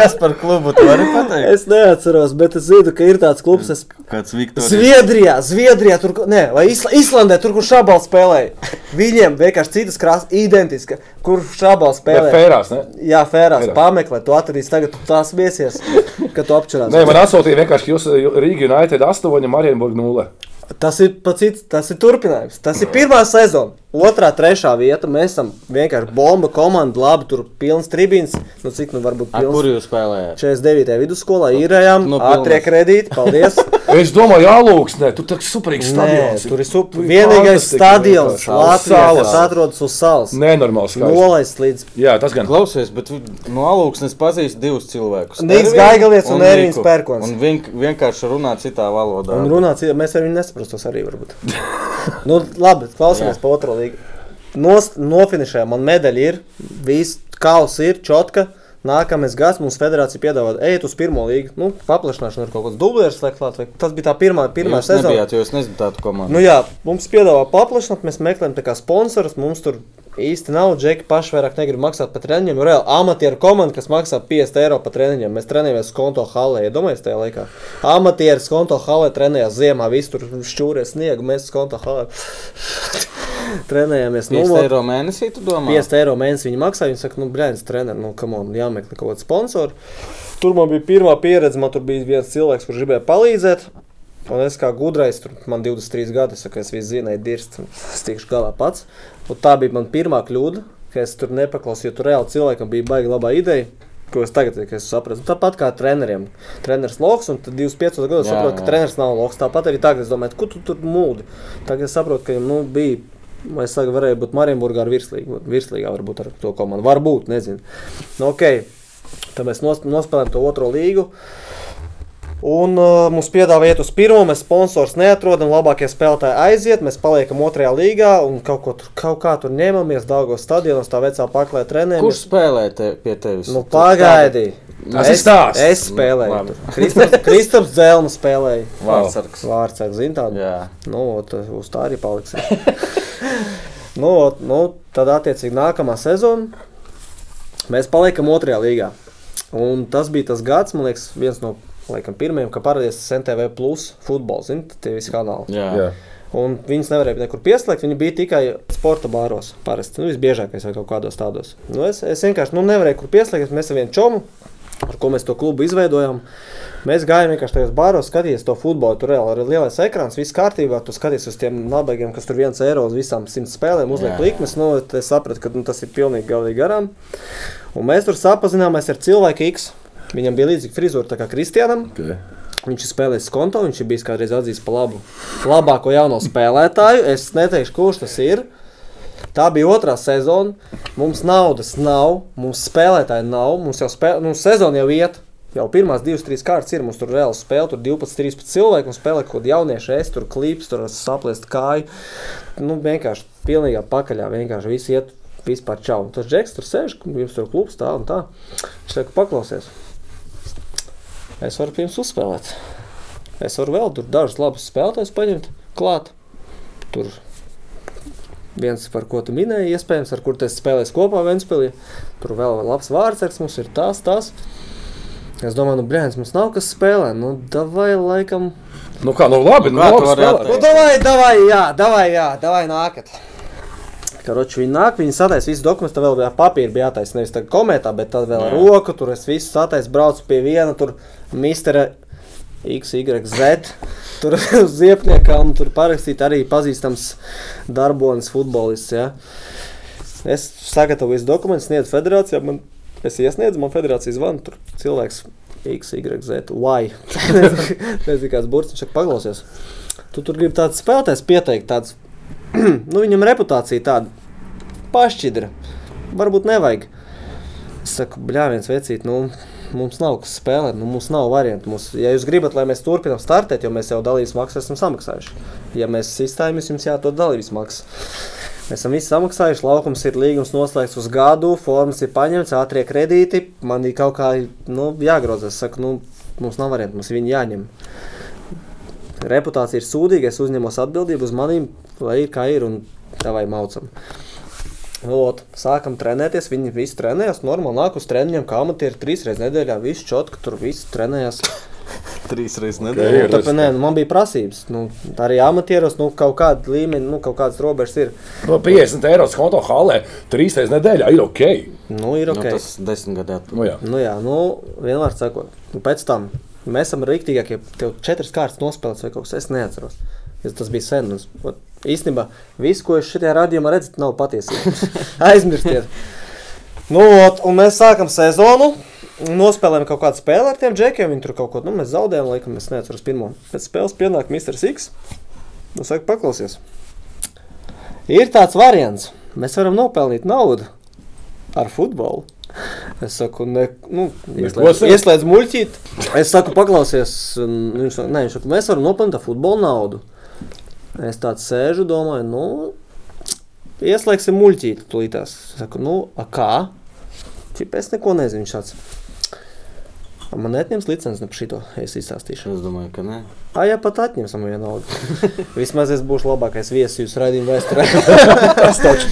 [SPEAKER 2] Kas par klubu tu vari pateikt?
[SPEAKER 3] Es neatceros, bet es zinu, ka ir tāds klubs. Es...
[SPEAKER 2] Kāds Viktors?
[SPEAKER 3] Zviedrijā, Zviedrijā, tur, kur- nē, vai Isla- Islandē, tur, kur šābalu spēlēja. Viņiem vienkārši citas krāsas, identiska, kur šābalu
[SPEAKER 1] Bet
[SPEAKER 3] spēlēja.
[SPEAKER 1] Fērās, ne?
[SPEAKER 3] Jā, fērās,
[SPEAKER 1] Fērās.
[SPEAKER 3] pameklē, tu atradīsi tagad, tu tās viesies, ka tu apčurās.
[SPEAKER 1] Nē, man atsūtīja vienkārši jūs Rīga United 8, Marienburg 0.
[SPEAKER 3] Tas ir pats, tas ir turpinājums. Tas ir pirmā sezona, otrā, trešā vieta. Mēs esam vienkārši bomba komanda, labi, tur pilns tribīns, nu cik nu varbūt
[SPEAKER 2] Ar
[SPEAKER 3] pilns.
[SPEAKER 2] kuru jūs spēlējāt?
[SPEAKER 3] 49. vidusskolā īrējām,
[SPEAKER 2] Nu,
[SPEAKER 3] no,
[SPEAKER 2] pilnas.
[SPEAKER 3] ātrie kredīti, paldies!
[SPEAKER 1] Es domāju, jālūksnē, tur tas superīgs
[SPEAKER 3] Nē,
[SPEAKER 1] stadions.
[SPEAKER 3] tur ir super.
[SPEAKER 1] Tur ir
[SPEAKER 3] Vienīgais
[SPEAKER 1] fantastika
[SPEAKER 3] stadions
[SPEAKER 1] vienkārši.
[SPEAKER 3] Latvijā,
[SPEAKER 1] Salas.
[SPEAKER 3] kas atrodas uz salas.
[SPEAKER 1] Nenormāls skaists.
[SPEAKER 3] Nolaists līdz
[SPEAKER 1] Jā, tas gan.
[SPEAKER 2] Klausies, bet vi- no alūksnes pazīst divus cilvēkus.
[SPEAKER 3] Nīks
[SPEAKER 2] Ervinu
[SPEAKER 3] Gaigalietis un Ervins
[SPEAKER 2] Niku.
[SPEAKER 3] Pērkons.
[SPEAKER 2] Un vien, vienkārši runā citā valodā.
[SPEAKER 3] Un runāt, citā- mēs ar viņu nesaprastos arī varbūt. nu, labi, klausāmies
[SPEAKER 2] Jā.
[SPEAKER 3] pa otro līgu. Nos, nofinišējām, man medaļa ir, viss kaus ir, čotka. Nākamais gads mums federācija piedāvā, ejiet uz pirmo līgu. Nu, paplašināšana ir kaut kāds dublieris, lai klāt. vai- Tas bija tā pirmā, pirmā
[SPEAKER 2] Jūs
[SPEAKER 3] sezona.
[SPEAKER 2] nebijāt, jo es nezinu tādu komandu.
[SPEAKER 3] Nu, jā, mums piedāvā paplašināt, mēs meklējam tā kā sponsorus. Mums tur īsti nav džeki, paši vairāk negrib maksāt par treniņiem. jo Reāli amatieru komanda, kas maksā 50 eiro par treniņiem, mēs trenējamies konto halē. Iedomājieties, tajā laikā amatieris konto halē trenējās ziemā, visur tur šķūries sniegu, mēs konto halē trenējāmies. Nu,
[SPEAKER 2] 5
[SPEAKER 3] vot,
[SPEAKER 2] eiro mēnesī, tu domā?
[SPEAKER 3] 50 eiro mēnesī viņi maksā. Viņi saka, nu, brāļs, treneris, nu, kam man jāmeklē kaut kāds sponsors. Tur man bija pirmā pieredze, man tur bija viens cilvēks, kurš gribēja palīdzēt. Un es kā gudrais, tur man 23 gadi, es saku, es visu zinu, dirst, un es tikšu galā pats. Un tā bija mana pirmā kļūda, ka es tur nepaklausīju. Tur reāli cilvēkam bija baigi laba ideja. Ko es tagad tikai sapratu. Tāpat kā treneriem. Treneris loks, un tad 25 gados
[SPEAKER 2] Jā,
[SPEAKER 3] saprotu,
[SPEAKER 2] jā.
[SPEAKER 3] ka treneris nav loks. Tāpat arī tagad es domāju, kur tu tur mūdi. Tagad es saprotu, ka viņam nu, bija Vai Es saku, varēja būt Marienburgā ar virslīgu, virslīgā, varbūt ar to komandu. Varbūt, nezinu. Nu, ok, tad mēs nos- nospēlējām to otro līgu. Un uh, mums piedāvā iet uz pirmo, mēs sponsors neatrodam, labākie spēlētāji aiziet, mēs paliekam otrajā līgā un kaut, ko tur, kaut kā tur ņemamies, Dāngos stadionos, tā vecā paklē trenējamies.
[SPEAKER 2] Kurš spēlē te, pie tevis?
[SPEAKER 3] Nu,
[SPEAKER 2] Tu
[SPEAKER 3] pagaidi!
[SPEAKER 1] Tas ir
[SPEAKER 3] Es-
[SPEAKER 1] stāsts.
[SPEAKER 3] Es
[SPEAKER 2] Labi.
[SPEAKER 3] spēlēju. Kristaps- Kristaps Zelma spēlēja.
[SPEAKER 2] tādu Vārdsargs.
[SPEAKER 3] Vārds ar zintādu.
[SPEAKER 2] Jā.
[SPEAKER 3] Nu, ot, uz tā arī paliks. nu, ot, nu, tad, attiecīgi, nākamā sezona mēs paliekam otrajā līgā. Un tas bija tas gads, man liekas, viens no laikam, pirmajiem, kad parādījās SNTV plus futbols, zini, tie visi kanāli.
[SPEAKER 2] Jā.
[SPEAKER 1] Jā.
[SPEAKER 3] Un viņas nevarēja nekur pieslēgt, viņi bija tikai sporta bāros. Parasti, nu, visbiežākais vai kaut kādos tādos. Nu, es, es vienkārši nu, nevarēju kur pieslēgties. Mēs ar vienu čomu, ar ko mēs to klubu izveidojām, mēs gājām vienkārši tajos bāros, skatījāmies to futbolu. Tur reāli ir lielais ekrāns, viss kārtībā. Tu skaties uz tiem nabaigiem, kas tur viens eiro uz visām simts spēlēm
[SPEAKER 2] Jā,
[SPEAKER 3] uzliek
[SPEAKER 2] jā.
[SPEAKER 3] likmes. Nu, tad es sapratu, ka nu, tas ir pilnīgi galīgi garām. Un mēs tur sapazināmies ar cilvēku X. Viņam bija līdzīga frizūra tā kā Kristianam.
[SPEAKER 1] Okay.
[SPEAKER 3] Viņš ir spēlējis konto, viņš ir bijis kādreiz atzīts par labu, labāko jauno spēlētāju. Es neteikšu, kurš tas ir. Tā bija otrā sezona. Mums naudas nav, mums spēlētāji nav, mums jau spēlē, nu, sezona jau iet. Jau pirmās divas, trīs kārtas ir. Mums tur reāli spēlē, tur 12, 13 cilvēku un spēlē kaut kāda jaunieša, es tur klips, tur saplēst kāju. Nu, vienkārši pilnīgā pakaļā, vienkārši viss iet vispār čau. Un Tas džeks tur sēž, jums tur klūps tā un tā. Viņš saka, paklausies. Es varu pirms uzspēlēt. Es varu vēl tur dažus labus spēlētājus paņemt klāt. Tur viens, par ko tu minēji, iespējams, ar kuriem spēlēs kopā Vēnspēlī. Tur vēl ir labs vārdsargs, mums ir tas, tas. Es domāju, nu, brāļs, mums nav kas spēlē. Nu, davai, laikam.
[SPEAKER 1] Nu kā, nu labi, nu,
[SPEAKER 2] kā tu
[SPEAKER 1] labi
[SPEAKER 2] vari
[SPEAKER 1] spēlēt.
[SPEAKER 2] atrast?
[SPEAKER 3] Nu, davai, davai, jā, davai, jā, davai nākat. Karoči, viņi nāk, viņi sataisa visu dokumentu, tad vēl bija papīra, bija jātaisa nevis tā kometā, bet tad vēl ar
[SPEAKER 2] Jā.
[SPEAKER 3] roku, tur es visu sataisu, braucu pie viena, tur mistera X, Y, Z, tur uz ziepniekām, tur parakstīt arī pazīstams darbonis futbolists, jā. Es sagatavoju visu dokumentu, sniedzu federācijā, man, es iesniedzu, man federācija zvana, tur cilvēks X, Y, Z, Y. Nezinu, kāds burts, viņš saka, paklausies. Tu tur gribi tāds spēlētājs pieteikt, tāds, nu viņam reputācija tāda pašķidra. Varbūt nevajag. Es saku, bļā, viens vecīt, nu, mums nav kas spēlēt, nu, mums nav variantu. Mums, ja jūs gribat, lai mēs turpinām startēt, jo mēs jau dalības maksu esam samaksājuši. Ja mēs izstājamies, jums jāatrod dalības maksa. Mēs esam visi samaksājuši, laukums ir līgums noslēgts uz gadu, formas ir paņemts, ātrie kredīti. Man ir kaut kā nu, jāgrozās. Es saku, nu, mums nav variantu, mums viņi jāņem. Reputācija ir sūdīga, es uzņemos atbildību uz maniem, lai ir kā ir un tā vai maucam. Lot, sākam trenēties, viņi visi trenējās. Normāli nāk uz treniņiem, kā amatieri trīs reizes nedēļā. Visi čotka, tur viss trenējās.
[SPEAKER 2] Trīs reizes
[SPEAKER 1] Jā,
[SPEAKER 2] nedēļā.
[SPEAKER 1] ir,
[SPEAKER 3] Nu, tāpēc,
[SPEAKER 1] tas-
[SPEAKER 3] nē, nu, man bija prasības. Nu, tā arī amatieros nu, kaut kāda līmeņa, nu, kaut kādas robežas ir.
[SPEAKER 1] No 50 Nu, eiro konta halē trīs reizes nedēļā ir ok.
[SPEAKER 3] Nu, ir
[SPEAKER 2] Nu,
[SPEAKER 3] ok.
[SPEAKER 2] tas desmit gadā.
[SPEAKER 1] Nu, jā.
[SPEAKER 3] Nu, jā, nu, vienmēr sakot, nu, pēc tam mēs esam rīktīgākie. Tev četras kārtas nospēlēts vai kaut kas, es neatceros. Es, tas bija sen. Un, ot, īstenībā viss, ko jūs šajā radījumā redzat, nav patiesība. Aizmirstiet. nu, ot, un mēs sākam sezonu. Nospēlējām kaut kādu spēli ar tiem džekiem. Viņi tur kaut ko, nu, mēs zaudējām, laikam, es neatceros pirmo. Pēc spēles pienāk Mr. X. Nu, saka, paklausies. Ir tāds variants, mēs varam nopelnīt naudu ar futbolu. Es saku, ne, nu,
[SPEAKER 1] Neko
[SPEAKER 3] ieslēdz,
[SPEAKER 1] sev.
[SPEAKER 3] ieslēdz muļķīt. Es saku, paklausies, un viņš saka, nē, viņš saka, mēs varam nopelnīt ar futbolu naudu. Es tāds sēžu, domāju, nu, ieslēgsim muļķīt, tūlītās. Es saku, nu, a kā? Čip, es neko nezinu, viņš tāds. "A Man neatņems licences ne par šito, es izstāstīšu.
[SPEAKER 2] Es domāju, ka nē.
[SPEAKER 3] Ah, ja pat atņemsim vienu naudu. Vismaz es būšu labākais viesis jūsu raidījuma vēsturē. Tas taču.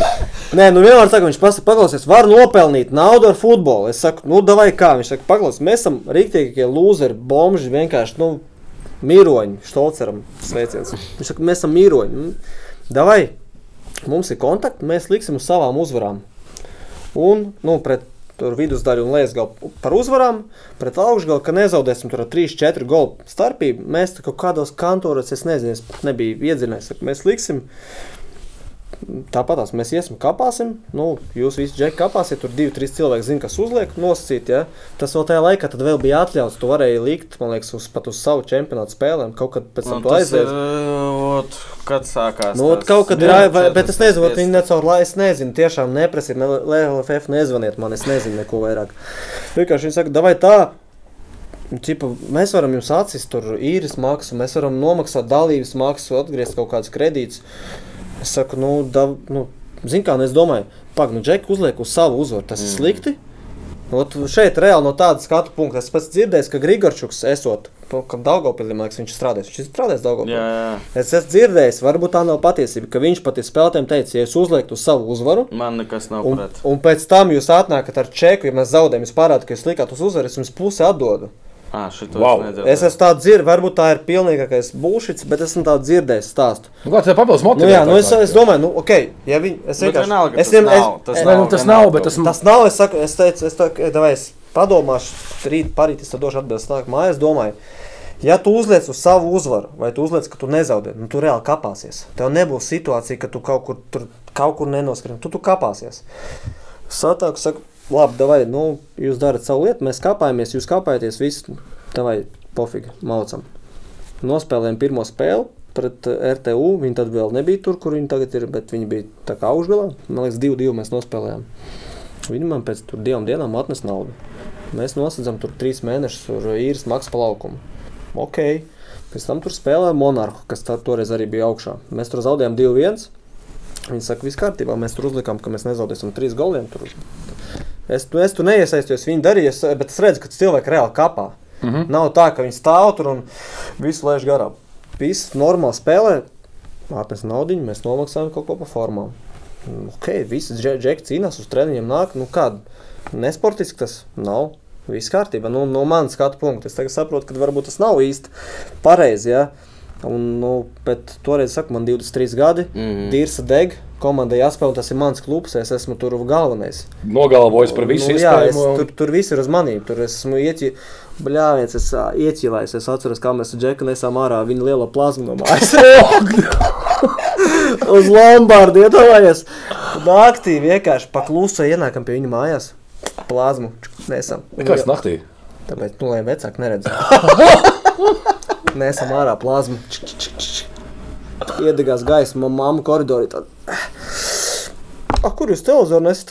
[SPEAKER 3] Nē, nu vienmēr saka, viņš pasa- paklausies, var nopelnīt naudu ar futbolu. Es saku, nu, davai kā. Viņš saka, paklausies, mēs esam rīktīgie lūzeri, bomži, vienkārši, nu, mīroņi, štolceram sveiciens. Viņš saka, mēs esam mīroņi. Nu, Davai, mums ir kontakti, mēs liksim uz savām uzvarām. Un, nu, pret tur vidusdaļu un lejasgalu par uzvarām, pret augšgalu, ka nezaudēsim tur ar 3-4 golu starpību. Mēs tur kaut kādos kantoros, es nezinu, es pat nebiju iedzinājies, ka mēs liksim. Tāpat tās mēs iesim, kāpāsim. Nu, jūs visi džekļi kāpāsiet, tur divi, trīs cilvēki zina, kas uzliek, nosacīt. Ja? Tas vēl tajā laikā tad vēl bija atļauts. Tu varēji likt, man liekas, uz, pat uz savu čempionātu spēlēm. Kaut kad pēc tam
[SPEAKER 2] Un
[SPEAKER 3] tu
[SPEAKER 2] tas eh, ir, uh,
[SPEAKER 3] aizies.
[SPEAKER 2] ot, Kad sākās?
[SPEAKER 3] Nu, ot,
[SPEAKER 2] tas-
[SPEAKER 3] kaut kad ir,
[SPEAKER 2] Jā,
[SPEAKER 3] vai, bet es nezinu, vai
[SPEAKER 2] 45.
[SPEAKER 3] viņi necaur laiku, es nezinu, tiešām neprasiet, ne, LFF nezvaniet man, es nezinu neko vairāk. Vienkārši viņi saka, davai tā, Čipa, mēs varam jums atsist tur īres maksu, mēs varam nomaksāt dalības maksu, atgriezt kaut kādas kredītus. Es saku, nu, da, nu zini kā, nu es domāju, pag, nu, Džek uzliek uz savu uzvaru, tas ir
[SPEAKER 2] Mm.
[SPEAKER 3] slikti. Ot, šeit reāli no tāda skatu punkta es pats dzirdēju, ka Grigorčuks esot, kam Daugavpilī, man liekas, viņš strādājis, viņš ir strādājis Daugavpilī.
[SPEAKER 2] Jā, jā.
[SPEAKER 3] Es esmu dzirdējis, varbūt tā nav patiesība, ka viņš pat ir spēlētājiem teicis, ja jūs uzliekat uz savu uzvaru,
[SPEAKER 2] Man nekas nav
[SPEAKER 3] un,
[SPEAKER 2] pret.
[SPEAKER 3] un pēc tam jūs atnākat ar čeku, ja mēs zaudējam, jūs parādāt, ka jūs likāt uz uzvaru, es jums pusi atdodu.
[SPEAKER 2] Ah, šito
[SPEAKER 1] Wow.
[SPEAKER 2] es
[SPEAKER 3] Es
[SPEAKER 2] nedzirdēju.
[SPEAKER 3] esmu tāds dzirdējis, varbūt tā ir pilnīgākais būšits, bet esmu tāds dzirdējis stāstu.
[SPEAKER 1] Nu, kāds ir papildus
[SPEAKER 3] Nu,
[SPEAKER 1] motivs?
[SPEAKER 3] jā, nu es, es domāju, nu, ok, ja viņi, es
[SPEAKER 2] Bet
[SPEAKER 3] vienkārši,
[SPEAKER 2] vienalga,
[SPEAKER 3] es
[SPEAKER 2] tas nav, tas
[SPEAKER 3] es,
[SPEAKER 1] Nu, tas nav, bet tas
[SPEAKER 3] Tas nav, es saku, es teicu, es teicu, davai, es padomāšu, rīt, parīt, es tev došu atbildi, es nāku mājās, domāju. Ja tu uzliec uz savu uzvaru, vai tu uzliec, ka tu nezaudē, nu tu reāli kāpāsies. Tev nebūs situācija, ka tu kaut kur, tur, kaut kur nenoskrini, tu, tu kāpāsies. Satāku, saku, labi, davai, nu, jūs darat savu lietu, mēs kāpājamies, jūs kāpājaties, viss, davai, pofīgi, maucam. Nospēlējām pirmo spēli pret eh, RTU, viņi tad vēl nebija tur, kur viņi tagad ir, bet viņi bija tā kā augšgalā. Man liekas, 2-2 mēs nospēlējām. Viņi man pēc tur divām dienām atnes naudu. Mēs nosacām tur trīs mēnešus ar īres maksu palaukumu. Ok. Pēc tam tur spēlēja monarhu, kas tā, toreiz arī bija augšā. Mēs tur zaudējām 2-1. Viņi saka, viss kārtībā. Mēs tur uzlikām, ka mēs nezaudēsim trīs goliem. Tur. Es, tu- es tur neiesaistījos, viņi darīja, es- bet es redzu, ka cilvēki reāli kapā. Mm -hmm. Nav tā, ka viņi stāv tur un visu laiž garām. Viss normāli spēlē, atnes naudu, mēs nomaksājam kaut ko pa formām. Ok, visi dže- džeki cīnās uz treniņiem, nāk. Nu, kāda nesportiski tas nav. Viss kārtībā. Nu, no manas skatu punkta es tagad saprotu, ka varbūt tas nav īsti pareizi. Ja? Un, nu, bet toreiz, saka, man 23 gadi,
[SPEAKER 2] Mhm.
[SPEAKER 3] tīrs deg. komandai jāspēlē, un tas ir mans klubs, es esmu tur galvenais.
[SPEAKER 1] Nogalvojis par visu
[SPEAKER 3] Nu, jā, es,
[SPEAKER 1] iespējamo.
[SPEAKER 3] tur, tur viss ir uz manīm. Tur es esmu ieķi... Bļāviens, es ā, ieķīlājos. Es atceros, kā mēs ar Džeku nesām ārā viņa lielo plazmu no mājas. uz Lombardu iedomājies. Naktī vienkārši paklusa ienākam pie viņa mājās. Plazmu čuk, nesam.
[SPEAKER 1] Kas Nu naktī?
[SPEAKER 3] Tāpēc, nu, lai vecāki neredzētu. Nesam ārā plazmu. Čik, čik, čik, čik. Iedegās gaismu, man mamma koridorī. Tad... A, kur jūs televizoru nesat?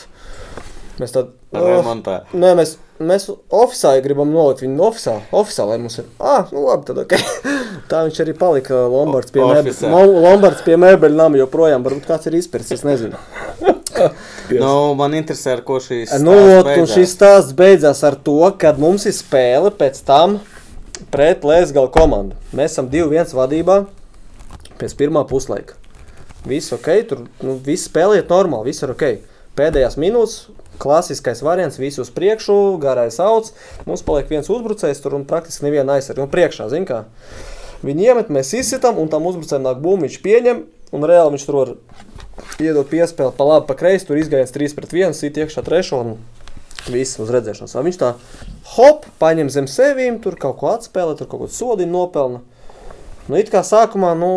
[SPEAKER 3] Mēs tad.
[SPEAKER 2] Remontē.
[SPEAKER 3] Nē, mēs, mēs oficiāli gribam nolikt viņu oficiāli. Oficiāli mums ir. Ah, nu labi, tad ok. Tā viņš arī palika Lombards pie
[SPEAKER 2] O-
[SPEAKER 3] mēbeļa.
[SPEAKER 2] oficiāli.
[SPEAKER 3] Mo- Lombards pie mēbeļa nama joprojām. Varbūt kāds ir izpērts, es nezinu.
[SPEAKER 2] Nu, man interesē, ar ko šīs
[SPEAKER 3] Nu,
[SPEAKER 2] stāsts
[SPEAKER 3] ot, un
[SPEAKER 2] beidzās.
[SPEAKER 3] šis stāsts beidzās ar to, ka mums ir spēle pēc tam pret Lēsgala komandu. Mēs esam 2-1 vadībā pēc pirmā puslaika. Viss ok, tur nu, viss spēlējiet normāli, viss ir ok. Pēdējās minūtes, klasiskais variants, visus uz priekšu, garais augs. Mums paliek viens uzbrucējs tur un praktiski neviena aizsardzība. Nu, priekšā, zin kā. Viņi iemet, mēs izsitam, un tam uzbrucējiem nāk bumba, viņš pieņem, un reāli viņš tur var iedot piespēli pa labi, pa kreisi, tur izgājis 3 pret 1, sit iekšā trešo un viss uz redzēšanas. A Viņš tā hop, paņem zem sevīm, tur kaut ko atspēlē, tur kaut ko sodiņu nopelna. Nu, it kā sākumā, nu,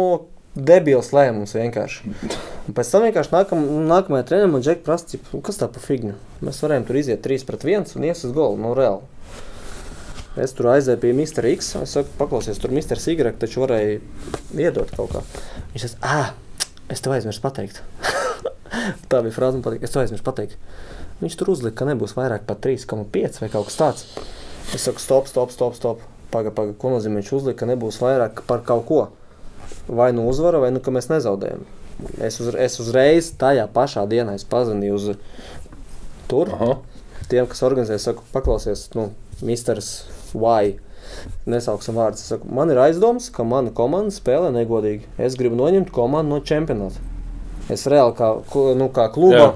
[SPEAKER 3] debils lēmums vienkārši. Un pēc tam vienkārši nākam, nākamajā treniņā man džek prasa, cip, nu, kas tā pa figņu. Mēs varējām tur iziet 3 pret 1 un ies uz golu, nu, reāli. Es tur aizēju pie Mr. X, es saku, paklausies, tur Mr. Y taču varēja iedot kaut kā. Viņš saka, ah, es tev aizmirsu pateikt. Tā bija frāze, man patīk. Es to aizmirsu pateikt. Viņš tur uzlika, ka nebūs vairāk par 3,5 vai kaut kas tāds. Es saku, stop, stop, stop. stop. Pagaid, pagaid, ko nozīmē viņš uzlika, ka nebūs vairāk par kaut ko. Vai nu uzvara, vai nu ka mēs nezaudējam. Es, uz, es uzreiz tajā pašā dienā es pazvanīju uz tur.
[SPEAKER 1] Aha.
[SPEAKER 3] Tiem, kas organizē, saku, paklausies, nu, Misters Vai. Nesauksim vārdus. Es Saku, man ir aizdoms, ka mana komanda spēlē negodīgi. Es gribu noņemt komandu no čempionāta. Es reāli kā, klu- nu, kā kluba
[SPEAKER 1] Jā.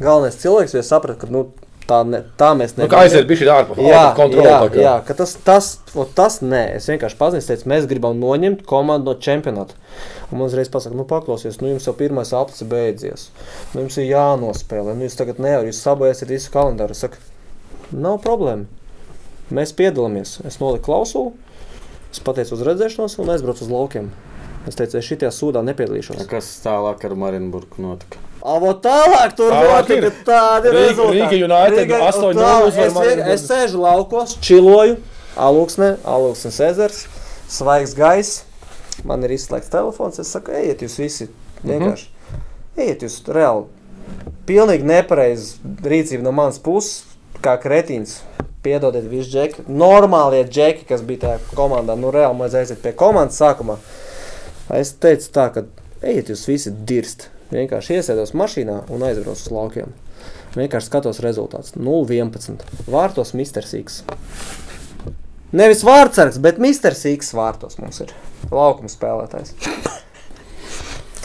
[SPEAKER 3] galvenais cilvēks, jo es sapratu, ka nu, tā, ne, tā mēs
[SPEAKER 1] Nu, kā aiziet bija šī ārpus
[SPEAKER 3] Jā, jā,
[SPEAKER 1] kontrolas?
[SPEAKER 3] jā, ka tas, tas, o, tas nē, es vienkārši paziņoju, teicu, mēs gribam noņemt komandu no čempionāta. Un man uzreiz pasaka, nu, paklausies, nu, jums jau pirmais aplis ir beidzies. Nu, jums ir jānospēlē, nu, jūs tagad nevarat, jūs sabojāsiet visu kalendāru. Es saku, nav problēma. Mēs piedalāmies. Es noliku klausulu, es pateicu uz redzēšanos un aizbraucu uz laukiem. Es teicu, es šitajā sūdā nepiedalīšos.
[SPEAKER 2] Kas tālāk ar Marinburgu notika?
[SPEAKER 3] Avo tālāk, tur
[SPEAKER 1] Tālāk ir.
[SPEAKER 3] notika tādi
[SPEAKER 1] Rīga-
[SPEAKER 3] rezultāti.
[SPEAKER 1] Rīga United
[SPEAKER 3] Rīga-
[SPEAKER 1] 8:0
[SPEAKER 3] tā,
[SPEAKER 1] uzvar
[SPEAKER 3] es
[SPEAKER 1] Marienburgu.
[SPEAKER 3] vien- Es sēžu laukos, čiloju, aluksne, aluksnes ezers, svaigs gaiss. Man ir izslēgts telefons, es saku, ejiet jūs visi
[SPEAKER 1] Mhm.
[SPEAKER 3] vienkārši. Ejiet jūs reāli. Pilnīgi nepareiz rīcība no manas puses, kā kretīns. Piedodiet, visi džeki. Normālie džeki, kas bija tajā komandā, nu reāli mēs aiziet pie komandas sākumā. Es teicu, tā, ka ejiet, jūs visi dirst. Vienkārši iesēdos mašīnā un aizbraucu uz laukiem. Vienkārši skatos rezultātus. 0-11. Vārtos Mr. Sīgs. Nevis vārdsargs, bet Mr. Sīgs vārtos mums ir. Laukuma spēlētājs.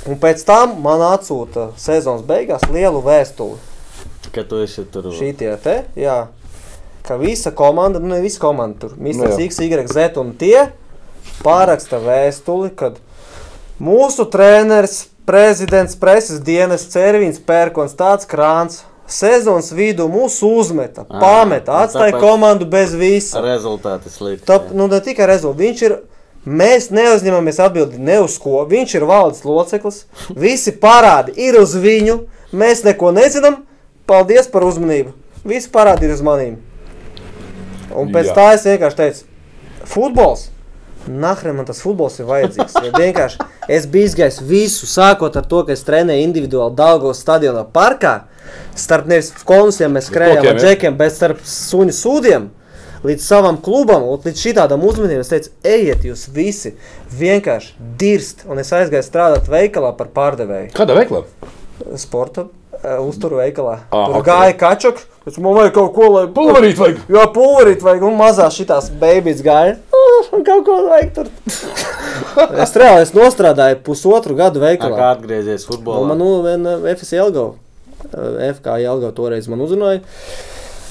[SPEAKER 3] Un pēc tam man atsūta sezonas beigās lielu vēstuli
[SPEAKER 2] Kad tu esi tur?
[SPEAKER 3] šī tie te, jā, ka visa komanda, nu ne visa komanda tur, Mr.
[SPEAKER 1] Nu jā.
[SPEAKER 3] X, Y, Z un tie pāraksta vēstuli, kad mūsu treneris, prezidents, preses dienas cervīns, pērkons tāds krāns. Sezonas vidū mūsu uzmeta,
[SPEAKER 2] Ā, nu
[SPEAKER 3] pameta, atstāja
[SPEAKER 2] tāpēc-
[SPEAKER 3] komandu bez visa.
[SPEAKER 2] Rezultāti slikti.
[SPEAKER 3] Top, nu, ne tikai rezultāts. Viņš ir. Mēs neuzņemamies atbildību ne uz ko. Viņš ir valdes loceklis. Visi parādi ir uz viņu. Mēs neko nezinām. Paldies par uzmanību. Visi parādi ir uz manīm. Un
[SPEAKER 1] Jā.
[SPEAKER 3] pēc Jā. tā es vienkārši teicu, futbols. Nahre man tas futbols ir vajadzīgs. Jo vienkārši es biju izgājis visu, sākot ar to, ka es trenēju individuāli Dāngos stadionā parkā. Starp nevis konusiem mēs skrējām
[SPEAKER 1] kokiem,
[SPEAKER 3] ar
[SPEAKER 1] ja?
[SPEAKER 3] džekiem, bet starp suņu sūdiem. Līdz savam klubam, un līdz šādam uzmanībam, es teicu, ejiet, jūs visi vienkārši dirst. Un es aizgāju strādāt veikalā par pārdevēju.
[SPEAKER 1] Kāda veikla?
[SPEAKER 3] Sporta eh, uzturu veikalā.
[SPEAKER 1] Ah,
[SPEAKER 3] Tur
[SPEAKER 1] ok.
[SPEAKER 3] gāja kačuk, es man vajag kaut ko, lai
[SPEAKER 1] Pulverīt vajag!
[SPEAKER 3] Jo pūlīt vajag, un mazā šitās bērnības gāja. "Ah, man Kaut ko vajag tur. es reāli es nostrādāju pusotru gadu
[SPEAKER 2] Tā kā
[SPEAKER 3] veikalā.
[SPEAKER 2] atgriezies
[SPEAKER 3] Un nu,
[SPEAKER 2] futbolā.
[SPEAKER 3] eh, man nu, viena FS Jelgava, eh, FK Jelgava toreiz man uzrunāja.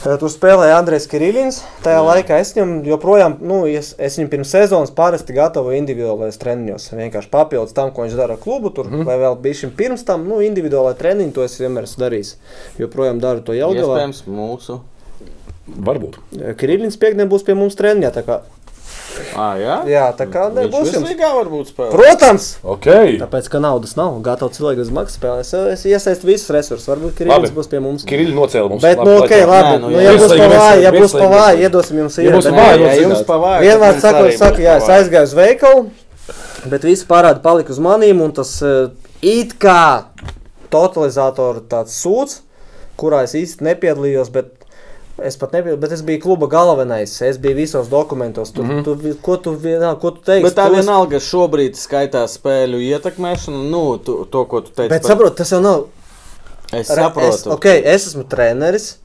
[SPEAKER 3] Eh, Tur spēlēja Andrejs Kirillins. Tajā Jā. laikā es viņam joprojām, nu, es, es viņam pirms sezonas parasti gatavoju individuālajos treniņos. Vienkārši papildus tam, ko viņš dara ar klubu, tur, mm. vai vēl bija šim pirms tam, nu, individuālajā treniņā to es vienmēr esmu darījis. Joprojām daru to jau gala.
[SPEAKER 2] Iespējams, mūsu.
[SPEAKER 1] Varbūt.
[SPEAKER 3] Eh, Kirillins piekdienā būs pie mums treniņā. tā kā-
[SPEAKER 2] Ah, jā,
[SPEAKER 3] Jā, tā kā ne,
[SPEAKER 2] Viņš
[SPEAKER 3] būs jums.
[SPEAKER 2] Virslīgā varbūt spēlē.
[SPEAKER 3] Protams!
[SPEAKER 1] Ok.
[SPEAKER 3] Tāpēc, ka naudas nav, gatavs cilvēks uz maksas spēlē. Es, es iesaistu visus resursus. Varbūt
[SPEAKER 1] Labi.
[SPEAKER 3] Kirillis būs pie mums.
[SPEAKER 1] Kirilli nocēla mums.
[SPEAKER 3] Bet, nu, ok, labi.
[SPEAKER 2] Nē, nu,
[SPEAKER 3] Nu,
[SPEAKER 2] jā.
[SPEAKER 3] ja būs
[SPEAKER 1] Virslīgi,
[SPEAKER 3] pavāji, ja
[SPEAKER 1] virslīgi,
[SPEAKER 3] būs
[SPEAKER 1] virslīgi.
[SPEAKER 3] pavāji, iedosim jums
[SPEAKER 1] Ja būs
[SPEAKER 3] ierakstu.
[SPEAKER 1] pavāji,
[SPEAKER 2] ja
[SPEAKER 1] Vajag
[SPEAKER 2] jums
[SPEAKER 1] uzzināt.
[SPEAKER 2] pavāja.
[SPEAKER 3] Vienmēr saku, es saku, jā, es aizgāju uz veikalu, bet visi parādi palika uz manīm, un tas eh, it kā totalizatora tāds sūds, kurā es īsti nepiedalījos. bet Es pat nebiju, bet es biju kluba galvenais. Es biju visos dokumentos. Tur, mm -hmm. tu, vi- ko tu vienalga, ko tu teiksi?
[SPEAKER 2] Bet tā
[SPEAKER 3] Tu esi-
[SPEAKER 2] vienalga šobrīd skaitās spēļu ietekmēšanu, nu, tu, to, ko tu teici.
[SPEAKER 3] Bet
[SPEAKER 2] par-
[SPEAKER 3] saproti, tas jau nav.
[SPEAKER 2] es
[SPEAKER 3] Re-
[SPEAKER 2] saprotu.
[SPEAKER 3] Es, okay, es esmu treneris.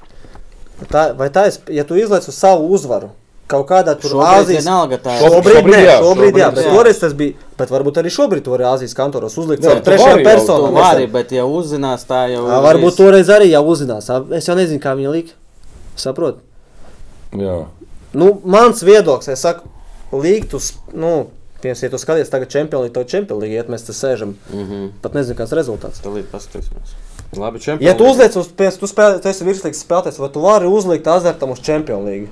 [SPEAKER 3] Tā, vai tā ir? Ja tu izlaiž uz savu uzvaru kaut kādā tur
[SPEAKER 2] Šobrīd
[SPEAKER 3] Āzijas
[SPEAKER 2] vienalga tā ir.
[SPEAKER 1] Šobrīd-
[SPEAKER 3] Šobrīd,
[SPEAKER 1] jā,
[SPEAKER 3] šobrīd, jā, šobrīd, jā,
[SPEAKER 1] šobrīd,
[SPEAKER 3] bet
[SPEAKER 2] jā.
[SPEAKER 3] toreiz tas bija. Bet varbūt arī šobrīd to var Āzijas kantoros uzlikt.
[SPEAKER 1] Jā,
[SPEAKER 3] Jā,
[SPEAKER 1] tu
[SPEAKER 3] trešajā
[SPEAKER 1] vari jau,
[SPEAKER 2] Tu
[SPEAKER 3] personā.
[SPEAKER 2] vari, bet ja uzzinās, tā jau
[SPEAKER 3] Ā, Varbūt
[SPEAKER 2] viss.
[SPEAKER 3] toreiz arī jau uzzinās. Ā, Es jau nezinu, kā viņa lika. Saprot?
[SPEAKER 1] Jā.
[SPEAKER 3] Nu, mans viedoklis, es saku, līgt uz, nu, piemēram, ja tu skaties tagad čempionu, to čempionu līgu, iet mēs te sēžam.
[SPEAKER 2] Mhm.
[SPEAKER 3] Pat nezinu, kāds rezultāts.
[SPEAKER 2] Tad līdz paskatīsimies. Labi, čempioni.
[SPEAKER 3] Ja tu uzliec uz, piemēram, tu spēlē, tu esi virslīgs spēlētājs, vai tu vari uzlikt azartam uz čempionu līgu?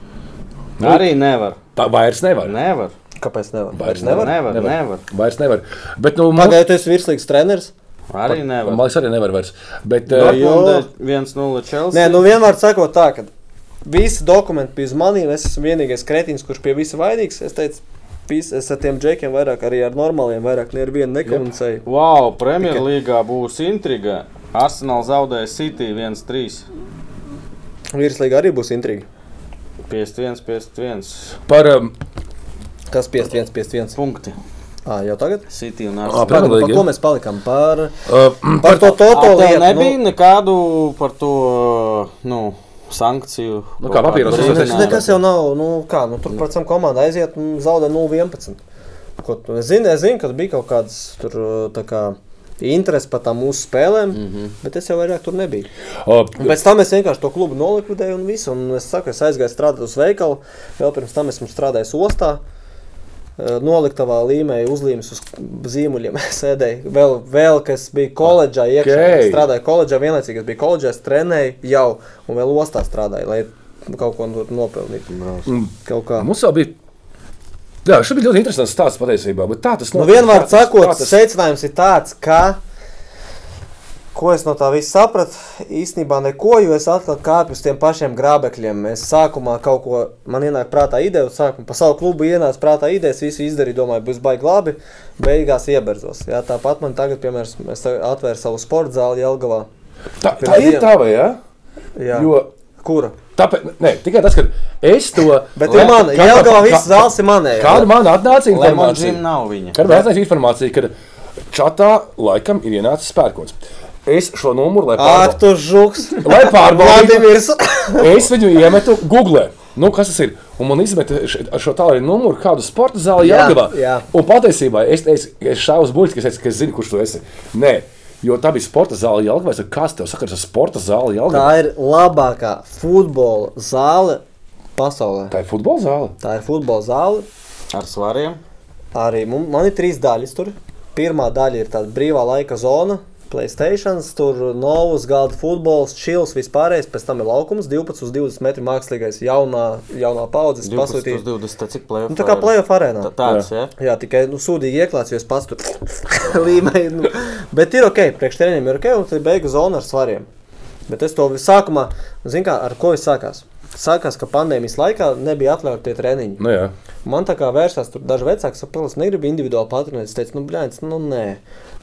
[SPEAKER 2] Arī nevar.
[SPEAKER 1] Tā vairs nevar.
[SPEAKER 2] Nevar.
[SPEAKER 3] Kāpēc nevar?
[SPEAKER 1] Vairs
[SPEAKER 2] Nevar,
[SPEAKER 1] Nevar?
[SPEAKER 2] nevar. nevar. nevar.
[SPEAKER 1] Vairs nevar. Bet, nu, mums-
[SPEAKER 3] Pagaidiet, tu esi virslīgs treneris.
[SPEAKER 2] Arī nevar.
[SPEAKER 1] Man liekas, arī nevar vairs. Bet,
[SPEAKER 3] Jā,
[SPEAKER 1] eh,
[SPEAKER 3] jā.
[SPEAKER 2] Dortmundē 1-0 Chelsea.
[SPEAKER 3] Nē, nu vienmēr sakot tā, ka visi dokumenti bija uz maniem, es esmu vienīgais kretīns, kurš pie visa vainīgs. Es teicu, vis, es ar tiem džekiem vairāk, arī ar normāliem, vairāk ne ar vienu nekomunicēju.
[SPEAKER 2] Wow, Premjerlīgā būs intriga. Arsenal zaudēja City 1-3.
[SPEAKER 3] Virslīga arī būs intriga.
[SPEAKER 2] 51, 51
[SPEAKER 1] par um,
[SPEAKER 3] Kas 51, 51?
[SPEAKER 2] punkti.
[SPEAKER 3] Ah, jau tagad?
[SPEAKER 2] City un
[SPEAKER 1] Ah,
[SPEAKER 2] Arsenal.
[SPEAKER 1] Premier
[SPEAKER 3] Pagaidām,
[SPEAKER 1] League,
[SPEAKER 3] par
[SPEAKER 1] ja?
[SPEAKER 3] ko mēs palikām? Par,
[SPEAKER 1] uh,
[SPEAKER 3] par to
[SPEAKER 2] Tā
[SPEAKER 3] toto lietu. Nu,
[SPEAKER 2] nebija nekādu par to nu, sankciju.
[SPEAKER 1] Nu,
[SPEAKER 2] kaut
[SPEAKER 1] kā
[SPEAKER 2] kādu
[SPEAKER 1] papīros
[SPEAKER 3] Nu, tas
[SPEAKER 1] uzrakstīt.
[SPEAKER 2] brīdinājumu.
[SPEAKER 3] nekas jau nav, nu kā, nu tur pēc tam komanda aiziet un zaudē 0-11. Ko tu- Es zinu, es zinu, ka bija kaut kādas tur tā kā interesi par tām mūsu spēlēm, mm -hmm. bet es jau vairāk tur nebiju. Un
[SPEAKER 1] uh,
[SPEAKER 3] Pēc tam es vienkārši to klubu nolikvidēju un visu. Un es saku, es aizgāju strādāt uz veikalu, vēl pirms tam esmu strādājis ostā. eh, Noliktavā līmēju uzlīmes uz zīmoliem. Sēdēju vēl, vēl kas bija koledžā. Iekšā,
[SPEAKER 1] Okei.
[SPEAKER 3] okay. Strādāju koledžā, vienlaicīgi es biju koledžā, es trenēju jau un vēl ostā strādāju, lai kaut ko tur nopelnītu. Kaut kā.
[SPEAKER 1] mm, mums jau bija. Jā, šis bija ļoti interesants stāsts patiesībā. bet Tā tas
[SPEAKER 3] Nu,
[SPEAKER 1] notiek,
[SPEAKER 3] vienmēr
[SPEAKER 1] tā tas-
[SPEAKER 3] sakot,
[SPEAKER 1] tā tas-
[SPEAKER 3] secinājums ir tāds, ka, ko es no tā visa sapratu, īstenībā neko, jo es atkal kāpu uz tiem pašiem grābekļiem. Es sākumā kaut ko, man ienāk prātā ideja, un sākumā pa savu klubu ienāca prātā ideja, es visu izdarīju, domāju, būs baigi labi, beigās ieberzos. Jā, tāpat man tagad, piemēram, es tagad atvēru savu sporta zāli Jelgavā.
[SPEAKER 1] tā, tā ir tā, vai ne?
[SPEAKER 3] Jā.
[SPEAKER 1] Jo
[SPEAKER 3] Kura?
[SPEAKER 1] tāpēc, ne, tikai tas, ka es to.
[SPEAKER 3] Bet ir mana,
[SPEAKER 1] Kā-
[SPEAKER 3] Jelgavā
[SPEAKER 1] kā-
[SPEAKER 3] viss zāles ir manējā.
[SPEAKER 1] Kāda man atnāca
[SPEAKER 2] Lemon Jim
[SPEAKER 1] informācija?
[SPEAKER 2] nav viņa.
[SPEAKER 1] Kad man atnāca informācija, ka čatā laikam ir ienācis spērkots. Es šo numuru, lai
[SPEAKER 3] Ak,
[SPEAKER 1] pārbaudītu,
[SPEAKER 3] tu žuks!
[SPEAKER 1] lai pārbaudītu,
[SPEAKER 3] Vladimirs!
[SPEAKER 1] es viņu iemetu Google. Nu, kas tas ir? Un man izmetā šo tālruņa numuru kādu sporta zāli
[SPEAKER 3] Jā,
[SPEAKER 1] Jāgavā.
[SPEAKER 3] jā.
[SPEAKER 1] Un patiesībā es, es, es šāvu buļķis, kas teica, ka es zinu, kurš tu esi. Nē, jo tā bija sporta zāle Jāgavā. Es saku, kas tev sakars ar sporta zāli
[SPEAKER 3] Tā
[SPEAKER 1] Jāgavā?
[SPEAKER 3] ir labākā futbola zāle pasaulē.
[SPEAKER 1] Tā ir futbola zāle.
[SPEAKER 3] Tā ir futbola zāle.
[SPEAKER 2] Ar svariem.
[SPEAKER 3] Arī mums, man ir trīs daļas. Tur. Pirmā daļa ir tāda brīvā laika zona. Playstation, tur novus, galda futbols, čils, vispārējais, pēc tam ir laukums, 12 uz 20 metru mākslīgais, jaunā, jaunā paudzes
[SPEAKER 2] 12,
[SPEAKER 3] pasūtījums.
[SPEAKER 2] 20, tā cik plēvē.
[SPEAKER 3] Nu, tā kā playoff arēnā.
[SPEAKER 2] Tāds, jā.
[SPEAKER 3] Jā, tikai nu, sūdīgi ieklāts, jo es pats tur līmēju. Nu. Bet ir ok, priekšstēniem ir ok, un tad beigu zona ar svariem. Bet es to visu sākumā, zinu, kā ar ko es sākās. Sākās, ka pandēmijas laikā nebija atļauti tie treniņi.
[SPEAKER 1] Nu, jā.
[SPEAKER 3] Man tā kā vērsās tur daži vecāki, saprot, es negribu individuāli patronēt. Es teicu, nu, blēņas, nu, nē.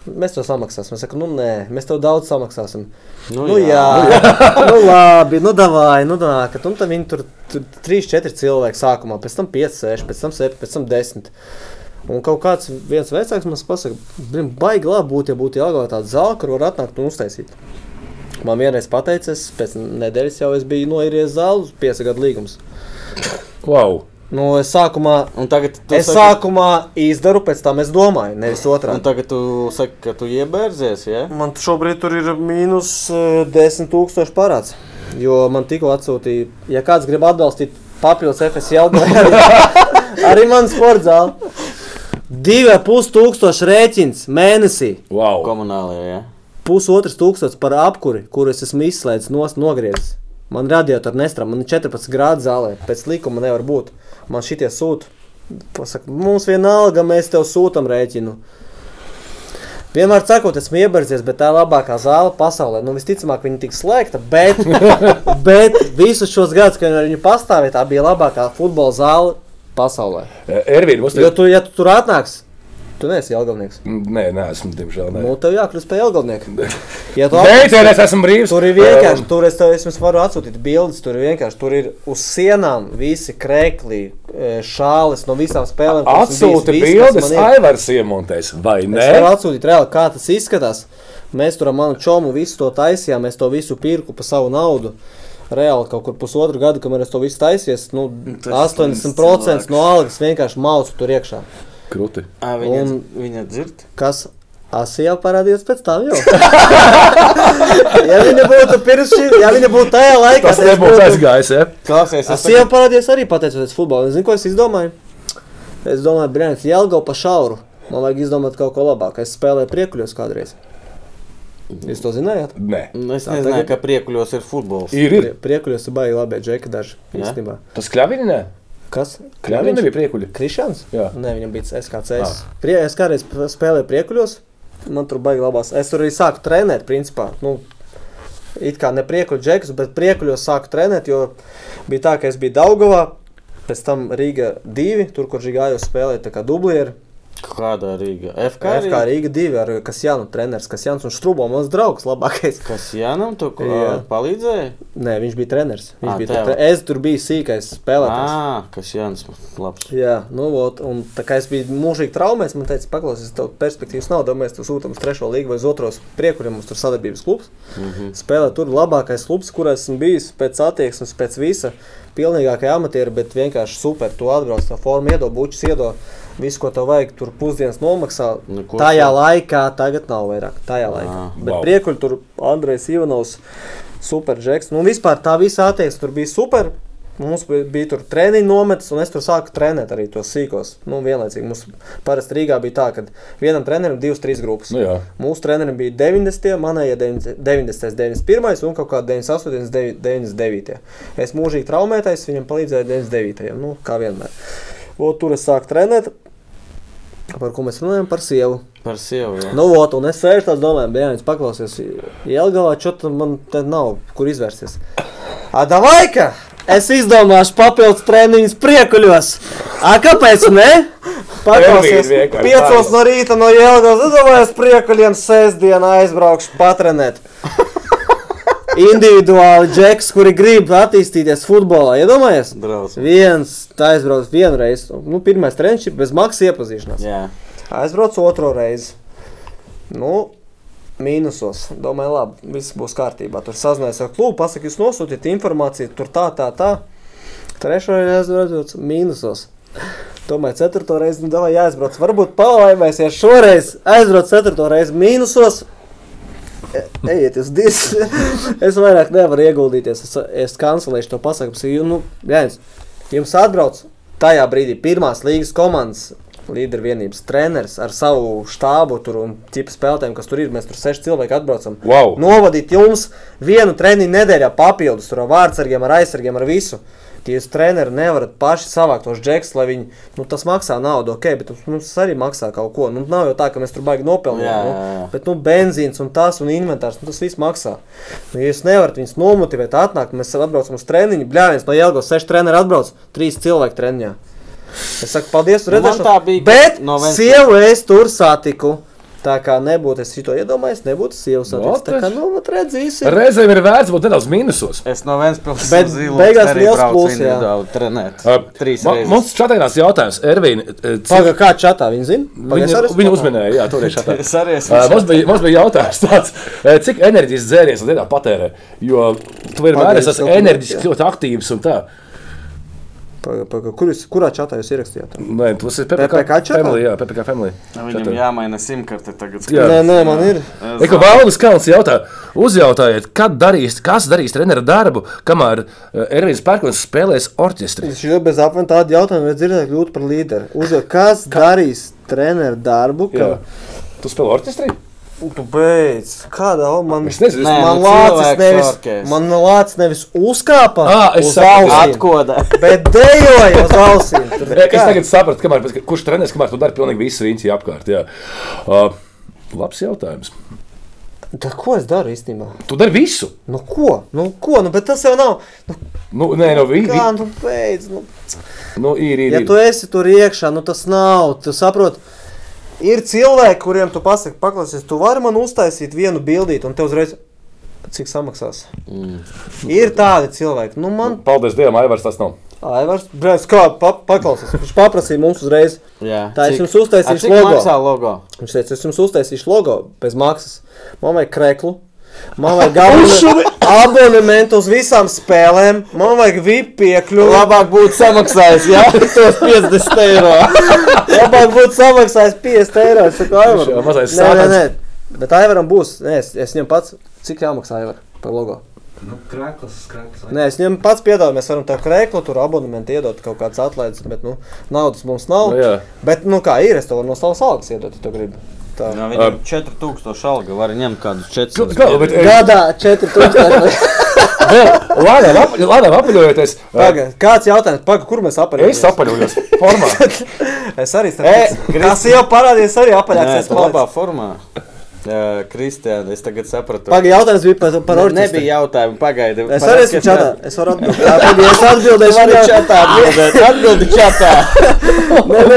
[SPEAKER 3] Mēs to samaksāsim. Es saku, nu, nē, mēs tev daudz samaksāsim.
[SPEAKER 2] Nu
[SPEAKER 3] Nu, nu jā, nu, labi, nu, davāj, nu, tā, ka tu tam viņi tur 3-4 cilvēki sākumā, pēc tam 5-6, pēc tam 7, pēc tam 10. Un kaut kāds viens vecāks man pasaka, "Blim, baigi labi būtu, ja būtu jāgāja tāda zāle, kur var atnākt un uztaisīt. Man vienreiz pateicis, pēc nedēļas jau es biju noiries zāles, 5 gadu līgums.
[SPEAKER 1] Wow.
[SPEAKER 3] Nu, es sākumā
[SPEAKER 2] Un tagad tu
[SPEAKER 3] Es
[SPEAKER 2] saki-
[SPEAKER 3] sākumā izdaru, pēc tam es domāju, nevis
[SPEAKER 2] Un
[SPEAKER 3] otrādi.
[SPEAKER 2] tagad tu saki, ka tu iebērzies, jā?
[SPEAKER 3] Man šobrīd tur ir mīnus eh, 10 000 parāds. Jo man tikko atsūtīja, ja kāds grib atbalstīt papildus FS jautājumu, arī man sporta zāli. 2,5 tūkstoši rēķins mēnesī,
[SPEAKER 1] Wow.
[SPEAKER 2] Komunālajā, jā.
[SPEAKER 3] pusotrs tūkstots par apkuri, kurus esmu izslēdzis no nogriezis. Man radiatori nestrādā, man ir 14 grādi zālē, pēc likuma nevar būt. Man šitie sūta. Pasaka, mums vienalga, mēs tev sūtām rēķinu. Vienmēr sakot, esmu ieberzies, bet tā ir labākā zāle pasaulē. Nu, visticamāk, viņa tiks slēgta, bet, bet visus šos gadus, kad viņa pastāvēja, tā bija labākā futbola zāle pasaulē.
[SPEAKER 1] E, Ervīna, mums
[SPEAKER 3] Jo
[SPEAKER 1] te...
[SPEAKER 3] tu, ja tu tur atnāks, tu neesi Jelgavnieks.
[SPEAKER 1] Nē, nē, esmu, diemžēl, nē.
[SPEAKER 3] Nu, tev jākļūst par Jelgavnieku. Ja tu
[SPEAKER 1] Beidzot, es esmu brīvs.
[SPEAKER 3] Tur ir vienkārši, tur es tev es jums varu atsūtīt bildes. Tur ir vienkārši, tur ir uz sienām visi krēkli, e, šāles no visām spēlēm. kas ir
[SPEAKER 1] Atsūti
[SPEAKER 3] bijis, viss, kas
[SPEAKER 1] bildes,
[SPEAKER 3] man ir.
[SPEAKER 1] Aivars iemontēs, vai
[SPEAKER 3] Es varu
[SPEAKER 1] ne?
[SPEAKER 3] atsūtīt reāli, kā tas izskatās. Mēs tur ar manu čomu visu to taisījām, es to visu pirku par savu naudu. Reāli kaut kur pusotru gadu, kamēr es to visu taisies, nu,
[SPEAKER 2] Tas
[SPEAKER 3] 80% no algas vienkārši maucu tur iekšā.
[SPEAKER 1] Kruti.
[SPEAKER 2] Ā, Viņa,
[SPEAKER 3] Un-
[SPEAKER 2] viņa dzird.
[SPEAKER 3] Kas asī jau parādījās pēc tam jau? ja viņa būtu pirms šī, ja viņa būtu tajā laikā,
[SPEAKER 1] Tas
[SPEAKER 3] tad es
[SPEAKER 1] nebūs
[SPEAKER 3] būtu-
[SPEAKER 1] aizgājis, ja?
[SPEAKER 2] Klausies,
[SPEAKER 3] Es jau parādījos arī pateicoties futbolam. Zinu, ko es izdomāju? Es domāju, Brīsīs, Jālgau pa šauru. Man vajag izdomāt kaut ko labāku. Es spēlēju priekuļos kādreiz.
[SPEAKER 1] Mhm.
[SPEAKER 3] Jūs to zinājāt?
[SPEAKER 1] Nē.
[SPEAKER 2] Es
[SPEAKER 3] Tā
[SPEAKER 2] nezināju,
[SPEAKER 3] tagad-
[SPEAKER 2] ka priekuļos ir futbols.
[SPEAKER 1] Ir, ir.
[SPEAKER 3] Prie- Priekuļos ir baigi labi, džeki daži
[SPEAKER 2] Jā.
[SPEAKER 3] īstenībā.
[SPEAKER 1] Tas kļavini, nē?
[SPEAKER 3] Kas?
[SPEAKER 1] Kļavini nebija priekuļi.
[SPEAKER 3] Krišans?
[SPEAKER 1] Jā.
[SPEAKER 3] Nē, viņam bija SKC. Prie, es kādreiz p- spēlēju priekuļos. Man tur baigi labās. Es tur arī sāku trenēt, principā. Nu, It kā ne priekuļu džekus, bet priekuļos sāku trenēt, jo bija tā, ka es biju Daugavā, pēc tam Rīga 2, tur, kur Žigājos spēlēja, tā kā dublieri.
[SPEAKER 2] Kāda Rīga? FK.
[SPEAKER 3] Kā FK Rīga 2 ar Kasjānu treneris, Kasjāns un Štrūbo, mans draugs labākais.
[SPEAKER 2] Kas Jānam to
[SPEAKER 3] Jā.
[SPEAKER 2] palīdzēja?
[SPEAKER 3] Nē, viņš bija treneris. Viņš
[SPEAKER 2] Ā,
[SPEAKER 3] bija
[SPEAKER 2] tev.
[SPEAKER 3] tur, es tur biju sīkais spēlētājs.
[SPEAKER 2] Ā, kas Jānis labs.
[SPEAKER 3] Jā, nu, vot, un tā kā es biju mūžīgi traumēts, man teica, paklausies, tev perspektīvas nav. Domāju, tu sūti uz trešo līgu vai uz otro priekuriem, mums tur sadarbības klubs. Mm
[SPEAKER 2] Mhm.
[SPEAKER 3] -hmm. Spēlē tur labākais klubs, kurā esmu bijis pēc attieksmes, pēc visa. Pilnīgākie amatieri, bet vienkārši super. Tu atbrauc, tā forma iedod, bučus iedod. Visu, ko tev vajag, tur pusdienas nomaksā.
[SPEAKER 2] Nu, ko Ah, tev?
[SPEAKER 3] Tajā laikā, tagad nav vairāk. Tajā laikā.
[SPEAKER 2] Ā,
[SPEAKER 3] Bet
[SPEAKER 1] vau.
[SPEAKER 3] priekuļi tur Andrejs Ivanovs. Super žeks. Nu, vispār tā visa attieksme tur bija super. Mums bi- bija tur treniņa nometnes, un es tur sāku trenēt arī tos sīkos. Nu, vienlaicīgi mums parasti Rīgā bija tā, ka vienam trenerim bija divas, trīs grupas.
[SPEAKER 1] Nu jā.
[SPEAKER 3] Mūsu trenerim bija 90, manējā 90, 91 un kaut kā 98, 99. Es mūžīgi traumētais, viņam palīdzēja 99. Nu, kā vienmēr. O, tur es sāku trenēt, par ko mēs runājam, par sievu.
[SPEAKER 2] Par sievu. jā.
[SPEAKER 3] Nu, ot, un es sēžu tādā domā, bija jāņem, paklausies, Jēlgavā, čo tad man te nav, kur izvērsties. Adavaika! Es izdomāšu papildus treniņus priekuļos. A, kāpēc ne? Paklausies,
[SPEAKER 1] Elvīra vienkārši
[SPEAKER 3] piecos
[SPEAKER 1] pāris.
[SPEAKER 3] no rīta no Jēlgavas, adomājos priekuļiem, sēsdienā aizbraukšu patrenēt. Individuāli džeks, kuri grib attīstīties futbolā, iedomājies?
[SPEAKER 2] Drausmas.
[SPEAKER 3] Viens, tā aizbrauc vienreiz, nu, pirmais treniņš bez maksas iepazīšanās.
[SPEAKER 2] Jā.
[SPEAKER 3] Aizbraucu otro reizi. Nu, mīnusos. Domāju, labi, viss būs kārtībā. Tur sazinājās ar klubu, pasakiet, jūs nosūtiet informāciju, tur tā, tā, tā. Trešo reizi aizbraucu mīnusos. Domāju, ceturto reizi, nu, davai jāizbrauc. Varbūt palaimēsies šoreiz. Aizbraucu ceturto reizi mīnusos. E- Ejiet, uz dīs. es vairāk nevaru ieguldīties. Es, es kancelēšu to pasaku. Es saku, Nu, Jānis, jums atbrauc tajā brīdī pirmās līgas komandas līdervienības treneris ar savu štābu tur un tipu spēlētājiem, kas tur ir. Mēs tur seši cilvēki atbraucam.
[SPEAKER 1] Wow.
[SPEAKER 3] Novadīt jums vienu treniņu nedēļā papildus tur ar vārdsargiem, ar aizsargiem, ar visu. Tie jūs treneri nevarat paši savākt tos džekus, lai viņi, nu, tas maksā naudu, ok, bet mums- mums arī maksā kaut ko. Nu, nav jau tā, ka mēs tur baigi
[SPEAKER 2] Jā,
[SPEAKER 3] nopelnām. Nu,
[SPEAKER 2] jā, jā.
[SPEAKER 3] Bet nu, benzīns un tas un inventārs, nu, tas viss maksā. Nu, ja jūs nevarat viņus nomotivēt, atnākt, mēs atbraucam uz treniņu. Bļā, viens no Jēlgos seši treneri atbrauc, trīs cilvēki treniņā. Es saku, paldies,
[SPEAKER 2] Nu, man
[SPEAKER 3] redzēsim.
[SPEAKER 2] tā bija, ka
[SPEAKER 3] bet
[SPEAKER 2] no
[SPEAKER 3] no
[SPEAKER 2] Ventspils-
[SPEAKER 3] sievu es tur satiku. Tā kā nebūtu es to iedomājies, nebūtu sievu saticis. Tā
[SPEAKER 1] taču.
[SPEAKER 3] kā, nu, vat redzēsim.
[SPEAKER 1] Reizēm ir vērts būt nedaudz mīnusos.
[SPEAKER 2] Es no Vēnspils
[SPEAKER 3] Bet beigās liels pluss, jā.
[SPEAKER 2] trenēt.
[SPEAKER 1] Uh,
[SPEAKER 2] Trīs
[SPEAKER 1] ma-
[SPEAKER 2] reizes.
[SPEAKER 1] Mums čatājas jautājums, Ervīna.
[SPEAKER 3] Pagaidām, kā čatā viņi zina?
[SPEAKER 1] Viņa, viņa uzminēja, jā, toreiz tā.
[SPEAKER 2] Es arī esmu
[SPEAKER 1] Ā, Mums bija, mums bija jautājums, tāds, ā, cik enerģijas dzēriens dienā patērē. Jo tu vienmēr
[SPEAKER 3] Pagriezt
[SPEAKER 1] esi
[SPEAKER 3] kaut kur,
[SPEAKER 1] enerģiski,
[SPEAKER 3] jā.
[SPEAKER 1] ļoti aktīvs un tā.
[SPEAKER 3] Paga, paga, kur jūs, kurā čatā jūs ierakstījāt?
[SPEAKER 1] Nē, tas ir
[SPEAKER 3] PPK čatā?
[SPEAKER 1] Family, jā, PPC Family.
[SPEAKER 2] Nu, Viņam jāmaina simtkarte tagad.
[SPEAKER 1] Jā.
[SPEAKER 3] Nē, nē, man ir.
[SPEAKER 1] Eko Valdes Kalns jautā, uzjautājiet, kad darīs, kas darīs treneru darbu, kamēr eh, Ervīns Pērkons spēlēs orķestri.
[SPEAKER 3] Viņš jau bez apmēram tādu jautājumu, vai dzirdēt, kļūt par līderi. Uzvar, kas darīs treneru darbu? Ka...
[SPEAKER 1] Jā. Tu spēlē orķestri?
[SPEAKER 3] Tu beidz, kādā o, man
[SPEAKER 1] Es nezinu,
[SPEAKER 3] Nē,
[SPEAKER 1] es-
[SPEAKER 3] man
[SPEAKER 2] nu,
[SPEAKER 3] lācis
[SPEAKER 2] cilvēks
[SPEAKER 3] nevis,
[SPEAKER 2] orķestris.
[SPEAKER 3] man lācis nevis uzkāpa
[SPEAKER 1] Ā, Ah, es
[SPEAKER 3] uz
[SPEAKER 1] sapratu.
[SPEAKER 3] ausīm,
[SPEAKER 2] Atkoda.
[SPEAKER 3] bet dejoja uz ausīm. Tur
[SPEAKER 1] Es tagad sapratu, kamēr, pēc- kurš trenēs, kamēr tu dari pilnīgi visu rīņķi apkārt. Jā. Uh, labs jautājums.
[SPEAKER 3] Tā ko es daru īstenībā?
[SPEAKER 1] Tu dari visu.
[SPEAKER 3] Nu, ko? Nu, ko? Nu, bet tas jau nav. Nu,
[SPEAKER 1] Nu, nē, no vi,
[SPEAKER 3] kā,
[SPEAKER 1] vi,
[SPEAKER 3] nu, beidz. Nu.
[SPEAKER 1] nu, ir, ir,
[SPEAKER 3] Ja
[SPEAKER 1] ir.
[SPEAKER 3] tu esi tur iekšā, nu, tas nav. Tu saproti, ir cilvēki, kuriem tu pasaki, paklausies, tu vari man uztaisīt vienu bildīti, un te uzreiz. Cik samaksās? Mm. Ir tādi cilvēki. Nu, man,
[SPEAKER 1] Paldies Dievam, Aivars tas nav.
[SPEAKER 3] Aivars, brālis, kā pa, paklausies. Viņš paprasīja mums uzreiz.
[SPEAKER 2] Jā,
[SPEAKER 3] Tā es
[SPEAKER 2] cik-
[SPEAKER 3] jums
[SPEAKER 2] A,
[SPEAKER 3] uztaisīšu
[SPEAKER 2] cik
[SPEAKER 3] logo.
[SPEAKER 2] maksā logo.
[SPEAKER 3] Viņš teica, es jums uztaisīšu logo bez maksas. Man vajag kreklu. Man vajag abone- abonementu uz visām spēlēm. Man vajag VIP piekļuvi.
[SPEAKER 2] Labāk būtu samaksājis, jā, tos 50 eiro.
[SPEAKER 3] Labāk būtu samaksājis 50 eiro. Es saku, Aivar,
[SPEAKER 1] Viņš jau mazais
[SPEAKER 3] nē, nē,
[SPEAKER 1] sātans.
[SPEAKER 3] nē. Bet Aivaram būs. Nē, es, es viņam pats. Cik jāmaksā Aivaram par logo?
[SPEAKER 6] Nu, krāklas, krāklas.
[SPEAKER 3] Nē, es viņam pats piedāvāju. Mēs varam tev krēklu, tur abonementu iedot kaut kādas atlaides. Bet, nu, naudas mums nav.
[SPEAKER 1] Nu, jā.
[SPEAKER 3] bet, nu, kā ir, es tev varu no savas algas iedot, ja tu gribi. Tā.
[SPEAKER 2] No viņiem 4000 alga var ņemt kādus 400.
[SPEAKER 1] Kā, bet, eh,
[SPEAKER 3] Gadā 4000.
[SPEAKER 1] Lēnām ap- lēnām apaļojoties. eh,
[SPEAKER 3] Pagaid, Kāds jautājums? Paga, kur mēs
[SPEAKER 1] Es
[SPEAKER 3] apgājāmies?
[SPEAKER 1] apaļojos formā.
[SPEAKER 3] Es arī
[SPEAKER 2] E,
[SPEAKER 3] strādāju. Tas jau parādījās arī
[SPEAKER 2] Nē,
[SPEAKER 3] apaļāks.
[SPEAKER 2] tu labā formā. Jā, Kristiāna, es tagad sapratu.
[SPEAKER 3] Pagaid, jautājums bija par, par
[SPEAKER 2] Ne-
[SPEAKER 3] orķestri.
[SPEAKER 2] Nebija jautājumu, pagaidi.
[SPEAKER 3] Es arī esmu čatā. Es varu atbildēt. Jā, tad, ja es atbildēšu,
[SPEAKER 2] Varu
[SPEAKER 3] tad
[SPEAKER 2] čatā atbildēt, atbildi čatā.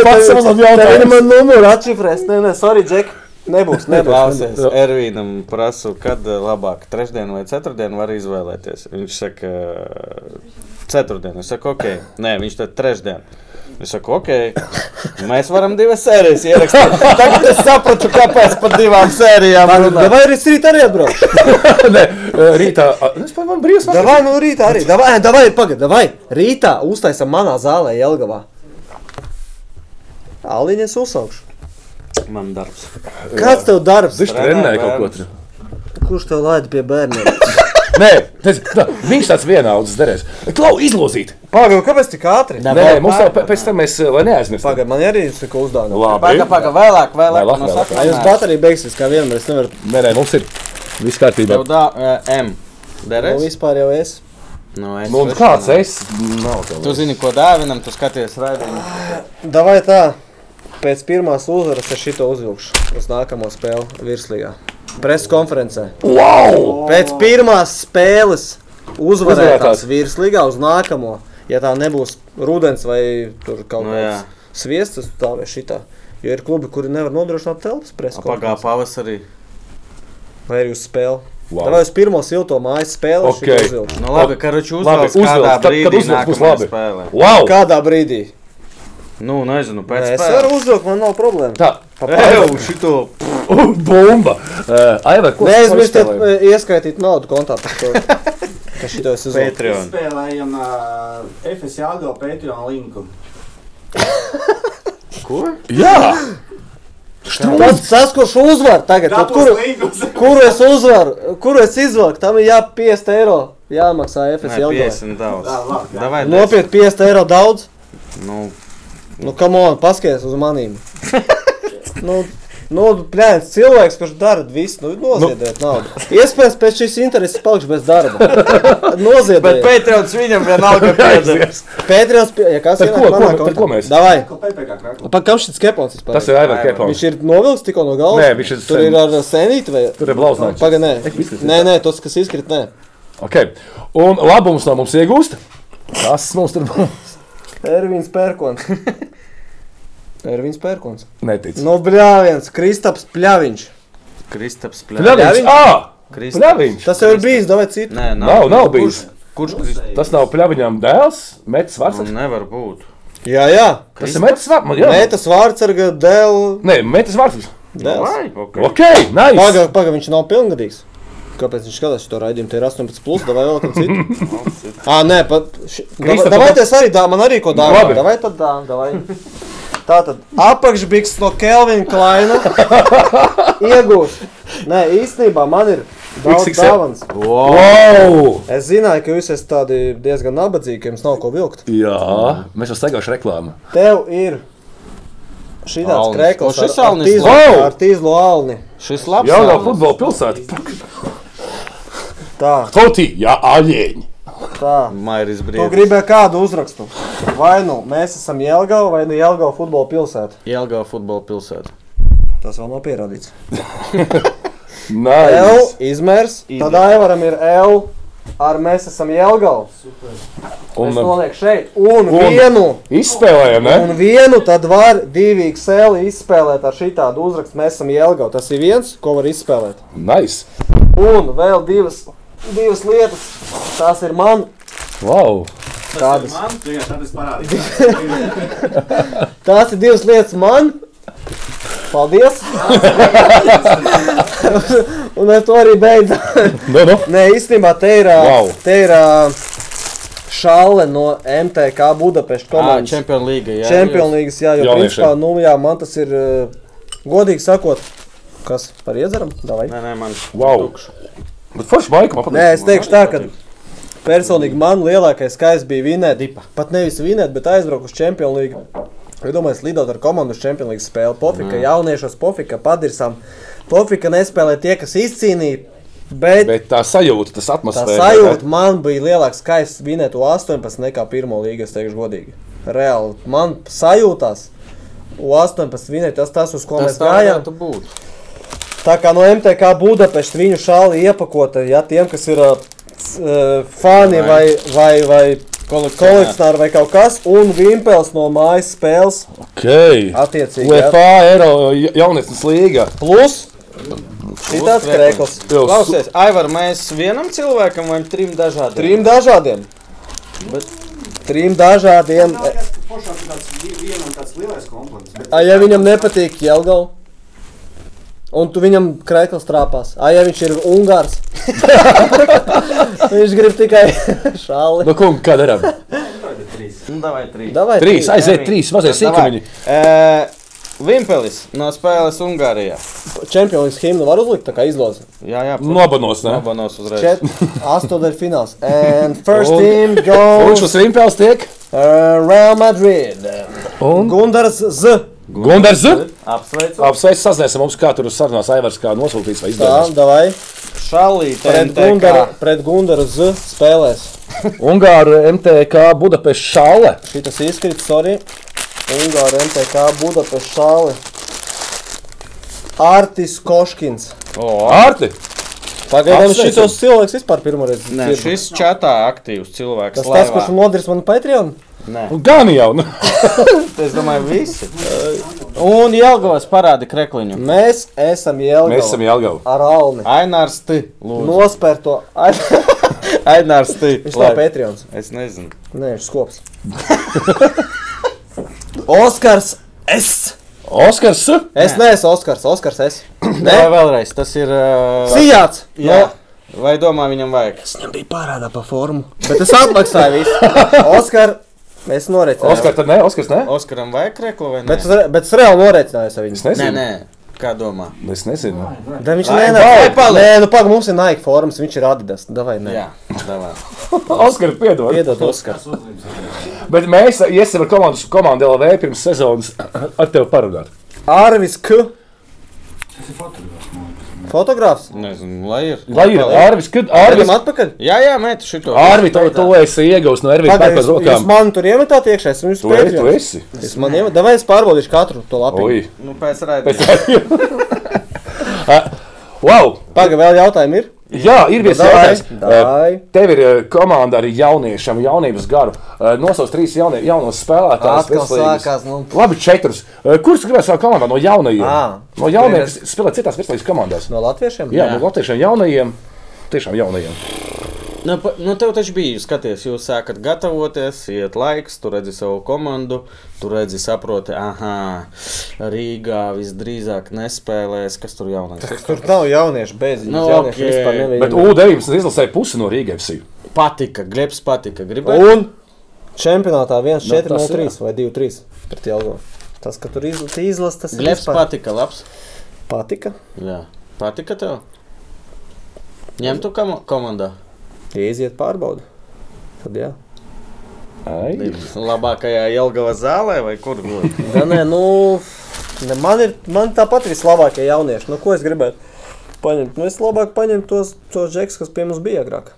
[SPEAKER 1] Pats sev uzdod jautājumu.
[SPEAKER 3] Viņi man numuru atšifrēs. Nē, nē, sorry, Džek. Nebūs, nebūs.
[SPEAKER 2] Klausies, Ervīnam prasu, kad eh, labāk, trešdien vai ceturtdien var izvēlēties. Viņš saka, eh, ceturtdien. Es saku, ok, nē, viņš tad trešdien. Es saku, ok, mēs varam divas sērijas ierakstīt. Tagad es sapratu, kāpēc par divām sērijām runā.
[SPEAKER 3] Davai arī rīt arī atbraukšu.
[SPEAKER 1] Nē, eh, rītā. ah, Es pat man brīvs. vakars.
[SPEAKER 3] Davai, nu rīt arī. Davai, davai, pagaid, davai. Rītā uztaisam manā zālē Jelgavā. Aliņas uzsaukšu.
[SPEAKER 2] Man darbs.
[SPEAKER 3] Kāds tev darbs?
[SPEAKER 1] Viņš trenē kaut ko tur.
[SPEAKER 3] Kurš tev laida pie bērniem?
[SPEAKER 1] Nē, tas, tā, viņš tāds vienauds derēs. Klau, izlozīt!
[SPEAKER 3] Pagaid, kāpēc tik ātri?
[SPEAKER 1] Nē, mums jau pē- pēc tam mēs, eh, lai neaizmirstam.
[SPEAKER 3] Pagaid, man arī ir ko uzdāvināt.
[SPEAKER 2] Paga, paga, vēlāk, vēlāk.
[SPEAKER 1] Vēlāk,
[SPEAKER 2] no
[SPEAKER 1] vēlāk.
[SPEAKER 2] sākuma.
[SPEAKER 3] Ai, jums baterija beigsies, kā vienmēr. Es nevaru.
[SPEAKER 1] Nē, nē, mums ir viss kārtībā.
[SPEAKER 2] Tev dā, eh, M.
[SPEAKER 3] Nu,
[SPEAKER 2] Derēs?
[SPEAKER 3] vispār jau es.
[SPEAKER 2] Nu, es
[SPEAKER 1] Nu, un
[SPEAKER 2] vairs
[SPEAKER 1] kāds
[SPEAKER 2] nezinu.
[SPEAKER 1] es? Nav tā.
[SPEAKER 2] Tu zini, ko dāvinam, tu skaties raidījumu.
[SPEAKER 3] Davai tā, pēc pirmās uzvaras es šito uzvilkšu uz nākamo spēli virslīgā. Preses konferencē.
[SPEAKER 1] Wow!
[SPEAKER 3] Pēc pirmās spēles uzvarētās
[SPEAKER 1] Uzvarētājs.
[SPEAKER 3] virslīgā uz nākamo. Ja tā nebūs rudens vai tur kaut
[SPEAKER 2] Nu,
[SPEAKER 3] kāds
[SPEAKER 2] jā.
[SPEAKER 3] sviests, tad tā vai šitā. Jo ir klubi, kuri nevar nodrošināt telpas preses
[SPEAKER 2] Pagā
[SPEAKER 3] konferencē.
[SPEAKER 2] pavasarī.
[SPEAKER 3] Vai arī uz spēli.
[SPEAKER 1] Wow.
[SPEAKER 3] Davai uz pirmo silto mājas spēli es šito
[SPEAKER 1] Ok.
[SPEAKER 3] uzvilkšu.
[SPEAKER 2] Nu, labi, karoči,
[SPEAKER 1] Labi,
[SPEAKER 2] uzvelc
[SPEAKER 1] uzvilc,
[SPEAKER 2] kādā
[SPEAKER 1] tad, kad
[SPEAKER 2] brīdī
[SPEAKER 1] uzvilc, būs
[SPEAKER 2] nākamajā
[SPEAKER 1] labi.
[SPEAKER 2] spēlē.
[SPEAKER 1] Wow!
[SPEAKER 3] Kādā brīdī?
[SPEAKER 2] Nu, nezinu,
[SPEAKER 3] Nē,
[SPEAKER 2] pēc
[SPEAKER 3] Es varu uzvilkt, man nav problēma.
[SPEAKER 1] Tā,
[SPEAKER 2] Eju, šito.
[SPEAKER 1] bomba! Uh, Aivar, ko
[SPEAKER 3] Neaizmirstiet eh, ieskaitīt naudu kontā. par to, Ka šito es uzvilku.
[SPEAKER 2] Patreon.
[SPEAKER 6] Spēlējam uh, FS Jāgo Patreon linku.
[SPEAKER 1] Jā!
[SPEAKER 3] Tas, tas, kurš uzvar tagad, tad kuru,
[SPEAKER 6] linkus?
[SPEAKER 3] kuru es uzvaru, kuru es izvilku, tam ir jāpiest eiro, jāmaksā FS
[SPEAKER 2] Nē,
[SPEAKER 3] Jelgavai.
[SPEAKER 2] 50
[SPEAKER 6] Jā,
[SPEAKER 2] daudz.
[SPEAKER 6] labi, jā.
[SPEAKER 2] Davai, Desi.
[SPEAKER 3] Nopiet 50 eiro daudz,
[SPEAKER 2] Nu,
[SPEAKER 3] nu kam on, paskaties uz manīm. nu, nu, plēns cilvēks, kurš dara visu, nu noziediet nu. naudu. Iespējams, pēc šīs intereses palikšu bez darba.
[SPEAKER 2] bet
[SPEAKER 3] Noziediet.
[SPEAKER 2] Patreons viņam vienalga pieder.
[SPEAKER 3] Pēdējais, ja kas
[SPEAKER 1] Par
[SPEAKER 3] ienāk
[SPEAKER 1] ko,
[SPEAKER 3] manā
[SPEAKER 1] ko, par
[SPEAKER 3] kontā?
[SPEAKER 1] ko mēs?
[SPEAKER 3] Davai.
[SPEAKER 6] Ko PPK krāklas?
[SPEAKER 3] Pa kam šis kepons vispār?
[SPEAKER 1] Tas ir Aivar
[SPEAKER 2] Aivar.
[SPEAKER 1] Kepons.
[SPEAKER 3] Viņš ir novilcis tikko no galvas.
[SPEAKER 1] Nē, viņš ir
[SPEAKER 3] tur
[SPEAKER 1] sen-
[SPEAKER 3] ir ar senīti vai?
[SPEAKER 1] Tur ir blauznāks.
[SPEAKER 3] Pagaid, nē.
[SPEAKER 1] Ek, viss ir-
[SPEAKER 3] Nē, nē, tas, kas izkrīt, nē.
[SPEAKER 1] Okay. Un labums no mums iegūst. Tas mums tur būs.
[SPEAKER 3] Ervīns Pērkons. Ervīns Pērkons.
[SPEAKER 1] Netic.
[SPEAKER 3] No Bļāviens, Kristaps Pļaviņš.
[SPEAKER 2] Kristaps Pļavi.
[SPEAKER 1] Pļaviņš!
[SPEAKER 3] Pļaviņš.
[SPEAKER 1] Ah!
[SPEAKER 2] Kristaps.
[SPEAKER 1] Pļaviņš!
[SPEAKER 3] Tas jau ir bijis, davai citu.
[SPEAKER 2] Nē,
[SPEAKER 1] Nav, nav bijis.
[SPEAKER 2] Kurš- Kurš Kristaps?
[SPEAKER 1] Tas nav pļaviņam dēls, metis vārds.
[SPEAKER 2] Nu, nevar būt.
[SPEAKER 3] Jā, jā.
[SPEAKER 1] Tas ir metis vārds. Jā,
[SPEAKER 3] Nē, tas vārds ar dēlu.
[SPEAKER 1] Nē, metis vārds.
[SPEAKER 2] Davai, ok.
[SPEAKER 1] Ok, nice!
[SPEAKER 3] Pagaid, pagaid, viņš nav pilngadīgs. Kāpēc viņš skatās to raidījumu? Te ir 18, plus, vai vēl kaut kas cits? Ah, nē, pat. ši- Davai
[SPEAKER 1] Kristof,
[SPEAKER 3] davai tas arī tā, man arī ko dāvā.
[SPEAKER 1] Labi.
[SPEAKER 3] Davai tad tā, davai. Tātad apakšbiks no Kelvina Klaina iegūst. Nē, īstenībā man ir daudz
[SPEAKER 1] XXL.
[SPEAKER 3] dāvāns.
[SPEAKER 1] Wow!
[SPEAKER 3] Es zināju, ka jūs esat tādi diezgan nabadzīgi, ka jums nav ko vilkt.
[SPEAKER 1] Jā, mēs jau staigājuši reklāmu.
[SPEAKER 3] Tev ir šī tāds
[SPEAKER 2] Alnis.
[SPEAKER 3] krēkls
[SPEAKER 2] O, šis
[SPEAKER 3] ar, ar,
[SPEAKER 2] alnis
[SPEAKER 3] tīzlu,
[SPEAKER 1] labi.
[SPEAKER 3] ar tīzlu alni.
[SPEAKER 2] Šis labs
[SPEAKER 1] Jā, no
[SPEAKER 2] nav.
[SPEAKER 1] futbola pilsēta.
[SPEAKER 3] Tā,
[SPEAKER 1] Totī, jā, aļieņi.
[SPEAKER 3] tā.
[SPEAKER 2] Mairis
[SPEAKER 3] Tu
[SPEAKER 2] Brīsīs.
[SPEAKER 3] gribēji kādu uzrakstu? Vai nu mēs esam Jēlgava vai nu Jēlgava futbola pilsēta?
[SPEAKER 2] Ielgā futbola pilsēta.
[SPEAKER 3] Tas vēl nav pierādīts.
[SPEAKER 1] Nē,
[SPEAKER 3] L izmērs, tad Aivaram ir L ar mēs esam Jēlgava. Es
[SPEAKER 1] un
[SPEAKER 3] nolieku šeit.
[SPEAKER 1] Un-
[SPEAKER 3] Un,
[SPEAKER 1] Eh?
[SPEAKER 3] un vienu,
[SPEAKER 1] izspēlējam, ne?
[SPEAKER 3] un vienu tad var divi XL izspēlēt ar šitādu uzrakstu. Mēs esam Jēlgava. Tas ir viens, ko var izspēlēt.
[SPEAKER 1] Nice.
[SPEAKER 3] Un vēl divas, divas lietas. Tās ir man.
[SPEAKER 1] Wow.
[SPEAKER 6] Tas ir
[SPEAKER 3] Tādas.
[SPEAKER 6] man, tikai tad es parādīšu.
[SPEAKER 3] Tās ir divas lietas man. Paldies! un ar to arī beidzam.
[SPEAKER 1] Nu, nu.
[SPEAKER 3] Nē, īstenībā te ir, ā,
[SPEAKER 1] Vau.
[SPEAKER 3] te ir ā, šāle no MTK Budapestas
[SPEAKER 2] Komanda
[SPEAKER 3] komandas.
[SPEAKER 2] Champions Ah, League. Jā,
[SPEAKER 3] Champions League, jā, jo
[SPEAKER 1] Jauniešiem.
[SPEAKER 3] principā, nu, jā, man tas ir ā, godīgi sakot, kas par iedzeram? Davai.
[SPEAKER 2] Nē, nē, man.
[SPEAKER 1] Wow. Bet forši maika man
[SPEAKER 3] Nē,
[SPEAKER 1] patīk.
[SPEAKER 3] es teikšu tā, ka personīgi man lielākais skaists bija vinēt,
[SPEAKER 2] Dipa.
[SPEAKER 3] pat nevis vinēt, bet aizbraukt uz Champions League. Es domāju, es lidot ar komandu uz Champions League spēli. Pofika, mm. jauniešos, pofika, padirsam. Pofika nespēlē tie, kas izcīnīja, bet
[SPEAKER 1] Bet tā sajūta, tas
[SPEAKER 3] Tā
[SPEAKER 1] atmosfēra.
[SPEAKER 3] sajūta man bija lielāka skaists vinēt U18 nekā pirmo līgu, es teikšu godīgi. Reāli. Man sajūtās. U18 vinēt, tas tas, uz ko
[SPEAKER 2] Tas
[SPEAKER 3] mēs
[SPEAKER 2] tā
[SPEAKER 3] gājām.
[SPEAKER 2] varētu būt.
[SPEAKER 3] Tā kā no MTK Budapestas viņu šāli iepakota, ja tiem, kas ir uh, s- uh, fani vai, vai, vai kolekcionāri vai kaut kas, un Vimpels no mājas spēles
[SPEAKER 1] Okay.
[SPEAKER 3] attiecīgi. jā.
[SPEAKER 1] UEFA Eiro jaunatnes līga.
[SPEAKER 3] Plus šitāds krēkls.
[SPEAKER 1] Jau
[SPEAKER 2] Klausies, Aivar, mēs vienam cilvēkam vai trim dažādiem?
[SPEAKER 3] Trim dažādiem.
[SPEAKER 2] Bet-
[SPEAKER 3] Trim dažādiem.
[SPEAKER 6] Man liekas, ka Foršam ir tāds vi- vienam tāds lielais kompliments. bet-
[SPEAKER 3] Ai, ja viņam nepatīk Jēlgava, un tu viņam krēslas trāpās, ai, ja viņš ir Ungārs, viņš grib tikai šāli.
[SPEAKER 1] Nu, kungi, kā darām?
[SPEAKER 6] Tagad trīs.
[SPEAKER 2] Nu, davai, trīs.
[SPEAKER 3] Davai,
[SPEAKER 1] Trīs, aiziet,
[SPEAKER 2] Davai.
[SPEAKER 1] trīs mazie
[SPEAKER 2] Davai.
[SPEAKER 1] sīkumiņi.
[SPEAKER 2] Ē, Vimpelis no spēles Ungārijā.
[SPEAKER 3] Čempions himnu var uzlikt, tā kā izlozi.
[SPEAKER 2] Jā, jā,
[SPEAKER 1] Nobanos, ne?
[SPEAKER 2] Nobanos uzreiz.
[SPEAKER 3] Čet, astotais fināls. And first
[SPEAKER 1] Un-
[SPEAKER 3] team
[SPEAKER 1] Un
[SPEAKER 3] goes
[SPEAKER 1] šis rimpels tiek.
[SPEAKER 3] uh, Real Madrid.
[SPEAKER 1] Un
[SPEAKER 3] Gundars Z.
[SPEAKER 1] Gundars.
[SPEAKER 2] Apsveicu.
[SPEAKER 1] Apsveic, sazināsim mums, kā tur sarunās Aivars, kā nosūtīts vai
[SPEAKER 3] Tā,
[SPEAKER 1] izdevās.
[SPEAKER 3] davai.
[SPEAKER 2] Šalīte.
[SPEAKER 3] Pret Gundaru, pret Gundaru Z spēlēs.
[SPEAKER 1] Ungāru MTK Budapest šāle.
[SPEAKER 3] Šitas izkrits, sorry. Ungāra MTK Budapest šāli. Artis Koškins.
[SPEAKER 1] Ārti!
[SPEAKER 3] Pagaidām
[SPEAKER 1] Apsveicam.
[SPEAKER 3] šitos cilvēks vispār pirmoreiz.
[SPEAKER 2] Nē,
[SPEAKER 3] dzirdu.
[SPEAKER 2] šis čatā aktīvs cilvēks.
[SPEAKER 3] Tas tas,
[SPEAKER 2] laivā.
[SPEAKER 3] kurš nodars man Patreon.
[SPEAKER 2] Nē,
[SPEAKER 1] Gan jau! nu.
[SPEAKER 2] es domāju, visi. Un Jelgavas parāda krekliņu.
[SPEAKER 3] Mēs esam Jēlgava.
[SPEAKER 1] Mēs esam Jālgava.
[SPEAKER 3] Ar Alni.
[SPEAKER 2] Ainārs Tī. Lūdzu.
[SPEAKER 3] Nospērto. Ai,
[SPEAKER 2] Ainārs Tī.
[SPEAKER 3] Viņš nav Patreons.
[SPEAKER 2] Es nezinu.
[SPEAKER 3] Nē, viņš skops. Oskars S.
[SPEAKER 1] Oskars!
[SPEAKER 3] Es neesmu Oskars. Oskars S.
[SPEAKER 2] Nē, vēlreiz. Tas ir. Uh,
[SPEAKER 3] Sijāts.
[SPEAKER 2] jā. Vai domā, viņam vajag?
[SPEAKER 3] Es viņam biju pārādā pa formu. Bet es atmaksāju visu. Oskar. Es norecēju.
[SPEAKER 1] Oskars, tad ne? Oskars, ne?
[SPEAKER 2] Oskaram vajag kreklu vai ne?
[SPEAKER 3] Bet, es re- bet es reāli norecināju ar viņu.
[SPEAKER 1] Es
[SPEAKER 2] Nē,
[SPEAKER 1] nezinu.
[SPEAKER 2] nē. Kā domā?
[SPEAKER 1] Es nezinu.
[SPEAKER 3] Da viņš
[SPEAKER 2] Ai,
[SPEAKER 3] nenāk.
[SPEAKER 2] vai, paliec.
[SPEAKER 3] Nē, nu pagaidi, mums ir Nike forums, viņš ir Adidas. Nu, Davai, nē.
[SPEAKER 2] Jā, davā.
[SPEAKER 1] Oskars, piedod.
[SPEAKER 3] Piedod, Oskar.
[SPEAKER 1] Bet mēs iesim ar komandas, komandu LV pirms sezonas ar tevi parunāt.
[SPEAKER 3] Arvis K.
[SPEAKER 6] Tas ir fotogrāfs.
[SPEAKER 3] Fotogrāfs.
[SPEAKER 2] Nezinu, lai ir.
[SPEAKER 1] Lai ir Arvis, kad Arvis,
[SPEAKER 3] Arvis atpakaļ.
[SPEAKER 2] Jā, jā, mēt šito.
[SPEAKER 1] Arvi, tu, tu esi iegūs no Ervīna
[SPEAKER 3] Pagaidi,
[SPEAKER 1] pērkos
[SPEAKER 3] jūs, jūs
[SPEAKER 1] rokām.
[SPEAKER 3] man tur iemetāt iekšā, es jums
[SPEAKER 1] Tu esi, tu
[SPEAKER 3] pēdējo.
[SPEAKER 1] esi.
[SPEAKER 3] Es man iemetu, davai es pārbaudīšu katru to lapu.
[SPEAKER 1] Oi.
[SPEAKER 2] Nu, pēc raidījuma.
[SPEAKER 1] Wow!
[SPEAKER 3] Pagaidi, vēl jautājumi ir?
[SPEAKER 1] Jā, ir viens
[SPEAKER 3] Davai,
[SPEAKER 1] jautājums.
[SPEAKER 3] davai.
[SPEAKER 1] Tev ir eh, komanda ar jauniešiem, jaunības garu. Eh, Nosauc trīs jaunie, jaunos spēlētājus.
[SPEAKER 3] Atkal
[SPEAKER 1] virslīgas.
[SPEAKER 3] sākās, nu.
[SPEAKER 1] Labi, četrus. Eh, Kurš gribēs savā komandā no jaunajiem?
[SPEAKER 3] Ā,
[SPEAKER 1] no jaunajiem,
[SPEAKER 3] Ah, es-
[SPEAKER 1] kas spēlē citās virslīgas komandās.
[SPEAKER 3] No latviešiem?
[SPEAKER 1] Jā, no latviešiem jaunajiem. Tiešām jaunajiem.
[SPEAKER 2] Nu, pa- nu, tev taču bija, skaties, jūs sākat gatavoties, iet laiks, tu redzi savu komandu, tu redzi, saproti, ah, Rīgā visdrīzāk nespēlēs, kas tur jaunāks.
[SPEAKER 3] Tur nav jauniešu beigas.
[SPEAKER 2] Nu, okei.
[SPEAKER 1] Bet U-19 izlasīja pusi no Rīgas.
[SPEAKER 2] Patika, Glebs patika, gribēja.
[SPEAKER 3] Un čempionātā 1-4-0-3
[SPEAKER 1] tas
[SPEAKER 3] vai 2-3 Nu, pret Jālu. Tas, ka tur izl- izlases, tas ir
[SPEAKER 2] Glebs
[SPEAKER 3] vispār
[SPEAKER 2] patika, labs.
[SPEAKER 3] patika.
[SPEAKER 2] Jā. Patika tev? Ņemtu kam komandā.
[SPEAKER 3] Ja iziet pārbaudi, tad jā.
[SPEAKER 2] Labākajā Jelgava zālē vai kur? gluži?
[SPEAKER 3] Da, nē, nu, ne, man ir man tāpat vislabākie jaunieši. Nu, ko es gribētu paņemt? Nu, es labāk paņemtu tos, tos džekus, kas pie mums bija agrāk.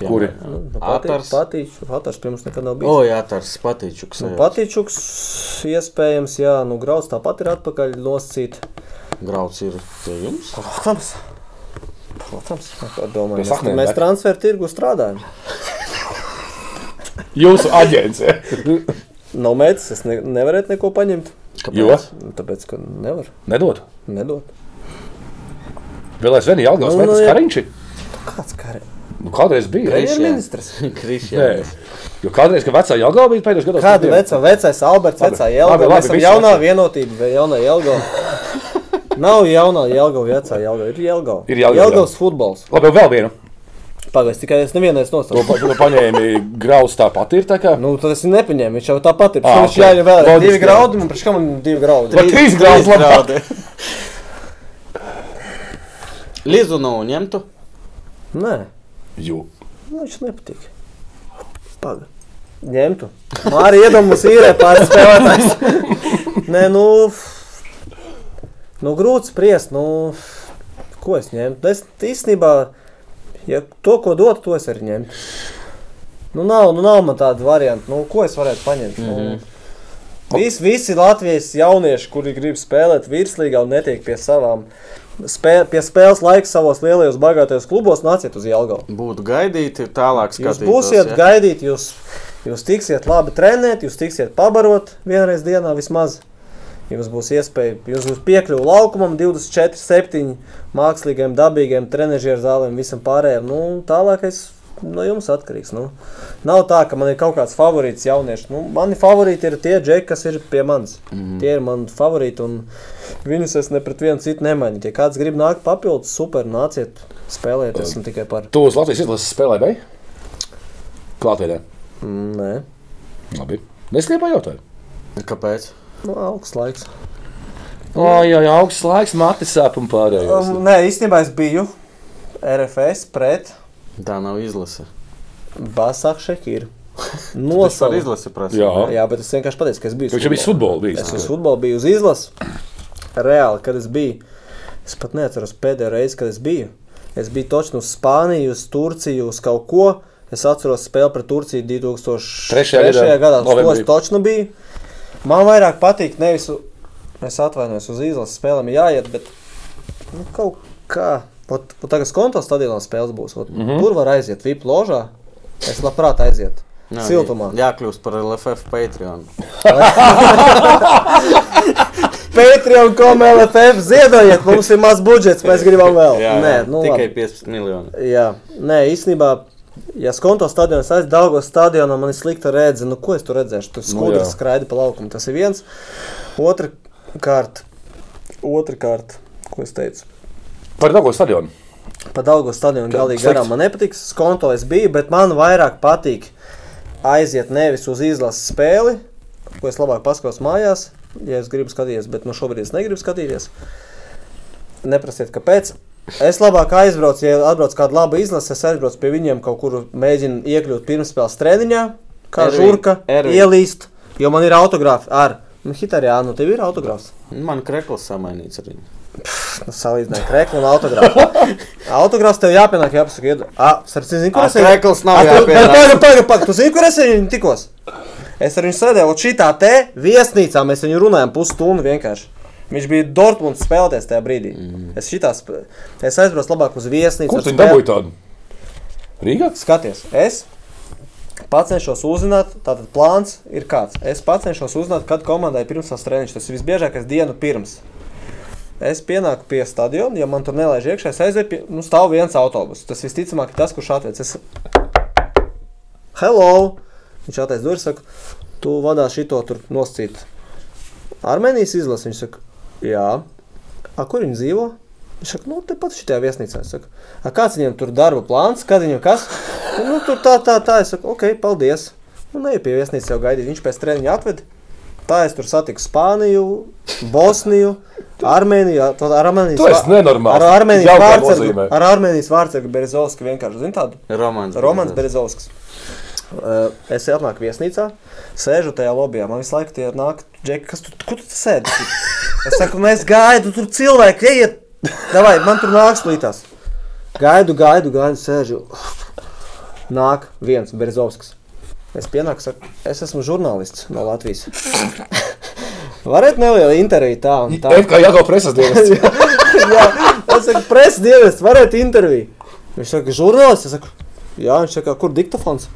[SPEAKER 1] Kuri?
[SPEAKER 3] Nu, nu,
[SPEAKER 2] Atars.
[SPEAKER 3] Patīču, Atars pie mums nekad nav bijis.
[SPEAKER 2] O, jā, tas patīčuks.
[SPEAKER 3] Nu,
[SPEAKER 2] jā.
[SPEAKER 3] Patīčuks, iespējams, jā, nu, grauds tāpat ir atpakaļ nosacīt.
[SPEAKER 2] Grauds ir pie jums.
[SPEAKER 3] Protams, protams, nu, kā
[SPEAKER 1] Pie
[SPEAKER 3] domāju, mēs,
[SPEAKER 1] saknēm,
[SPEAKER 3] mēs
[SPEAKER 1] bet-
[SPEAKER 3] transferu tirgu strādājam.
[SPEAKER 1] Jūsu aģents.
[SPEAKER 3] Nav mērķis, es ne, nevarētu neko paņemt.
[SPEAKER 1] Jo?
[SPEAKER 3] Nu, Tāpēc, ka nevaru,
[SPEAKER 1] Nedod.
[SPEAKER 3] nedod.
[SPEAKER 1] Vēl aizvien ir Jālgājas
[SPEAKER 3] Nu,
[SPEAKER 1] metas
[SPEAKER 3] nu, jā.
[SPEAKER 1] kariņš.
[SPEAKER 3] Kāds kā ir?
[SPEAKER 1] Nu, kādreiz bija.
[SPEAKER 2] Krišjā.
[SPEAKER 3] Premjerministrs.
[SPEAKER 1] Nē,
[SPEAKER 2] Krišjā.
[SPEAKER 1] jo kādreiz, kad vecā Jālgāja bija pēdējos gados, tad
[SPEAKER 3] Kāda
[SPEAKER 1] bija-
[SPEAKER 3] veca, vecais Alberts, vecā Jelga?
[SPEAKER 1] labi,
[SPEAKER 3] Mēs esam
[SPEAKER 1] visi
[SPEAKER 3] jaunā
[SPEAKER 1] veci.
[SPEAKER 3] vienotība, vai jaunā Jelga? Nav jaunā Jelga, vecā Jelga. Ir Jelga.
[SPEAKER 1] Ir Jelgava, jā.
[SPEAKER 3] Jelgavas futbols.
[SPEAKER 1] Labi, vēl vienu.
[SPEAKER 3] Pagaidz, tikai es nevienu
[SPEAKER 1] To
[SPEAKER 3] nesnosaucu.
[SPEAKER 1] pa- to paņēmi grauds tāpat ir tā kā.
[SPEAKER 3] Nu, tad es nepaņēmu, viņš jau tāpat ir.
[SPEAKER 1] Ā,
[SPEAKER 3] Viņš
[SPEAKER 1] Ah, ok.
[SPEAKER 3] jau ir vēl
[SPEAKER 1] Loģiski,
[SPEAKER 3] divi
[SPEAKER 1] jā.
[SPEAKER 3] graudi, man priekš kā man divi graudi.
[SPEAKER 1] Vai trīs graudus labāk?
[SPEAKER 2] Lizu nav ņemtu.
[SPEAKER 3] Nē,
[SPEAKER 1] Jo.
[SPEAKER 3] nu, viņš nepatīk. Pagaidz. Ņemtu. Māri iedomus īrē pāris spēlētājs. Nē, nu, nu grūti spriest, nu, ko es ņemtu. Nu, Es īstenībā, ja to, ko dot, to es arī ņemtu. Nu, nav, nu, nav man tāda varianta, nu, ko es varētu paņemt. Mm -hmm. nu, vis, visi Latvijas jaunieši, kuri grib spēlēt virslīgā un netiek pie savām. Spē, pie spēles laika savos lielajos bagātajos klubos nāciet uz Jālgavu.
[SPEAKER 2] Būtu gaidīti, tālāk
[SPEAKER 3] Jūs
[SPEAKER 2] skatīties.
[SPEAKER 3] būsiet ja? gaidīti, jūs, jūs tiksiet labi trenēt, jūs tiksiet pabarot vienreiz dienā vismaz. Jums būs iespēja, jūs būs piekļuve laukumam, 24, 7 mākslīgiem, dabīgiem, trenižera zālēm, visam pārējiem. Nu, tālākais no jums atkarīgs. Nu. Nav tā, ka man ir kaut kāds favorīts jaunieši. Nu, mani favorīti ir tie džeki, kas ir pie manis. Mm. Tie ir mani favorīti, un viņus es ne pret vienu citu nemainu. Ja kāds grib nākt papildus, super, nāciet, spēlēties. Esmu tikai par.
[SPEAKER 1] Tu uz Latvijas izlases spēlē vai? Klātienē.
[SPEAKER 3] Mm, nē.
[SPEAKER 1] Labi. Es tikai pajautāju.
[SPEAKER 2] Kāpēc?
[SPEAKER 3] Nu, augsts laiks.
[SPEAKER 1] O, jā, jā, augsts laiks, matis sāp un
[SPEAKER 3] Um,
[SPEAKER 1] pārējais.
[SPEAKER 3] nē, īstenībā es biju RFS pret
[SPEAKER 2] Tā nav izlase.
[SPEAKER 3] Basāku Šekiru.
[SPEAKER 2] Tas var
[SPEAKER 3] Nosaukt.
[SPEAKER 2] izlase prasīt.
[SPEAKER 1] Jā.
[SPEAKER 3] Jā, bet es vienkārši pateicu, ka es biju.
[SPEAKER 1] Viņš jau bija futbolā bijis.
[SPEAKER 3] Es uz futbolu biju uz izlases. Reāli, kad es biju, es pat neatceros pēdējo reizi, kad es biju. Es biju točnu uz Spāniju, uz Turciju, uz kaut ko. Es atceros spēli pret Turciju 2003.
[SPEAKER 1] Trešajā gadā.
[SPEAKER 3] gadā. Uz to
[SPEAKER 1] Novembrī.
[SPEAKER 3] es točnu biju. Man vairāk patīk nevis, u- es atvainojos, uz izlases spēlēm jāiet, bet nu, kaut kā. Ot, ot tagad skonto stadionā spēles būs. Ot, mm -hmm. Tur var aiziet VIP ložā. Es labprāt aizietu.
[SPEAKER 2] Nā,
[SPEAKER 3] Siltumā.
[SPEAKER 2] jā- Jākļūst par LFF Patreon.
[SPEAKER 3] Patreon, ko MLFF ziedojiet, mums ir maz budžets, mēs gribam vēl. Nē, nu,
[SPEAKER 2] tikai
[SPEAKER 3] labi.
[SPEAKER 2] 15 miljoni.
[SPEAKER 3] Jā, nē, īstenībā, ja skonto stadionā aiz Dāngas stadionā man ir slikta redzes, nu ko es tur redzēšu? Tur skūri
[SPEAKER 1] jā.
[SPEAKER 3] nu, skraida pa laukumu. Tas ir viens. Otrakārt, otrakārt, ko es teicu?
[SPEAKER 1] Par daudz stadionu.
[SPEAKER 3] Pa Dāngas stadionu galīgi
[SPEAKER 1] slikts.
[SPEAKER 3] garām man nepatīk. Skonto es biju, bet man vairāk patīk aiziet nevis uz izlases spēli, ko es labāk paskatos mājās, ja es gribu skatīties, bet nu šobrīd es negribu skatīties. Neprasiet, kāpēc. Es labāk aizbraucu, ja atbrauc kāda laba izlase, es aizbraucu pie viņiem kaut kur, mēģinu iekļūt pirmspēles treniņā, kā
[SPEAKER 2] Ervin,
[SPEAKER 3] žurka,
[SPEAKER 2] Ervin.
[SPEAKER 3] ielīst, jo man ir autogrāfi ar. Nu, Hitārijā, nu, tev ir autogrāfs.
[SPEAKER 2] Man krekls samainīts arī.
[SPEAKER 3] Nu, Salīdzinājumā, krēsla un autogrāfs. autogrāfs tev jāpienāk, jāpasaka, iedod. Ah, starp citu, zini, kur
[SPEAKER 2] Ā,
[SPEAKER 3] es viņu-
[SPEAKER 2] krēkls nav
[SPEAKER 3] Ā, tu-
[SPEAKER 2] jāpienāk.
[SPEAKER 3] bet Pagaidi, pagaidi, pagaidi, tu zini, kur es ar viņu tikos? Es ar viņu sēdēju, un šitā te viesnīcā mēs viņu runājām pusstundu vienkārši. Viņš bija Dortmunds spēlēties tajā brīdī. Mm. Es, šitā, sp- es aizbraucu labāk uz
[SPEAKER 1] Mhm. Kur
[SPEAKER 3] viesnīcu. ar
[SPEAKER 1] tu viņu
[SPEAKER 3] spēli-
[SPEAKER 1] dabūji tādu? Rīgā?
[SPEAKER 3] Skaties, es cenšos uzzināt, tātad plāns ir kāds. Es cenšos uzzināt, kad komandai pirms tās treniņš. Tas ir visbiežākais dienu pirms. Es pienāku pie stadiona, ja man tur nelaiž iekšā, es aizēju pie, nu, stāv viens autobus. Tas visticamāk ir tas, kurš atveic. Es... Hello! Viņš atveic durvis, saka, tu vadā šito tur noscīt. Armēnijas izlase, viņš saka, jā. A, kur viņi dzīvo? Viņš saka, nu, tepat šajā viesnīcā. Es saku, "A, kāds viņam tur darba plāns, kad viņam kas? Nu, tur tā, tā, tā. Es saku, ok, paldies. Un nu, eju pie viesnīcas jau gaidīt. Viņš pēc treniņa atved. Tā es tur satiku Spāniju, Bosniju, Armēniju. Ar ar Armēnijas
[SPEAKER 1] Tu esi
[SPEAKER 3] vā-
[SPEAKER 1] nenormāls.
[SPEAKER 3] ar Armēnijas
[SPEAKER 1] Jauka
[SPEAKER 3] vārdsargu-
[SPEAKER 1] nozīmē.
[SPEAKER 3] ar Armēnijas vārdsargu Berezovski vienkārši. Zini tādu?
[SPEAKER 2] Romans.
[SPEAKER 3] Romanis Berezovskis. Uh, Es atnāku viesnīcā, sēžu tajā lobbyā. Man visu laiku tie nāk, Džek, kas tur, kur tu te sēdi? Es saku, mēs gaidu, tur cilvēki, ejiet, davai, man tur nāks līdās. Gaidu, gaidu, gaidu, sēžu. Nāk viens Berezovskis. Es pienāku, saku, es esmu žurnālists no Latvijas. Varētu nelielu interviju tā un tā.
[SPEAKER 1] Tev kā jāgaut preses dienas.
[SPEAKER 3] Jā, es saku, preses dienas, varētu interviju. Viņš saka, žurnālists. Es saku, jā, viņš saka, kur diktofons?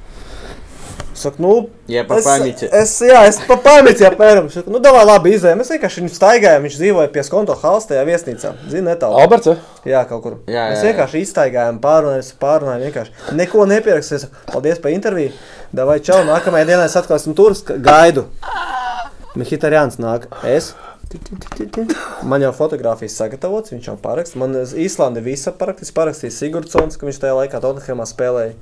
[SPEAKER 3] Es saku, nu,
[SPEAKER 2] Jā, pa
[SPEAKER 3] es-
[SPEAKER 2] pamīti.
[SPEAKER 3] Es, jā, es pa pamīti apmēram. Viņš saka, nu, davai labi izējām. Mēs vienkārši viņu staigājām, viņš dzīvoja pie skonto halsta tajā viesnīcā. Zini, netālu.
[SPEAKER 1] Alberts, eh?
[SPEAKER 3] Jā, kaut kur.
[SPEAKER 2] Jā, jā,
[SPEAKER 3] mēs
[SPEAKER 2] jā.
[SPEAKER 3] vienkārši iztaigājām, pārunājām, pārunājām. Vienkārši. Neko nepierakstīju. es saku, Paldies par interviju. Davai, čau, nākamajā dienā es atkal esmu tur, ska- gaidu. Mihitarians nāk. Es. Ti, ti, ti, ti, ti. Man jau fotografijas sagatavots, viņš jau parakst. Man uz Īslande visa parakstīs, parakstīja Sigurdsons, ka viņš tajā laikā Tottenhamā spēlēja.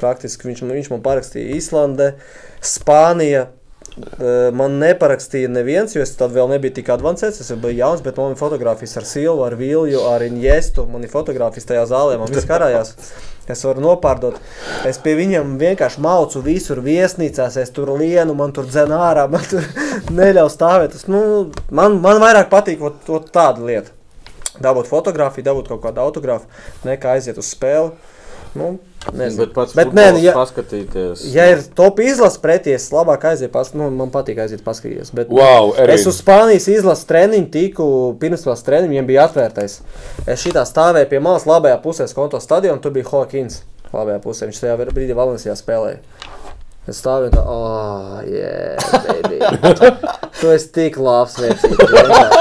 [SPEAKER 3] Praktiski viņš, man- viņš man parakstīja Īslande, Spānija. Eh, Man neparakstīja neviens, jo es tad vēl nebiju tik avansēts. Es biju jauns, bet man bija fotografijas ar Silvu, ar Vilju, ar Injestu. Man ir fotografijas tajā zālē, man viss karājās. Es varu nopārdot. Es pie viņiem vienkārši maucu visur viesnīcās. Es tur lienu, man tur dzen ārā, man tur neļauj stāvēt. Tas, nu, man, man vairāk patīk ot, ot tāda lieta. Dabūt fotografiju, dabūt kaut kādu autogrāfu, nekā aiziet uz spēli. Nu, nezinu.
[SPEAKER 2] Bet pats
[SPEAKER 3] Bet, nē, nu, ja-
[SPEAKER 2] ja... paskatīties.
[SPEAKER 3] Ja ir top izlases pretī, es labāk aizietu, pas... nu, man patīk aiziet paskatīties. Bet...
[SPEAKER 1] Wow,
[SPEAKER 3] Es uz Spānijas izlases treniņu tiku pirms tās treniņiem, viņiem bija atvērtais. Es šitā stāvēju pie malas labajā pusē, konto stadionā, tur bija Hawkins. Labajā pusē viņš tajā brīdī Valencijā spēlēja. Es stāvēju un tā, ah, jē, tu esi tik labs vecītis.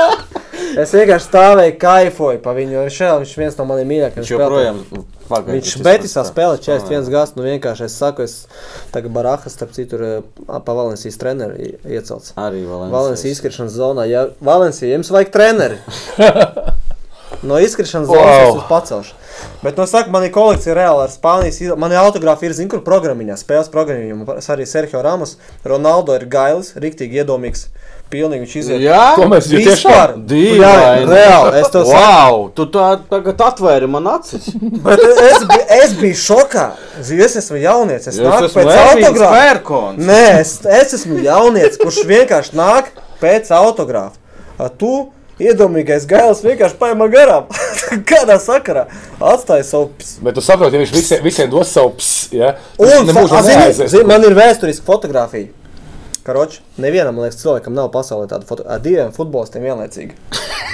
[SPEAKER 3] Es vienkārši stāvēju, kaifoju par viņu. un Šajā viņš viens no maniem mīļākajiem
[SPEAKER 2] Viņš joprojām pagaidi.
[SPEAKER 3] Viņš Betisā spēlē 41 gadus. Nu vienkārši es saku, es tagad Barahas, starp citu, ir ā, pa Valencijas treneru i- iecelts.
[SPEAKER 2] Arī Valencija.
[SPEAKER 3] Valencija izkrišanas zonā. Ja Valencija jums vajag treneri. No izkrišanas
[SPEAKER 1] Wow.
[SPEAKER 3] zonas wow. uz pacelšu. Bet, nu, saka, man ir kolekcija reāli ar Spānijas. iz- Man ir autogrāfi, ir zina, kur programmiņā, spēles programmiņā. Es arī Sergio Ramos, Ronaldo ir gailis, riktīgi iedomīgs. Pilnīgi viņš iziet.
[SPEAKER 2] Jā,
[SPEAKER 1] To mēs jau tiešām.
[SPEAKER 3] Vispār! Jā, reāli, es to saku.
[SPEAKER 2] Wow, tu tā tagad atvēri man acis.
[SPEAKER 3] Bet es, bi- es biju šokā. Zini, es esmu jaunietis, es nāku pēc autogrāfa.
[SPEAKER 2] Pērkons.
[SPEAKER 3] Nē, es, es esmu jaunietis, kurš vienkārši nāk pēc autogrāfa. A tu, iedomīgais gailis, vienkārši paima garām. Kādā sakarā atstāja savu psi.
[SPEAKER 1] Bet tu saproti, ja viņš visiem, visiem dos savu ps, ja?
[SPEAKER 3] Un
[SPEAKER 1] nemūžam
[SPEAKER 3] fa- a, zini,
[SPEAKER 1] neaizies.
[SPEAKER 3] zini, man ir vēsturiska fotografija. Karoči, nevienam, man liekas, cilvēkam nav pasaulē tāda fotografija. Ar diviem futbolistiem vienlaicīgi.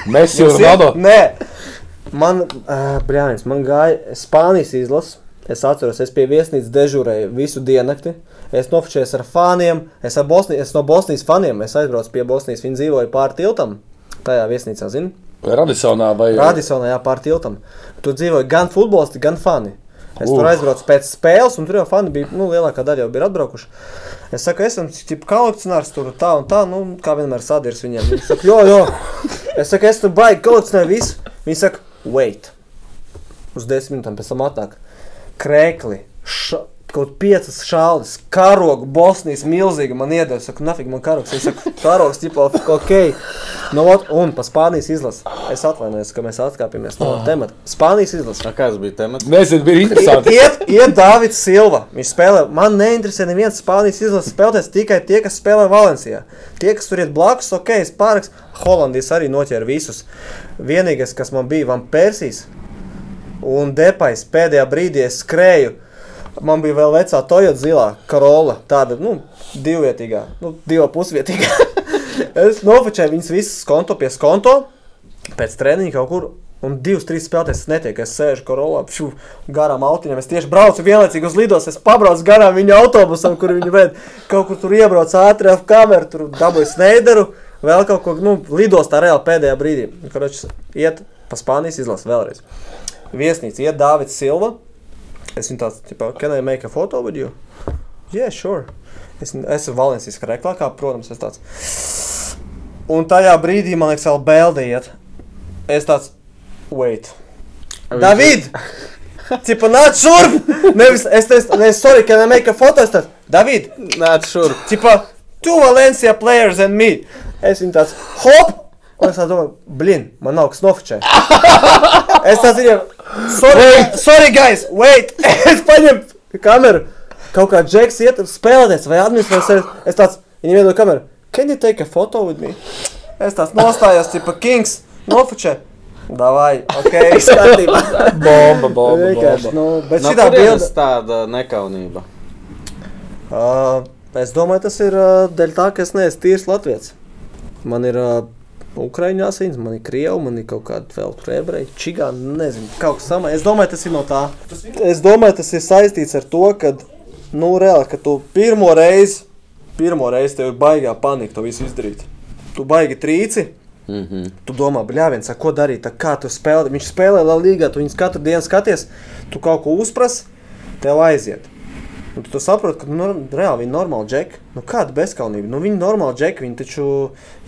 [SPEAKER 1] Mēs jau
[SPEAKER 3] Zini,
[SPEAKER 1] Ronaldo.
[SPEAKER 3] Nē, man, uh, brāļins, man gāja Spānijas izlases. Es atceros, es pie viesnīcas dežurēju visu diennakti. Es nofočējos ar faniem, es, ar Bosni, es no Bosnijas faniem. Es aizbraucu pie Bosnijas, viņi dzīvoja pāri tiltam. Tajā viesnīcā, zini,
[SPEAKER 1] Radisonā vai...
[SPEAKER 3] Radisonā, jā, pāri tiltam. Tur dzīvoja gan futbolisti, gan fani. Es uh. tur
[SPEAKER 1] Uh.
[SPEAKER 3] aizbraucu pēc spēles, un tur jau fani bija, nu, lielākā daļa jau bija atbraukuši. Es saku, esmu tipa kolekcionārs, tur tā un tā, nu, kā vienmēr sadirs viņiem. Viņi saka, jo, jo. Es saku, es tur baigi kolekcionēju visu. Viņi saka, wait. Uz desmit minūtēm pēc tam atnāk. Krēkli. Ša... Kaut piecas šādas, karogu, Bosnijas milzīga man iedeva. Es saku, nafig man karogs. Es saku, karogs, tipo, ok. No, ot, un pa Spānijas izlasi. Es atvainojos, ka mēs atkāpjamies no temata. Spānijas izlasi.
[SPEAKER 2] Kāds bija temats?
[SPEAKER 1] Nezinu, bija interesanti.
[SPEAKER 3] Iet, iet Dārvids Silva. Viņš spēlē. Man neinteresē neviens Spānijas izlases spēlētājs, tikai tie, kas spēlē Valencijā. Tie, kas tur iet blakus, ok, es pāraks. Holandijas arī noķēra visus. Vienīgais, kas man bija, man Persijas un Depais pēdējā brīdī es skrēju. Man bija vēl vecā Toyota zilā karola, tāda, nu, divvietīgā, nu, divu pusvietīgā. es nofočēju viņas visas konto pie konto, pēc treniņa kaut kur. Un divas, trīs spēlēs es netieku. Es sēžu korolā, pšu, garām autiņām. Es tieši braucu vienlaicīgi uz lidos. Es pabraucu garām viņa autobusam, kur viņa vēl kaut kur tur iebrauc ātri ap kameru, tur dabūju sneideru. Vēl kaut ko, nu, lidostā reāli pēdējā brīdī. Kročs iet pa Spānijas izlasu vēlreiz. Viesnīca iet Dāvids Silva. Es viņu tāds, tipo, can I make a photo with you? Yeah, sure. Es esmu Valencijas krēklākā, protams, es tāds. Un tajā brīdī, man liekas, vēl bēldi iet. Es tāds, wait. David! Tipo, nāc šurp! Nevis, es teicu, ne, sorry, can I make a photo? Es tāds, David!
[SPEAKER 2] Nāc šurp.
[SPEAKER 3] Типа, two Valencia players and me. Es viņu tāds, hop! Un es tā domāju, blin, man nav snofičai. Es tāds viņam, sorry, sorry guys, wait! Es paņemu kameru, kaut kā džeks iet spēlēties vai administrēties. Es tāds, viņam iedod kameru, can you take a photo with me? Es tāds nostājos, tipa, kings, nofičai. Davai, ok, skatījumā.
[SPEAKER 7] Bomba, bomba.
[SPEAKER 3] Vienkārši,
[SPEAKER 7] bomba.
[SPEAKER 3] nu, bet
[SPEAKER 2] No
[SPEAKER 3] šitā
[SPEAKER 2] kurienes
[SPEAKER 3] bilde.
[SPEAKER 2] tāda nekaunība?
[SPEAKER 3] Ā, Uh, Es domāju, tas ir ā, dēļ tā, ka es neesmu tīrs latviečs. Man ir ā, ukraiņu asins, man ir krievi, man ir kaut kāda vēl tur ebreji, čigāni, nezinu, kaut kas samā. Es domāju, tas ir no tā. Es domāju, tas ir saistīts ar to, ka, nu, reāli, ka tu pirmo reizi, pirmo reizi tev ir baigā panika to visu izdarīt. Tu baigi trīci.
[SPEAKER 2] Mhm.
[SPEAKER 3] Tu domā, bļāviens, ko darīt, tā kā tu spēlē. Viņš spēlē Latvijā, tu viņus katru dienu skaties, tu kaut ko uzpras, tev aiziet. Un tu, tu saproti, ka nu, reāli viņi ir normāli džeki. Nu, kāda bezskaunība? Nu, viņi ir normāli džeki. Viņi taču,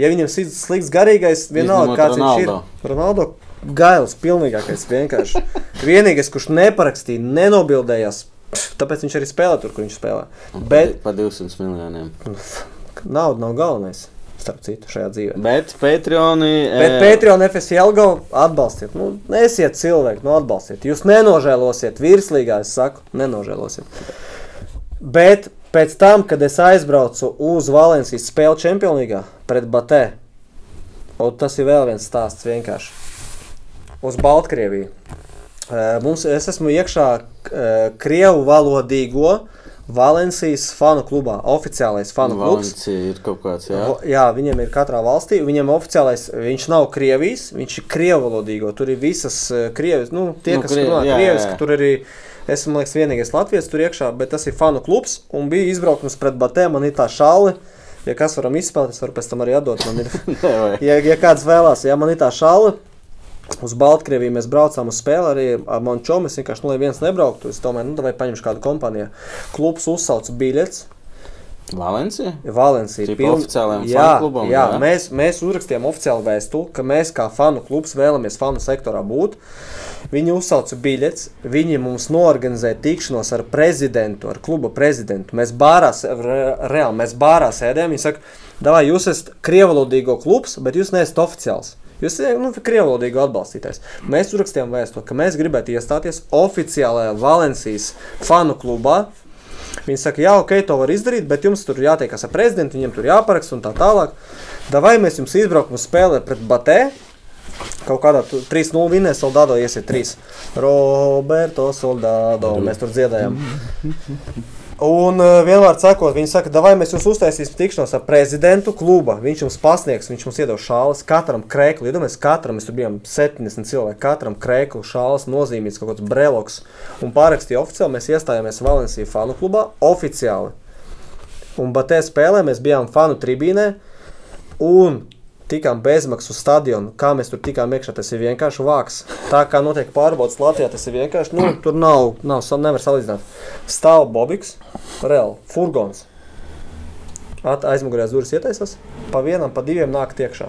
[SPEAKER 3] ja viņiem ir slikts garīgais, vienalga,
[SPEAKER 2] Izņemot
[SPEAKER 3] kāds
[SPEAKER 2] Ronaldo.
[SPEAKER 3] viņš ir. Ronaldo gails, pilnīgais vienkārši. Vienīgais, kurš neparakstīja, nenobildējās. pf, Tāpēc viņš arī spēlē tur, kur viņš spēlē. Bet
[SPEAKER 2] Pa 200 miljoniem.
[SPEAKER 3] nauda nav galvenais, starp citu, šajā dzīvē.
[SPEAKER 2] Bet Patreoni. eh,
[SPEAKER 3] Bet Patreon FSL galvu atbalstiet. Nu, esiet cilvēki, nu atbalstiet. Jūs nenožēlosiet, virslīgā es saku, nenožēlosiet. Bet pēc tam, kad es aizbraucu uz Valencijas spēli Čempionīgā pret Batē, un tas ir vēl viens stāsts vienkārši. Uz Baltkrieviju. Eh, Mums, es esmu iekšā eh, krievu valodīgo Valencijas fanu klubā, oficiālais fanu
[SPEAKER 2] Nu,
[SPEAKER 3] klubs.
[SPEAKER 2] Valencija ir kaut kāds, jā.
[SPEAKER 3] Vo- Jā, viņiem ir katrā valstī. Viņam oficiālais, viņš nav krievijas, viņš ir krievalodīgo. Tur ir visas eh, krievis, nu, tie,
[SPEAKER 2] Nu,
[SPEAKER 3] nu, kas
[SPEAKER 2] krievi-
[SPEAKER 3] runā
[SPEAKER 2] jā, jā,
[SPEAKER 3] krievis,
[SPEAKER 2] jā.
[SPEAKER 3] ka tur arī, es man liekas, vienīgais Latvijas tur iekšā, bet tas ir fanu klubs un bija izbraukums pret Batē, man ir tā šāli. Ja kas varam izspēlēt, es varu pēc tam arī atdot. Man ir
[SPEAKER 2] Nē, vai?
[SPEAKER 3] ja, ja kāds vēlās, ja man ir tā šāla, uz Baltkrieviju mēs braucām uz spēli arī ar Mončo. Mēs vienkārši, nu, lai viens nebrauktu, es domāju, nu, vai paņemšu kādu kompāniju. Klubs uzsauc biļetes.
[SPEAKER 2] Valencija?
[SPEAKER 3] Valencija
[SPEAKER 2] Tipa
[SPEAKER 3] piln-
[SPEAKER 2] oficiālajam
[SPEAKER 3] jā,
[SPEAKER 2] fanu klubam,
[SPEAKER 3] Jā,
[SPEAKER 2] jā?
[SPEAKER 3] mēs, mēs uzrakstījām oficiālu vēstuli, ka mēs kā fanu klubs vēlamies fanu sektorā būt. Viņi uzsauca biļetes, viņi mums norganizēja tikšanos ar prezidentu, ar kluba prezidentu. Mēs bārā, s- re, reāli, mēs bārā sēdējām. Viņi saka, davai, jūs esat krievalodīgo klubs, bet jūs neesat oficiāls. Jūs esat nu, krievalodīgo atbalstītājs. Mēs uzrakstījām vēstuli, ka mēs gribētu iestāties oficiālajā Valencijas fanu klubā. Viņi saka, jā, ok, to var izdarīt, bet jums tur jātiekas ar prezidentu, viņam tur jāparaksta un tā tālāk. Davai mēs jums izbraukam uz spēli pret Batē. Kaut kādā tu- 3-0 vinnē, Soldado iesiet 3. Roberto Soldado. Mēs tur dziedājām. Un eh, vienmēr sakot, viņi saka, davai mēs jums uztaisīsim tikšanos ar prezidentu kluba. Viņš jums pasniegs, viņš mums iedod šālas, katram krēklu. Iedomājieties, katram mēs tur bijām 70 cilvēki, katram krēklu šālas nozīmīts kaut kāds breloks. Un pārakstīja oficiāli, mēs iestājāmies Valencija fanu klubā oficiāli. Un Batē spēlē mēs bijām fanu tribīnē un tikām bezmaksas uz stadionu. Kā mēs tur tikām iekšā, tas ir vienkārši vāks. Tā kā notiek pārbaudas Latvijā, tas ir vienkārši. Nu, tur nav, nav, sa- nevar salīdzināt. Stāv Bobiks, reāli furgons. At- Aizmugurējās durvis ietaisās, pa vienam, pa diviem nāk tiekšā.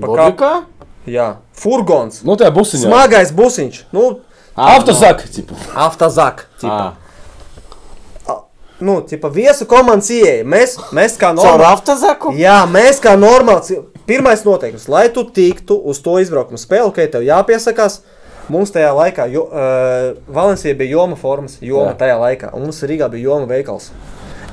[SPEAKER 3] Pa kap-
[SPEAKER 2] Bobikā?
[SPEAKER 3] Jā, furgons.
[SPEAKER 1] Nu, tā busiņā.
[SPEAKER 3] Smagais busiņš, nu,
[SPEAKER 1] Autosaka, tipu.
[SPEAKER 3] aftazak.
[SPEAKER 2] Ā.
[SPEAKER 3] Nu, tipa viesu komandas ieeja. Mēs, mēs kā
[SPEAKER 2] Caur
[SPEAKER 3] normāli.
[SPEAKER 2] aftazaku?
[SPEAKER 3] Jā, mēs kā normāli. cil- Pirmais noteikums, lai tu tiktu uz to izbraukuma spēli, ka tev jāpiesakās. Mums tajā laikā, jo uh, Valencijā bija joma formas, joma Jā. tajā laikā, un mums Rīgā bija joma veikals.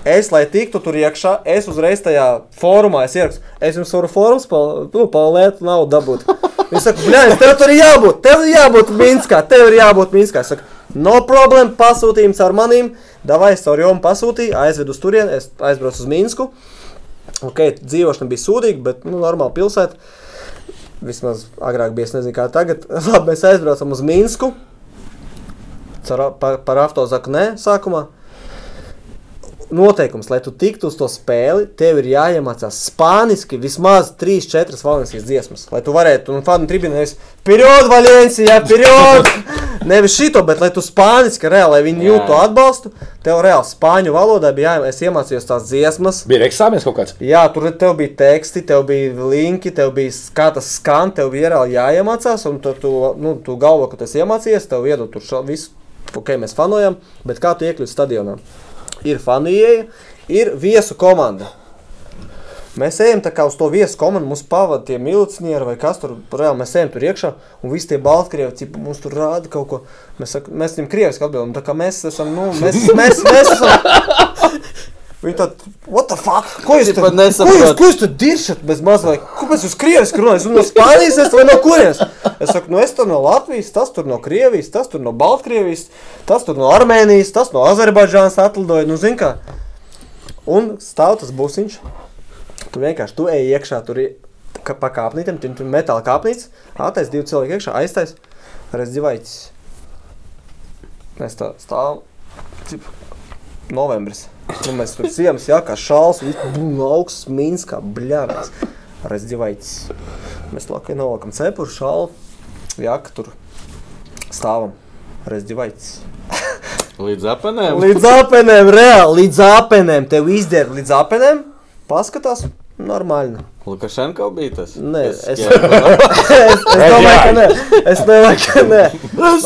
[SPEAKER 3] Es, lai tiktu tur iekšā, es uzreiz tajā fórumā es ierakstu, es jums varu formas, pa, nu, palēt, naudu dabūt. Viņš saka, blēņ, tev tur ir jābūt, tev ir jābūt Minskā, tev ir jābūt Minskā. Es saku, no problēma, pasūtījums ar manīm, davai, es caur jomu pasūtīju, aizvedu uz turieni, es aizbraucu uz Minsku. Ok, dzīvošana bija sūdīga, bet nu, normāla pilsēta. Vismaz agrāk bija, es nezinu, kā tagad. Labi, mēs aizbraucam uz Minsku. Cer, par par autozaku nē, sākumā. noteikums, lai tu tiktu uz to spēli, tev ir jāiemācās spāniski vismaz 3-4 valencijas dziesmas. Lai tu varētu, un fanu tribīnē es pirod Valencijā, pirod! Nevis šito, bet lai tu spāniski reāli, lai viņi
[SPEAKER 2] Jā.
[SPEAKER 3] jūtu atbalstu, tev reāli spāņu valodā bija jāiemācās, es iemācījos tās dziesmas.
[SPEAKER 1] Bija eksāmenis kaut kāds.
[SPEAKER 3] Jā, tur tev bija teksti, tev bija linki, tev bija s- kā tas skan, tev bija reāli jāiemācās, un tu, tu, nu, tu galvo, ka tu esi iemācījies, tev iedod tur šo visu, ok, mēs fanojam, bet kā tu iekļūsi stadionā? Ir fanu ieeja, ir viesu komanda. Mēs ejam tā kā uz to viesu komandu, mums pavada tie milicinieri vai kas tur, reāli mēs ejam tur iekšā, un visi tie baltkrievi, tipa, mums tur rāda kaut ko, mēs, saka, mēs viņam krieviski atbildam, tā kā mēs esam, nu, mēs, mēs, mēs esam. Viņi tad, what the fuck, ko jūs
[SPEAKER 2] Tipa,
[SPEAKER 3] tur
[SPEAKER 2] nesaprot.
[SPEAKER 3] Ko jūs, ko jūs tur diršat bez maz vai, kāpēc jūs krieviski runājat, un no Spānijas esat vai no kurienes? Es saku, nu es tur no Latvijas, tas tur no Krievijas, tas tur no Baltkrievijas, tas tur no Armēnijas, tas no Azerbaidžānas atlidoja, nu zin kā. Un stāv tas busiņš. Tu vienkārši tu ej iekšā, tur ir ka- pa kāpnītēm, tur ir metāla kāpnīca, attais divi cilvēki iekšā, aiztais razdzīvaits. Mēs tā stāvam, cip, novembris. Nu, mēs tur ziemas jākā šāls, un viss, bum, augsts mīns kā bļāvis. Razdzīvaits. Mēs lakai nolakam cepuru šālu, jāka tur stāvam, razdzīvaits.
[SPEAKER 2] Līdz apanēm.
[SPEAKER 3] Līdz apenēm, reāli, līdz apenēm. Tev izdara līdz apenēm, paskatās, normāli.
[SPEAKER 2] Lukašenko bija tas.
[SPEAKER 3] Nē,
[SPEAKER 2] Kas-
[SPEAKER 3] es-
[SPEAKER 2] jā, jā.
[SPEAKER 3] Es, es domāju, ka nē. Es domāju, ka nē.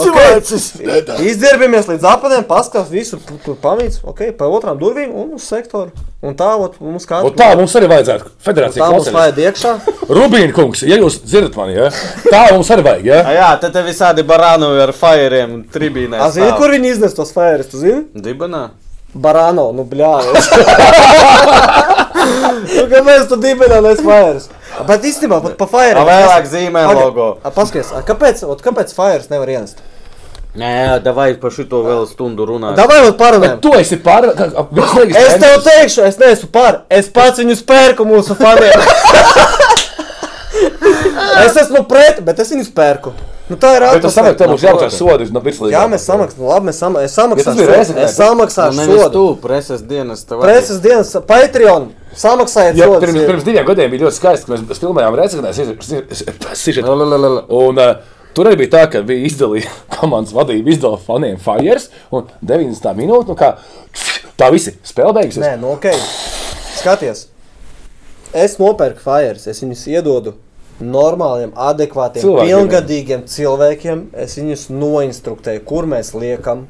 [SPEAKER 3] Okay. Izdarbamies līdz apenēm, paskatās, visu tu- tur pamīts, ok, pa otrām durvīm un uz sektoru. Un tā, ot, mums kā
[SPEAKER 1] Un tā mums arī vajadzētu. Federācija
[SPEAKER 3] Nu, Tā mums
[SPEAKER 1] klausās.
[SPEAKER 3] vajag iekšā.
[SPEAKER 1] Rubīna kungs, ja jūs dzirdat mani, ja? tā mums arī vajag. Ja?
[SPEAKER 2] Ah, jā, tad te visādi barānu ar fajeriem tribīnē.
[SPEAKER 3] A, zini,
[SPEAKER 2] stāv.
[SPEAKER 3] kur viņi iznes tos fairus, tu zini?
[SPEAKER 2] Dibanā.
[SPEAKER 3] Barāno, nu bļāvis. nu, kāpēc tu dibenā nes fairus? Bet īstenībā, pat pa
[SPEAKER 2] A,
[SPEAKER 3] fairiem.
[SPEAKER 2] Vēlāk zīmē
[SPEAKER 3] Aga-
[SPEAKER 2] logo.
[SPEAKER 3] a, Paskaties, a, kāpēc, ot, kāpēc fairus nevar ienest?
[SPEAKER 2] Nē, davai par šito vēl stundu runāt.
[SPEAKER 3] Davai, ot, parunājam.
[SPEAKER 1] Bet tu esi pārāk.
[SPEAKER 3] Es tev teikšu, es neesmu par, es pats viņu spērku mūsu faniem. es esmu pret, bet es viņu spērku. Nu, tā ir
[SPEAKER 1] Bet tu saproti, tev būs jāmaksā
[SPEAKER 3] atmosfēra.
[SPEAKER 1] sodi no pirmslīgas.
[SPEAKER 3] Jā, mēs samaksājam, labi, mēs samaksājam. Es
[SPEAKER 1] Ja tas bija reizē,
[SPEAKER 3] samaksāju, sodu, es
[SPEAKER 1] tad-
[SPEAKER 2] Nu,
[SPEAKER 3] samaksāju
[SPEAKER 2] nevis
[SPEAKER 3] sodu.
[SPEAKER 2] tu, preses dienas tev.
[SPEAKER 3] Preses dienas, Patreon, samaksājiet
[SPEAKER 1] Jā,
[SPEAKER 3] sodu.
[SPEAKER 1] pirms, pirms diviem gadiem bija ļoti skaisti, ka mēs filmējām Reizeknē.
[SPEAKER 3] Nu,
[SPEAKER 2] Lalalala.
[SPEAKER 1] Un uh, tur arī bija tā, ka bija izdalīta komandas vadība, izdala faniem Fires un 90 minūtes. Nu kā, tā visi spēle beigsies.
[SPEAKER 3] Nē, nu ok. Skaties, es nopērku fires, es viņus iedodu normāliem, adekvātiem,
[SPEAKER 1] Cilvēkiem, jā.
[SPEAKER 3] cilvēkiem. pilngadīgiem cilvēkiem. Es viņus noinstruktēju, kur mēs liekam,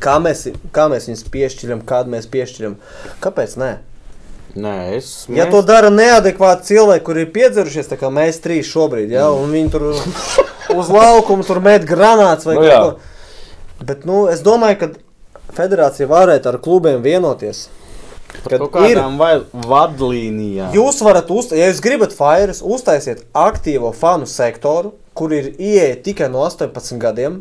[SPEAKER 3] kā mēs, kā mēs viņus piešķiram, kādu mēs piešķiram. Kāpēc? Nē?
[SPEAKER 2] Nē, es.
[SPEAKER 3] Ja
[SPEAKER 2] mēs-
[SPEAKER 3] to dara neadekvāti cilvēki, kuri ir piedzerušies, tā kā mēs trīs šobrīd, ja, un viņi tur uz laukuma tur met granāts vai
[SPEAKER 1] Nu
[SPEAKER 3] nu,
[SPEAKER 1] jā.
[SPEAKER 3] kaut ko. Bet nu, es domāju, ka federācija varētu ar klubiem vienoties.
[SPEAKER 2] Par
[SPEAKER 3] Kad
[SPEAKER 2] kaut
[SPEAKER 3] ir
[SPEAKER 2] kādām vai vadlīnijām.
[SPEAKER 3] Jūs varat uztaisīt, ja jūs gribat fairus, uztaisiet aktīvo fanu sektoru, kur ir ieeja tikai no 18 gadiem.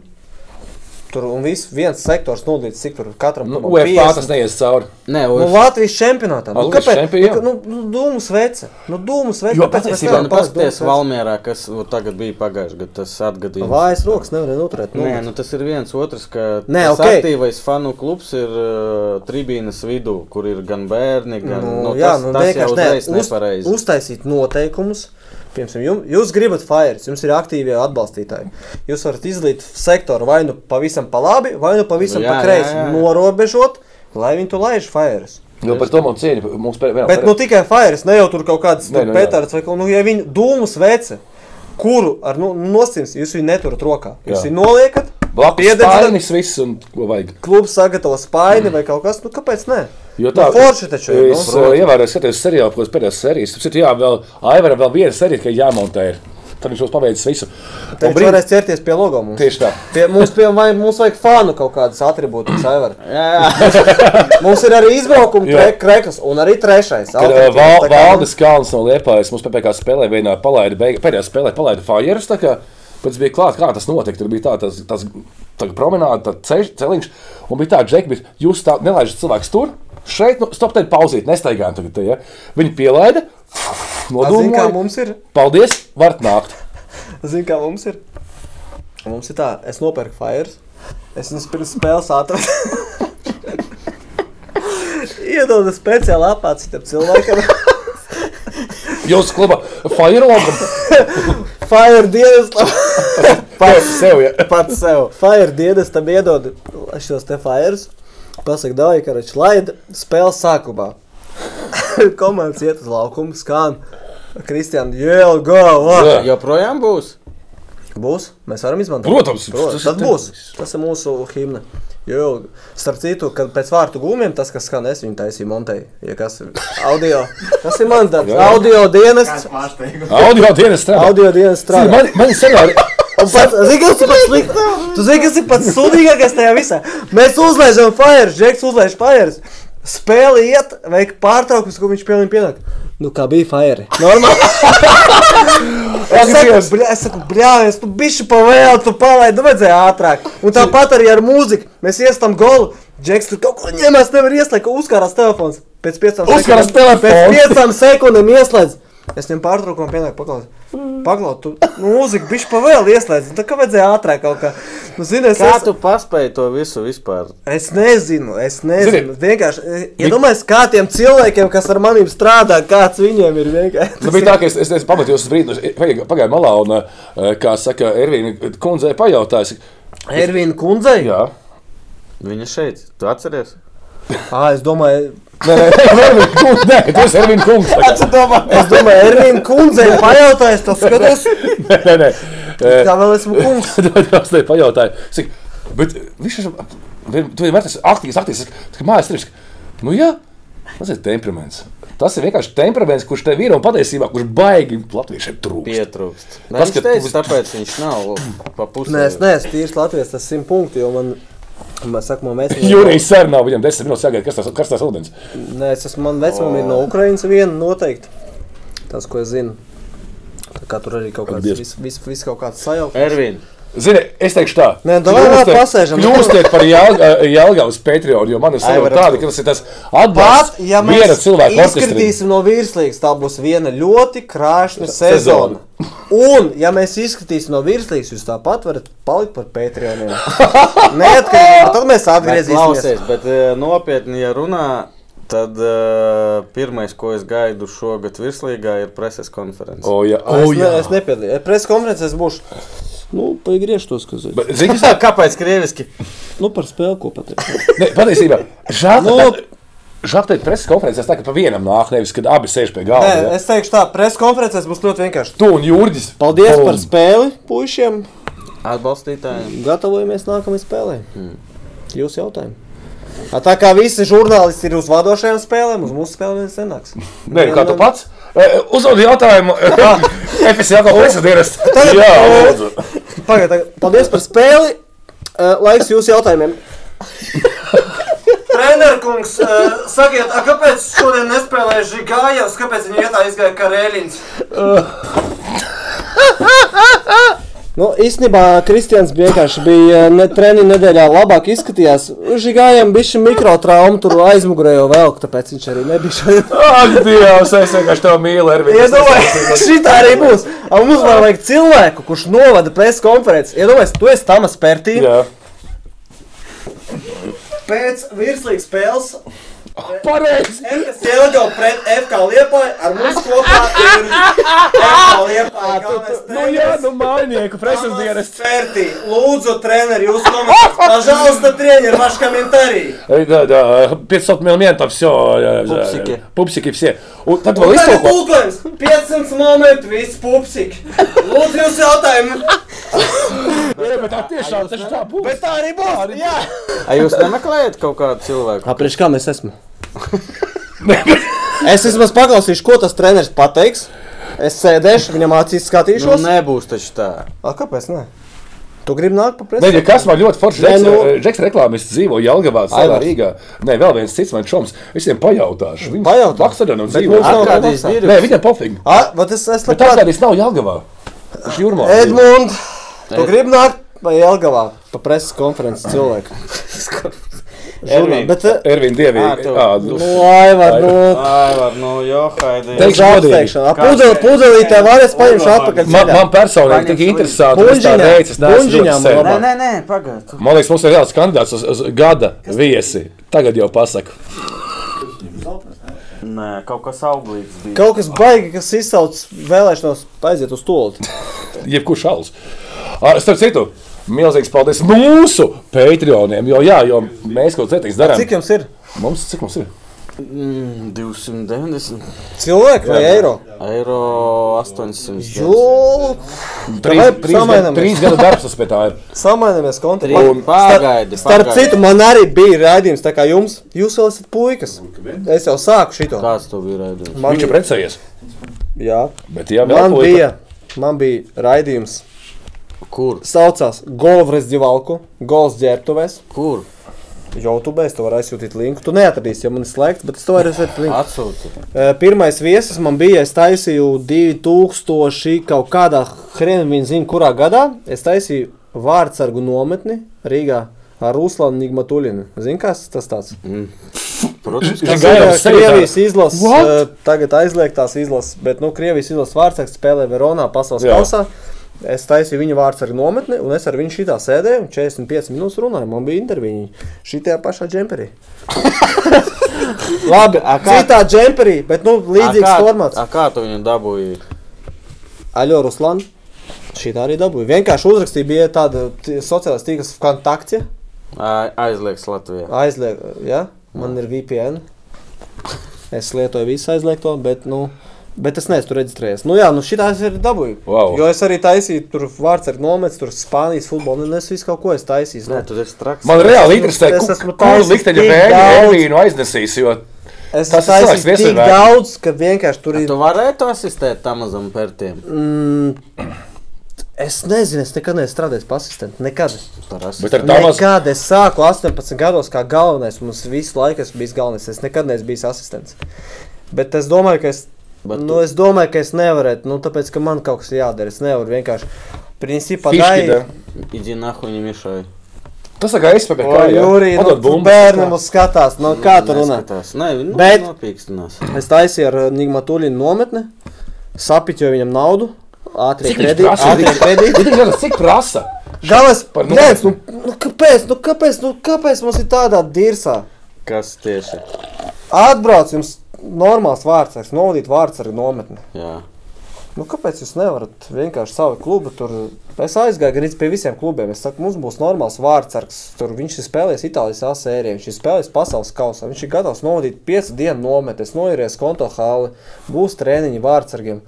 [SPEAKER 3] Tur un viss viens sektors nodalīts, cik tur katram
[SPEAKER 1] Nu,
[SPEAKER 3] klubam
[SPEAKER 1] UFO
[SPEAKER 3] 50.
[SPEAKER 1] tas neies cauri.
[SPEAKER 2] Nē,
[SPEAKER 3] Nu, Latvijas čempionātā. Nu,
[SPEAKER 1] Latvijas
[SPEAKER 3] kāpēc?
[SPEAKER 1] čempion, jā.
[SPEAKER 3] Nu, ka- nu, dūmus vece. Nu, dūmus vece.
[SPEAKER 1] Jo,
[SPEAKER 3] kāpēc mēs
[SPEAKER 1] patiesībā, nu,
[SPEAKER 3] nevaram
[SPEAKER 2] Man
[SPEAKER 3] palikt
[SPEAKER 2] paskatās
[SPEAKER 3] Dūmus vece?
[SPEAKER 2] Valmjerā, kas nu, tagad bija pagājušajā gadā, tas atgadījums.
[SPEAKER 3] Vājas rokas nevarēja noturēt. Nu,
[SPEAKER 2] Nē, nu tas ir viens otrs, ka
[SPEAKER 3] Nē,
[SPEAKER 2] tas
[SPEAKER 3] okei.
[SPEAKER 2] aktīvais fanu klubs ir uh, tribīnas vidū, kur ir gan bērni, gan
[SPEAKER 3] nu,
[SPEAKER 2] nu,
[SPEAKER 3] jā,
[SPEAKER 2] tas,
[SPEAKER 3] nu,
[SPEAKER 2] tas jau uzreiz
[SPEAKER 3] ne, uz,
[SPEAKER 2] nepareizi.
[SPEAKER 3] uztaisīt noteikumus. Piemēram, jums, jūs gribat fairus, jums ir aktīvie atbalstītāji. Jūs varat izlīt sektoru vai nu pavisam pa labi, vai nu pavisam
[SPEAKER 2] Nu, jā,
[SPEAKER 3] nu, pa kreisi.
[SPEAKER 2] jā, jā.
[SPEAKER 3] Norobežot, lai viņi tu laiž fairus.
[SPEAKER 1] Nu, par to man cieņa. Mums pēr, vienā,
[SPEAKER 3] Bet nu tikai fairus, ne jau tur kaut kāds
[SPEAKER 1] Nē,
[SPEAKER 3] nu,
[SPEAKER 1] nu, jā.
[SPEAKER 3] pēters vai kaut kas, nu ja viņi dūmus vece, kuru ar nu, nosims, jūs viņu neturat rokā.
[SPEAKER 1] Jā.
[SPEAKER 3] Jūs viņu noliekat,
[SPEAKER 1] blakus
[SPEAKER 3] piededzināt.
[SPEAKER 1] spēļnis viss un ko vajag.
[SPEAKER 3] klubs sagatavo spaini vai kaut kas, nu kāpēc ne?
[SPEAKER 1] Jo
[SPEAKER 3] Nu, forši taču ir,
[SPEAKER 1] Es
[SPEAKER 3] nu.
[SPEAKER 2] eh,
[SPEAKER 1] uh, ievēroju, skaties seriālu, ko es pēdējās sērijas. Tur jā, vēl Aivaram vēl viena sērija, ka jāmontē. ir. Tad viņš būs paveicis visu. Un brīd-
[SPEAKER 3] Tad brīd... varēs ķerties pie logo mums.
[SPEAKER 1] Tieši tā.
[SPEAKER 3] Pie, mums, pie, vai, mums vajag fanu kaut kādas atribūtas, Aivar.
[SPEAKER 2] Jā, jā.
[SPEAKER 3] Mums ir arī izbraukuma
[SPEAKER 1] Jā.
[SPEAKER 3] tre- krekls un arī trešais.
[SPEAKER 1] Kad
[SPEAKER 3] alternatīvs,
[SPEAKER 1] uh, Val,
[SPEAKER 3] tā kā
[SPEAKER 1] Valdis Kalns no Lietuvas mums PPC spēlē vienā palaida, beig- pēdējā spēlē palaida Fajers. tā kā Pēc bija klāts, kā tas notika. Tur bija tā, tas, tas tā promenāde, tā ceļš, celiņš, un bija tā, Džek, jūs tā nelaižat cilvēku tur, šeit, nu, stop, tad pauzīt, nestaigājam tagad. Te, ja. Viņi pielaida,
[SPEAKER 3] A, zini, kā
[SPEAKER 1] nodūmīja.
[SPEAKER 3] mums ir?
[SPEAKER 1] Paldies, varat nākt.
[SPEAKER 3] Zini, kā mums ir? Mums ir tā, es nopērku fires. Es viņus pirms spēles atradu. Iedodu speciāli apāci tam cilvēkam.
[SPEAKER 1] Jūs klubā Firelogam
[SPEAKER 3] Fire dienestam,
[SPEAKER 1] pats sev. Ja.
[SPEAKER 2] Pats sev.
[SPEAKER 3] fire dienestam iedod šos te fires. Pasaka, dāvāj, ka viņš laida spēles sākumā. Komandas iet uz laukumu, skan. Kristian, jau gala!
[SPEAKER 1] Jā.
[SPEAKER 2] Joprojām būs.
[SPEAKER 3] Būs, mēs varam izmantot.
[SPEAKER 1] Protams,
[SPEAKER 3] Protams
[SPEAKER 1] tas
[SPEAKER 3] tas
[SPEAKER 1] ir
[SPEAKER 3] būs. Tas ir mūsu himna. Jo, starp citu, kad pēc vārtu gūmiem tas, kas skan, es viņu taisīju Montei. Ja kas ir audio, tas ir mans darbs.
[SPEAKER 1] Jā.
[SPEAKER 3] Audio dienas,
[SPEAKER 6] Kāds pārsteigums?
[SPEAKER 1] Audio dienas strādā.
[SPEAKER 3] audio dienas strādā.
[SPEAKER 1] Man, man senā arī.
[SPEAKER 3] Un pats, zini, kas ir pats sliktākais? Tu zini, kas ir pats sūdīgākais tajā visā? Mēs uzlaižam fire, Džeks uzlaiž fire. Spēle iet, veik pārtraukums, ko viņš pilnīgi pienāk. Nu, kā bija fire. Normāli. Es saku, bļā, es saku, brālis, tu bišķi pavēl, tu palaidi, nu vajadzēja ātrāk. Un tāpat arī ar mūziku. Mēs iestam golu. Džeks, tu kaut ko ņemās, nevar ieslēgt, ka uzkarās telefons. Pēc piecām
[SPEAKER 1] Uzkarās
[SPEAKER 3] sekundēm-
[SPEAKER 1] telefons.
[SPEAKER 3] Pēc piecām sekundēm ieslēdz. Es viņam pārtraukumu pienāku paklausīt.
[SPEAKER 2] Mm.
[SPEAKER 3] Paklaus, tu nu, mūziku bišķi pavēl ieslēdz. Nu, Tā kā vajadzēja ātrāk kaut kā. Nu, zini, es,
[SPEAKER 2] Kā
[SPEAKER 3] es,
[SPEAKER 2] tu paspēji to visu vispār?
[SPEAKER 3] es nezinu, es nezinu.
[SPEAKER 1] Zini-
[SPEAKER 3] Vienkārši, e, ja domājies, kā tiem cilvēkiem, kas ar maniem strādā, kāds viņiem ir vienkārši.
[SPEAKER 1] Tas Nu, bija tā, ka es, es, es pametu jūs uz brīdi, nu, pagaidu- pagaidu malā un, eh, kā saka, Ervīna kundzei pajautājas.
[SPEAKER 3] Ervīna kundzei?
[SPEAKER 1] Jā.
[SPEAKER 2] Viņa šeit, tu atceries?
[SPEAKER 3] Ā, es domāju,
[SPEAKER 1] Nē, nē, Ervīna kungs, nē, tu esi Ervīna kungs. Nē,
[SPEAKER 3] Es domāju, Ervīna kundzei pajautājis, tas skaties,
[SPEAKER 1] nē, nē. Eh,
[SPEAKER 3] kā vēl esmu kungs.
[SPEAKER 1] Tas bija pajautājums. Bet viņš ir. Tu vienmēr esi aktīvs, aktīvs. Es saku, Mājas trīs. Nu, jā, tas ir temperaments. Tas ir vienkārši temperaments, kurš tev ir un patiesībā, kurš baigi latviešiem trūkst.
[SPEAKER 2] Pietrūkst. Nē,
[SPEAKER 1] Tas,
[SPEAKER 2] viņš
[SPEAKER 1] ka tu
[SPEAKER 2] teica,
[SPEAKER 1] būsi-
[SPEAKER 2] tāpēc viņš nav pa pusē.
[SPEAKER 3] Nē, es neesmu tīrs Latvijas, tas simt punkti, jo man, man saka, man vecumam.
[SPEAKER 1] Jūrijas sarunā viņam desmit minūtes jāgaida, kas tas kas tas ūdens.
[SPEAKER 3] Nē, es esmu, man vecumam ir no Ukrainas viena noteikti. Tas, ko es zinu. Tā kā tur arī kaut kāds,
[SPEAKER 1] Dievs.
[SPEAKER 3] viss vis, vis kaut kāds sajaukt.
[SPEAKER 2] Ervīn,
[SPEAKER 1] Zini, es teikšu tā.
[SPEAKER 3] Nē, davai vēl pasēžam.
[SPEAKER 1] Kļūstiet par Jālgavas Patreon, jo man ir sajūta
[SPEAKER 2] Aivaram.
[SPEAKER 1] tāda, ka tas ir tas
[SPEAKER 3] Pat,
[SPEAKER 1] atbalsts
[SPEAKER 3] ja
[SPEAKER 1] viena
[SPEAKER 3] mēs
[SPEAKER 1] cilvēka orķestrī.
[SPEAKER 3] izkritīsim no virslīgas, tā būs viena ļoti krāšņa
[SPEAKER 1] Sezona.
[SPEAKER 3] sezona. Un, ja mēs izkritīsim no virslīgas, jūs tāpat varat palikt par Patreoniem. Neatkarīgi, tad mēs
[SPEAKER 2] bet
[SPEAKER 3] atgriezīsimies.
[SPEAKER 2] klausies, bet eh, nopietni, ja runā, tad eh, pirmais, ko es gaidu šogad virslīgā, ir preses konference.
[SPEAKER 1] O, jā,
[SPEAKER 3] Es,
[SPEAKER 1] o,
[SPEAKER 3] ne,
[SPEAKER 1] jā.
[SPEAKER 3] es nepiedalījos. Preses konferencē es būšu. Nu, pagriež to skatu.
[SPEAKER 1] Bet, zini, kas tā?
[SPEAKER 2] Kāpēc krieviski?
[SPEAKER 3] Nu, par spēli, ko pateikt.
[SPEAKER 1] Ne, patiesībā, žēl,
[SPEAKER 3] Nu.
[SPEAKER 1] no... žēl teikt, preses konferencēs tā, ka pa vienam nāk, nevis, kad abi sēž pie galda.
[SPEAKER 3] Nē,
[SPEAKER 1] ja?
[SPEAKER 3] es teikšu tā, preses konferencēs būs ļoti vienkārši.
[SPEAKER 1] Tu un Jurģis.
[SPEAKER 3] Paldies par spēli, puišiem.
[SPEAKER 2] Atbalstītājiem.
[SPEAKER 3] Gatavojamies nākamajai spēlē.
[SPEAKER 1] Hmm.
[SPEAKER 3] Jūsu jautājumu. A, tā kā visi žurnālisti ir uz vadošajām spēlēm, uz mūsu spēlēm neviens nenāks.
[SPEAKER 1] Nē, kā tu pats? Eh, Uzdod jautājumu. FSJ kā preses dienas.
[SPEAKER 3] Tagad-
[SPEAKER 1] Jā, lūdzu.
[SPEAKER 3] Pagaidiet, tagad. paldies par spēli. Uh, laiks jūsu jautājumiem.
[SPEAKER 6] Trenerkungs, uh, sakiet, a, kāpēc šodien nespēlēja Žigājos, kāpēc viņa vietā izgāja Karēliņš?
[SPEAKER 3] Nu, īstenībā Kristians bija vienkārši bija eh, ne, treniņa nedēļā labāk izskatījās. Žigājiem bija šī mikrotrauma, tur aizmugurē jau velk, tāpēc viņš arī nebija šeit.
[SPEAKER 1] Ak, Dievs, es vienkārši tev mīlu, Ervīna.
[SPEAKER 3] Iedomājieties, šī tā arī būs. A, Mums vēl vajag cilvēku, kurš novada preses konferenci. Iedomājieties, tu esi Tamas Pērtī.
[SPEAKER 1] Jā.
[SPEAKER 3] Pēc virslīgas spēles
[SPEAKER 1] Pareizi.
[SPEAKER 3] FS Jelgava pret FK Liepāju ar mums kopā ir FK
[SPEAKER 6] Ah!
[SPEAKER 3] Liepāja galvenais
[SPEAKER 1] Nu jā, nu mainieku preses dienas.
[SPEAKER 3] Pērtī. Lūdzu, treneri, jūs komentējat. Pažalsta, treneri, vaš komentārī.
[SPEAKER 1] Э, Да, да, 500 миллиметров, все.
[SPEAKER 2] Пупсики.
[SPEAKER 1] Пупсики все. У- Tad vēl
[SPEAKER 3] Un tagad
[SPEAKER 1] iztoko.
[SPEAKER 3] tulkojums 500 momentu, viss pupsik. Lūdzu, jūs jautājumu.
[SPEAKER 1] Jā, bet tā tiešām, tas ir tā būs.
[SPEAKER 3] Bet tā arī būs. Jā.
[SPEAKER 2] Ai, jūs nemeklējat kaut kādu cilvēku?
[SPEAKER 3] Apriekš kam es esmu? es vismaz paklausīšu, ko tas treneris pateiks. Es sēdēšu, viņam acīs
[SPEAKER 2] Nu,
[SPEAKER 3] skatīšos.
[SPEAKER 2] nebūs taču tā.
[SPEAKER 3] A, kāpēc ne? Tu gribi nākt pa
[SPEAKER 1] Nē,
[SPEAKER 3] presi?
[SPEAKER 1] ja kas man ļoti forši ir.
[SPEAKER 3] Nē, nu-
[SPEAKER 1] Džeks reklāmists dzīvo Jālgavā, Sēlā,
[SPEAKER 3] Aivars.
[SPEAKER 1] Rīgā. Nē, vēl viens cits man čoms. Visiem pajautāšu. Viņš
[SPEAKER 3] Pajautā.
[SPEAKER 1] Bakstadionam dzīvo.
[SPEAKER 3] mums nav-
[SPEAKER 2] Arkādijs
[SPEAKER 3] maksā.
[SPEAKER 1] Nē,
[SPEAKER 2] Dirvis.
[SPEAKER 1] viņam pofīgi.
[SPEAKER 3] A, bet es, es
[SPEAKER 1] Bet
[SPEAKER 3] labprāt.
[SPEAKER 1] Arkādijs nav Jālgavā. Viņš jūrmā.
[SPEAKER 3] Edmund, tu gribi nākt pa Jelgavā, pa preses konferences cilvēku. Žurnāli, bet... eh,
[SPEAKER 1] Ervīna Dievī.
[SPEAKER 2] Ā, tev-
[SPEAKER 1] Ā,
[SPEAKER 3] Nu,
[SPEAKER 1] nu.
[SPEAKER 3] Aivar, nu...
[SPEAKER 2] Aivar, nu, johaidī.
[SPEAKER 1] Teikšu godīgi.
[SPEAKER 3] Apsteigšana. Pudeli, pudelītē var es paņemšu atpakaļ.
[SPEAKER 1] Man,
[SPEAKER 3] ceļā.
[SPEAKER 1] man personīgi tik interesanti, ka viņš tā
[SPEAKER 3] Bunžiņam,
[SPEAKER 1] teica, es neesmu
[SPEAKER 3] Bunžiņam
[SPEAKER 1] ļoti sen.
[SPEAKER 3] labāk.
[SPEAKER 2] Nē, nē, pagaidi.
[SPEAKER 1] Man liekas, mums ir reāls kandidāts uz, uz gada viesi. Tagad jau pasaku.
[SPEAKER 2] Nē, kaut kas auglīgs bija.
[SPEAKER 3] Kaut kas baigi, kas izsauc vēlēšanos aiziet uz stūli.
[SPEAKER 1] Jebkurš šals. Ar, starp citu, milzīgs paldies mūsu patroniem, jo, jā, jo mēs kaut ko citu darām.
[SPEAKER 3] Cik jums ir?
[SPEAKER 1] Mums, cik mums ir?
[SPEAKER 2] Mm, 290
[SPEAKER 3] Cilvēki vai eiro?
[SPEAKER 2] eiro 800.
[SPEAKER 3] Jū,
[SPEAKER 1] Trīs, trīs, gadu,
[SPEAKER 3] samainamies.
[SPEAKER 1] trīs gadu darbs tas pie tā ir.
[SPEAKER 3] samainamies kontekstā.
[SPEAKER 2] Trīs- Pagaidi,
[SPEAKER 3] Starp
[SPEAKER 2] pagaidi.
[SPEAKER 3] citu, man arī bija raidījums, tā kā jums, jūs vēl esat puikas. Es jau sāku šito.
[SPEAKER 2] Kāds to bija redzējis?
[SPEAKER 3] Man,
[SPEAKER 1] Viņš ir precējies.
[SPEAKER 3] jā,
[SPEAKER 1] Bet, jā, vēl
[SPEAKER 3] man
[SPEAKER 1] ko-
[SPEAKER 3] bija, man bija raidījums.
[SPEAKER 2] Kur?
[SPEAKER 3] Saucās Golfres Divalku, Golfs ģērbtuvēs.
[SPEAKER 2] Kur?
[SPEAKER 3] YouTube es tev varu aizsūtīt linku. Tu neatradīsi, ja man ir slēgts, bet es tev varu aizsūtīt
[SPEAKER 2] Ah.
[SPEAKER 3] linku.
[SPEAKER 2] Atsūti.
[SPEAKER 3] E, Pirmais viesis man bija, es taisīju 2000 kaut kādā Hrenvīna zina, kurā gadā. Es taisīju Vārtsargu nometni Rīgā ar Ruslanu Nigmatulinu. Zini, kas tas tāds?
[SPEAKER 2] Protams,
[SPEAKER 1] Gan
[SPEAKER 3] Tas
[SPEAKER 1] jau
[SPEAKER 3] ir
[SPEAKER 1] jau
[SPEAKER 3] uh,
[SPEAKER 1] sevi tā-
[SPEAKER 3] Krievijas izlases,
[SPEAKER 1] What?
[SPEAKER 3] uh, tagad aizliegtās izlases, bet nu, Krievijas izlases vārdsargs spēlē Veronā pasaules
[SPEAKER 1] Jā.
[SPEAKER 3] kausā. Es taisīju viņa vārdsargu nometni, un es ar viņu šitā sēdēju, un 45 minūtes runāju. Man bija intervija šitajā pašā džemperī.
[SPEAKER 2] Labi, a kā?
[SPEAKER 3] Citā džemperī, bet nu, līdzīgs
[SPEAKER 2] a kā-
[SPEAKER 3] formāts.
[SPEAKER 2] A kā tu viņu dabūji?
[SPEAKER 3] Aļo Ruslan. Šī tā arī dabūja. Vienkārši uzrakstīja, bija tāda t- sociālās tīklas kontakte.
[SPEAKER 2] A- Aizliegs Latvijā.
[SPEAKER 3] Aizliegt, ja? man ir VPN. Es lietoju visu aizliegto, bet, nu, bet es neesmu tur reģistrējies. Nu, jā, nu šī tā es arī dabūju.
[SPEAKER 1] Vau.
[SPEAKER 3] Jo es arī taisīju tur vārds ar nomets, tur Spānijas futbolu, un es visu kaut ko es taisīju.
[SPEAKER 2] Nē,
[SPEAKER 3] Nu,
[SPEAKER 2] tu esi traks.
[SPEAKER 1] Man reāli interesē,
[SPEAKER 3] Es
[SPEAKER 1] ku-
[SPEAKER 3] esmu
[SPEAKER 1] kur
[SPEAKER 3] taisījis
[SPEAKER 1] likteņa
[SPEAKER 3] tik
[SPEAKER 1] vēja
[SPEAKER 3] daudz.
[SPEAKER 1] Elvīnu aiznesīs, jo
[SPEAKER 3] es
[SPEAKER 1] tas ir cilvēks
[SPEAKER 3] taisīju tik
[SPEAKER 1] viesuļvētru.
[SPEAKER 3] daudz, ka vienkārši tur ir.
[SPEAKER 2] Tu varētu asistēt tam mazam pērtiem.
[SPEAKER 3] Mm, es nezinu, es nekad neesmu strādājis par asistentu. Nekad.
[SPEAKER 2] Par
[SPEAKER 1] Bet ar
[SPEAKER 2] asistentu.
[SPEAKER 1] Tomas-
[SPEAKER 3] Nekad es sāku 18 gados kā galvenais. Mums visu laiku esmu bijis galvenais. Es nekad neesmu bijis asistents. Bet es domāju, ka es,
[SPEAKER 2] Bet
[SPEAKER 3] nu,
[SPEAKER 2] tu-
[SPEAKER 3] es, domāju, ka es nevarētu. Nu, tāpēc, ka man kaut kas ir jādara. Es nevaru vienkārši. Principā tā
[SPEAKER 1] Fiški,
[SPEAKER 3] ir.
[SPEAKER 1] da.
[SPEAKER 2] Иди нahoj, не мешай.
[SPEAKER 1] tas tā kā aizpakaļ.
[SPEAKER 3] Ko
[SPEAKER 1] kā, jā.
[SPEAKER 3] Jurija
[SPEAKER 1] Padod
[SPEAKER 3] no nu,
[SPEAKER 1] bumbu.
[SPEAKER 3] bērnam uz skatās? No, kā tu runā?
[SPEAKER 2] Nē, nu,
[SPEAKER 3] Bet-
[SPEAKER 2] bet... nopīkstinās.
[SPEAKER 3] Es taisīju ar Nigmatūlinu nometni, sapiķoju viņam naudu. Ātri
[SPEAKER 1] Cik viņš
[SPEAKER 3] kredīti,
[SPEAKER 1] prasa?
[SPEAKER 3] ātri kredīti.
[SPEAKER 1] Cik tas- Cik prasa?
[SPEAKER 3] Galvenais,
[SPEAKER 1] Par
[SPEAKER 3] nē, nu, nu, kāpēc, nu, kāpēc, nu, kāpēc mums ir tādā dirsā?
[SPEAKER 2] Kas tieši?
[SPEAKER 3] Atbrauc jums normāls vārdsargs, novadīt vārdsargu nometni.
[SPEAKER 2] Jā.
[SPEAKER 3] Nu, kāpēc jūs nevarat vienkārši savu klubu tur? Es aizgāju gan pie visiem klubiem. Es saku, mums būs normāls vārdsargs. Tur viņš ir spēlējis Itālijas A sērijā, viņš ir spēlējis pasaules kausā. Viņš ir gatavs novadīt piecu dienu nometnes, noiries konto hali, būs treniņi vārdsargiem.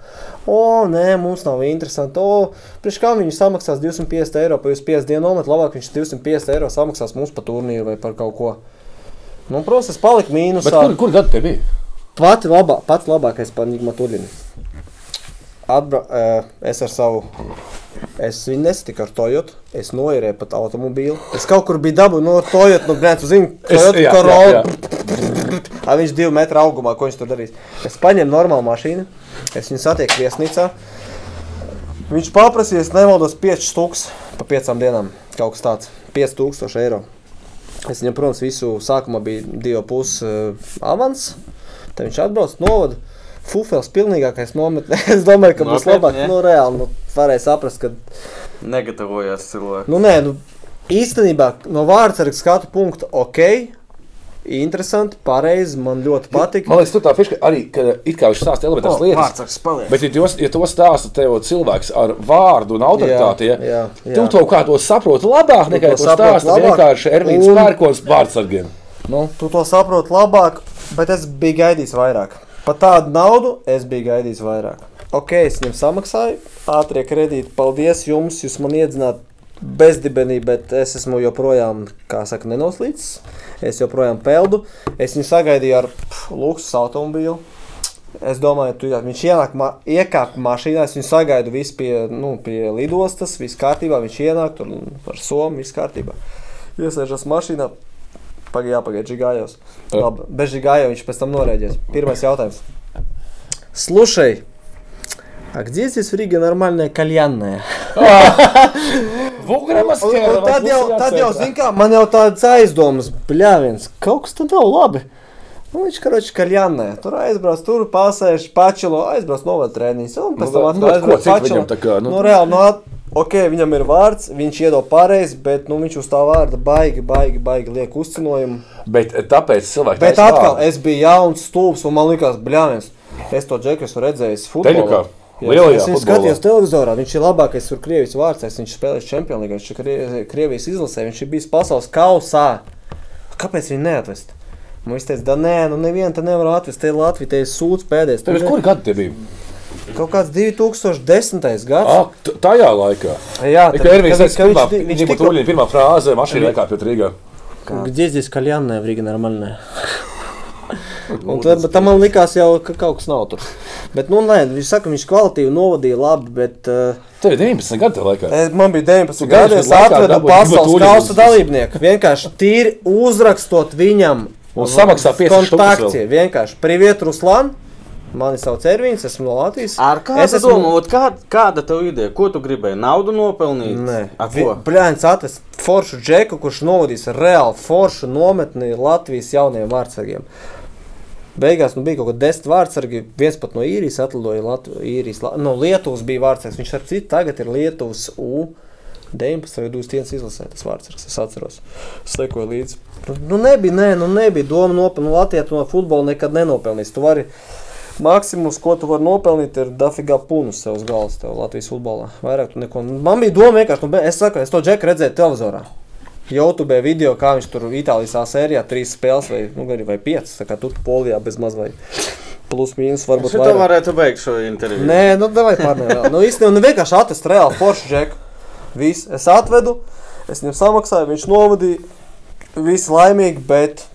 [SPEAKER 3] O, nē, mums nav interesanti. O, priekš kā viņš samaksās 250 eiro par jūsu piecu dienu nometni, labāk viņš 250 eiro samaksās mums par turnīru vai par kaut ko. Nu, protams, es paliku
[SPEAKER 1] Bet
[SPEAKER 3] mīnusā.
[SPEAKER 1] kur, kur gadu te bija?
[SPEAKER 3] Pati labā, pats labākais par Nigma Tuļinu. Atbra, uh, es ar savu, es viņu nesatiku ar Toyota, es noierēju pat automobīlu. Es kaut kur biju dabūjis no Toyota, nu, grēns, zinu,
[SPEAKER 1] Es- jā,
[SPEAKER 3] Toyota
[SPEAKER 1] jā,
[SPEAKER 3] Corolla. A, viņš ir divu metru augumā, ko viņš tur darīs. Es paņēmu normālu mašīnu, es viņu satieku viesnīcā. Viņš paprasīja, es nemaldos, 5000 pa 5 dienām. Kaut kas tāds - 5000 eiro. Es viņam, protams, visu sākumā bija divi puses uh, avans. Tad viņš atbrauc, novada. Fufels pilnīgākais nometnē. es domāju, ka būs
[SPEAKER 2] Nopietni,
[SPEAKER 3] labāk.
[SPEAKER 2] ja?
[SPEAKER 3] Nu, reāli, nu, varēja saprast, ka
[SPEAKER 2] Negatavojās cilvēki.
[SPEAKER 3] Nu, nē, nu, īstenībā no vārdsarga skatu punkta ok. Interesanti, pareizi. Man ļoti patīk.
[SPEAKER 1] Man liekas, tur tā fiška arī, ka it kā viņš stāsta elementāras lietas.
[SPEAKER 2] Vārtsargs paliek.
[SPEAKER 1] Bet, ja tu, ja to stāsta tev cilvēks ar vārdu un autoritāti,
[SPEAKER 3] Jā,
[SPEAKER 1] ja,
[SPEAKER 3] jā, jā.
[SPEAKER 1] tu kaut kā to saproti labāk nekā
[SPEAKER 3] to
[SPEAKER 1] to
[SPEAKER 3] saproti
[SPEAKER 1] stāsta
[SPEAKER 3] labāk,
[SPEAKER 1] vienkārši Ervīns
[SPEAKER 3] un-
[SPEAKER 1] Pērkons vārdsargiem. Nu,
[SPEAKER 3] Tu to saproti labāk, bet es biju gaidījis vairāk. Par tādu naudu es biju gaidījis vairāk. Ok, es viņam samaksāju, ātrie kredīti. Paldies jums, jūs man iedzināt bezdibenī, bet es esmu joprojām, kā saka, nenoslīdis. Es joprojām peldu. Es viņu sagaidīju ar pf, luksus automobīlu. Es domāju, tu, jā, viņš ienāk, ma iekāpa mašīnā, es viņu sagaidu visu pie, nu, pie lidostas, viss kārtībā, viņš ienāk tur ar somu, viss kārtībā. Iesēžas mašīnā, pagaidi, jāpagaidi, žigājos.
[SPEAKER 1] Tā.
[SPEAKER 3] Labi, bez žigājos viņš pēc tam norēģēs. Pirmais jautājums. Слушай, а где здесь в Риге нормальная кальянная?
[SPEAKER 1] Vugramas
[SPEAKER 3] Un, un
[SPEAKER 1] ķēra,
[SPEAKER 3] tad
[SPEAKER 1] vai
[SPEAKER 3] jau,
[SPEAKER 1] būs
[SPEAKER 3] tad
[SPEAKER 1] jāceļ?
[SPEAKER 3] jau zin, kā, man jau tādas aizdomas, bļāviens, kaut kas tad nav labi. Nu, viņš karoči kaļānē, tur aizbrauc, tur pasēž pačilo, aizbrauc novada treniņus, un pēc
[SPEAKER 1] Nu, vai-
[SPEAKER 3] tam
[SPEAKER 1] nu,
[SPEAKER 3] atkal
[SPEAKER 1] ko
[SPEAKER 3] aizbrauc
[SPEAKER 1] citu viņam
[SPEAKER 3] pačilo.
[SPEAKER 1] tā kā, nu?
[SPEAKER 3] Nu, reāli, nu, at- Ok, viņam ir vārds, viņš iedod pareizi, bet nu, viņš uz tā vārda baigi, baigi, baigi liek uzcinojumu.
[SPEAKER 1] Bet eh, tāpēc cilvēki
[SPEAKER 3] Bet atkal, es biju jauns, stulbs, un man likās, bļāviens, es to džeku esmu redzējis futbolā.
[SPEAKER 1] Teļukā,
[SPEAKER 3] Jā,
[SPEAKER 1] lielajā
[SPEAKER 3] es viņu
[SPEAKER 1] futbolā.
[SPEAKER 3] skatījos televizorā. Viņš ir labākais tur Krievijas vārdsargs. Viņš spēlēja Champions League, viņš ir Krie- Krievijas izlasē, viņš ir bijis pasaules kausā. Kāpēc viņu neatvest? Mums teica, da nē, nu nevienu te nevar atvest. Te ir Latvija, te ir sūds pēdējais. Tur
[SPEAKER 1] Tev ir
[SPEAKER 3] ne-
[SPEAKER 1] kur gadi tie bija?
[SPEAKER 3] Kaut kāds 2010. gads.
[SPEAKER 1] Ah, t- tajā laikā.
[SPEAKER 3] Jā,
[SPEAKER 1] Tā
[SPEAKER 3] tad-
[SPEAKER 1] kā Ervīns
[SPEAKER 3] kad-
[SPEAKER 1] teica,
[SPEAKER 3] kad
[SPEAKER 1] ka
[SPEAKER 3] viņš-
[SPEAKER 1] viņš
[SPEAKER 3] viņš
[SPEAKER 1] bija
[SPEAKER 3] tikko-
[SPEAKER 1] tūlīt pirmā frāze mašīnā iekāpj pie Rīgā.
[SPEAKER 7] Где здесь кальянная в Риге нормальная?
[SPEAKER 3] Un tad, bet tam man likās, jau, ka kaut kas nav tur. Bet, nu, nē, viņš saka, viņš kvalitīvi novadīja labi, bet uh,
[SPEAKER 1] Tev ir 19 gadi tajā laikā.
[SPEAKER 3] es- man bija 19
[SPEAKER 1] Gadi,
[SPEAKER 3] gadi, es
[SPEAKER 1] bet laikā
[SPEAKER 3] atvedu
[SPEAKER 1] dabūju
[SPEAKER 3] pasaules
[SPEAKER 1] divu
[SPEAKER 3] kausa
[SPEAKER 1] tūlītus.
[SPEAKER 3] dalībnieku. Vienkārši tīri uzrakstot viņam
[SPEAKER 1] Un samaksā 500 štukas
[SPEAKER 3] kontakti. Vienkārši priviet Ruslan, mani sauc Ervīns, esmu no Latvijas.
[SPEAKER 2] Ar
[SPEAKER 3] Es
[SPEAKER 2] kādu
[SPEAKER 3] esmu-
[SPEAKER 2] domu, ot kā, kāda tev ideja? Ko tu gribēji? Naudu nopelnīt?
[SPEAKER 3] Nē,
[SPEAKER 2] A, ko?
[SPEAKER 3] Brāļs atrast foršu džeku, kurš novadīs reāli foršu nometni Latvijas jaunajiem vārdsargiem. Beigās nu, bija kaut kāda desmit vārdsargi. Viens pat no īrijas atlidoja Latvijas, īrijas, La- no Lietuvas bija vārdsargs. Viņš ar citu tagad ir Lietuvas U. 19. vai 21. izlasē tas vārdsargs, es atceros. Sekoju līdzi. Nu, nebija, nē, nu, nebija doma nopelnīt. Nu, Latvijā tu no futbola nekad nenopelnīsi. Tu vari Maksimums, ko tu vari nopelnīt, ir dafigā punus sev uz galvas, tev Latvijas futbolā. Vairāk tu neko. Man bija doma vienkārši, nu, be- es saku, es to džeku redzēju televizorā. YouTube video, kā viņš tur Itālijas A sērijā, trīs spēles vai, nu, gan arī vai piecas, tā kā tur Polijā bez maz vai plus mīnus varbūt
[SPEAKER 2] Šito
[SPEAKER 3] vairāk.
[SPEAKER 2] varētu beigt šo interviju.
[SPEAKER 3] Nē, nu, davai pārnēm. nu, īstenībā, nu, vienkārši atrast reāli foršu džeku. Viss, es atvedu, es viņam samaksāju, viņš novadīja, visi laimīgi, bet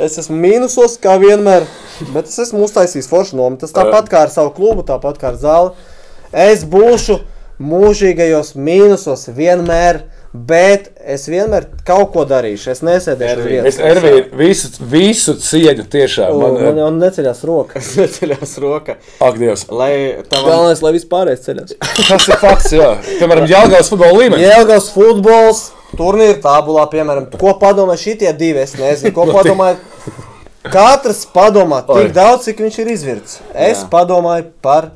[SPEAKER 3] es esmu mīnusos, kā vienmēr. Bet es esmu uztaisījis foršu nomu. Tas tāpat kā ar savu klubu, tāpat kā ar zāli. Es būšu mūžīgajos mīnusos vienmēr, bet es vienmēr kaut ko darīšu. Es nesēdēšu uz
[SPEAKER 2] Ervīn,
[SPEAKER 1] Es
[SPEAKER 3] vietas.
[SPEAKER 1] Ervīnu visu, visu cieņu tiešām.
[SPEAKER 3] Un man
[SPEAKER 1] Man, eh,
[SPEAKER 3] jau neceļās roka.
[SPEAKER 2] Neceļās roka.
[SPEAKER 1] ak, Dievs.
[SPEAKER 2] Lai tavam
[SPEAKER 3] Galvenais, lai vispārējais ceļās.
[SPEAKER 1] Tas ir fakts, jā. Piemēram, Jāgauts futbola līmenī.
[SPEAKER 3] Jēlgavas futbols, turnīra tabulā, piemēram, ko padomā šitie divi. Es nezinu, ko padomā. Katrs padomā
[SPEAKER 1] Oi.
[SPEAKER 3] tik daudz, cik viņš ir izvirts. Es
[SPEAKER 2] Jā.
[SPEAKER 3] Jā. padomāju par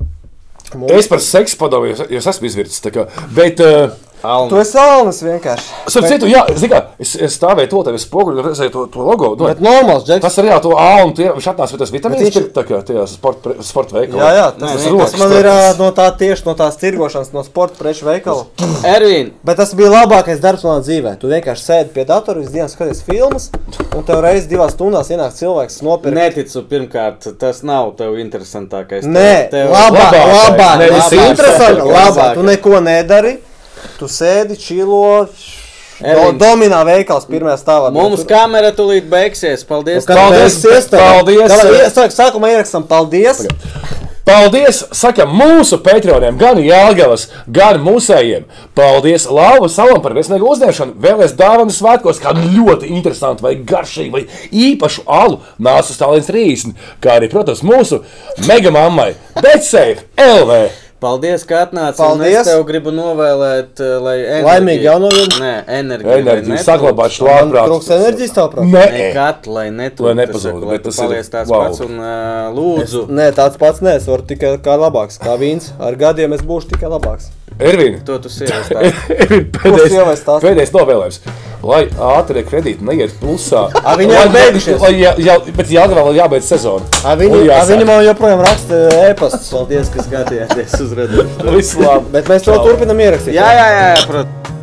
[SPEAKER 3] mums.
[SPEAKER 1] Es par seksu padomāju, jo es esmu izvirsis. tā kā. Bet, uh,
[SPEAKER 3] Tu
[SPEAKER 2] Alma.
[SPEAKER 3] esi salnis vienkārši.
[SPEAKER 1] starp citu, jā, zini kā, es, es stāvēju to tevi spoguļu, un redzēju to, to logo. Nu,
[SPEAKER 3] Bet normāls, Džeks.
[SPEAKER 1] tas ir jā, to ālu, un tie, viņš atnāca pie tās vitamīnas,
[SPEAKER 3] Bet viņš-
[SPEAKER 1] viņš... tā kā tajā sporta, pre- sporta veikalā.
[SPEAKER 3] Jā, jā, tas,
[SPEAKER 2] Nē,
[SPEAKER 3] Nē,
[SPEAKER 2] nē,
[SPEAKER 3] tas
[SPEAKER 1] tas
[SPEAKER 3] man
[SPEAKER 1] tas-
[SPEAKER 3] ir ā, no tā tieši no tās tirgošanas, no sporta preču veikala.
[SPEAKER 2] Ervīn,
[SPEAKER 3] Bet tas bija labākais darbs manā dzīvē. Tu vienkārši sēdi pie datora, visu dienu skaties filmas, un tev reizes divās stundās ienāk cilvēks nopirkt.
[SPEAKER 2] neticu pirmkārt, tas nav tev interesantākais.
[SPEAKER 3] Nē,
[SPEAKER 2] Tev-
[SPEAKER 3] labāk,
[SPEAKER 1] labāk,
[SPEAKER 3] labāk.
[SPEAKER 1] nevis
[SPEAKER 3] Tas ir
[SPEAKER 1] interesantāk.
[SPEAKER 3] interesanti. Labāk, tu
[SPEAKER 2] Labāk.
[SPEAKER 3] neko nedari. Tu sēdi čilo. Do,
[SPEAKER 2] Ervin.
[SPEAKER 3] dominā veikals pirmajā stāvā.
[SPEAKER 2] Mums kamera tūlīt beigsies. Paldies!
[SPEAKER 1] kā- Paldies,
[SPEAKER 3] paldies!
[SPEAKER 1] paldies.
[SPEAKER 3] Paldies! Paldies! Sākumā ierakstam paldies!
[SPEAKER 1] Paldies! Sakam mūsu patroniem, gan Jāgavas, gan mūsējiem. Paldies Lāvu Salam par viesnīgu uzņemšanu. Vēlēs dāvanu svētkos kādu ļoti interesantu, vai garšīgu, vai īpašu alu nāsu stāvins 30, kā arī, protams, mūsu megamammai Betsafe LV.
[SPEAKER 2] Paldies, ka atnāci.
[SPEAKER 3] Paldies.
[SPEAKER 2] Paldies. Es tev gribu novēlēt, eh, lai enerģija,
[SPEAKER 3] Laimīgi jauno gadu.
[SPEAKER 2] Nē, enerģija.
[SPEAKER 1] Enerģija saglabāt šlāprāt.
[SPEAKER 3] Trūks enerģijas tev, prāt?
[SPEAKER 1] Nē,
[SPEAKER 2] Nekad, lai netu,
[SPEAKER 1] Lai nepazūd,
[SPEAKER 2] lai
[SPEAKER 1] bet
[SPEAKER 2] tu
[SPEAKER 1] tas ir-
[SPEAKER 2] paliec tāds
[SPEAKER 1] wow.
[SPEAKER 2] pats un uh, lūdzu.
[SPEAKER 3] Nē, tāds pats nē, es varu tikai kā labāks, kā vīns. Ar gadiem es būšu tikai labāks.
[SPEAKER 1] Ervīna.
[SPEAKER 2] To tu sievies tā.
[SPEAKER 3] sievai
[SPEAKER 1] Pēdējais,
[SPEAKER 3] stāsti?
[SPEAKER 1] pēdējais novēlējums. Lai ātrie kredīti neiet plusā.
[SPEAKER 3] A, viņi jau
[SPEAKER 1] Lai-
[SPEAKER 3] beigušies?
[SPEAKER 1] lai jā- jā- Bet Jāgavā vēl jābeidz sezona.
[SPEAKER 3] A, Viņi,
[SPEAKER 1] Un
[SPEAKER 3] a,
[SPEAKER 1] jāsāk.
[SPEAKER 3] viņi man joprojām raksta e-pastus,
[SPEAKER 2] Paldies, ka skatījāties uz redzēšanu.
[SPEAKER 1] Visu labu!
[SPEAKER 3] bet mēs to turpinam ierakstīt.
[SPEAKER 2] Jā, jā, jā, protams.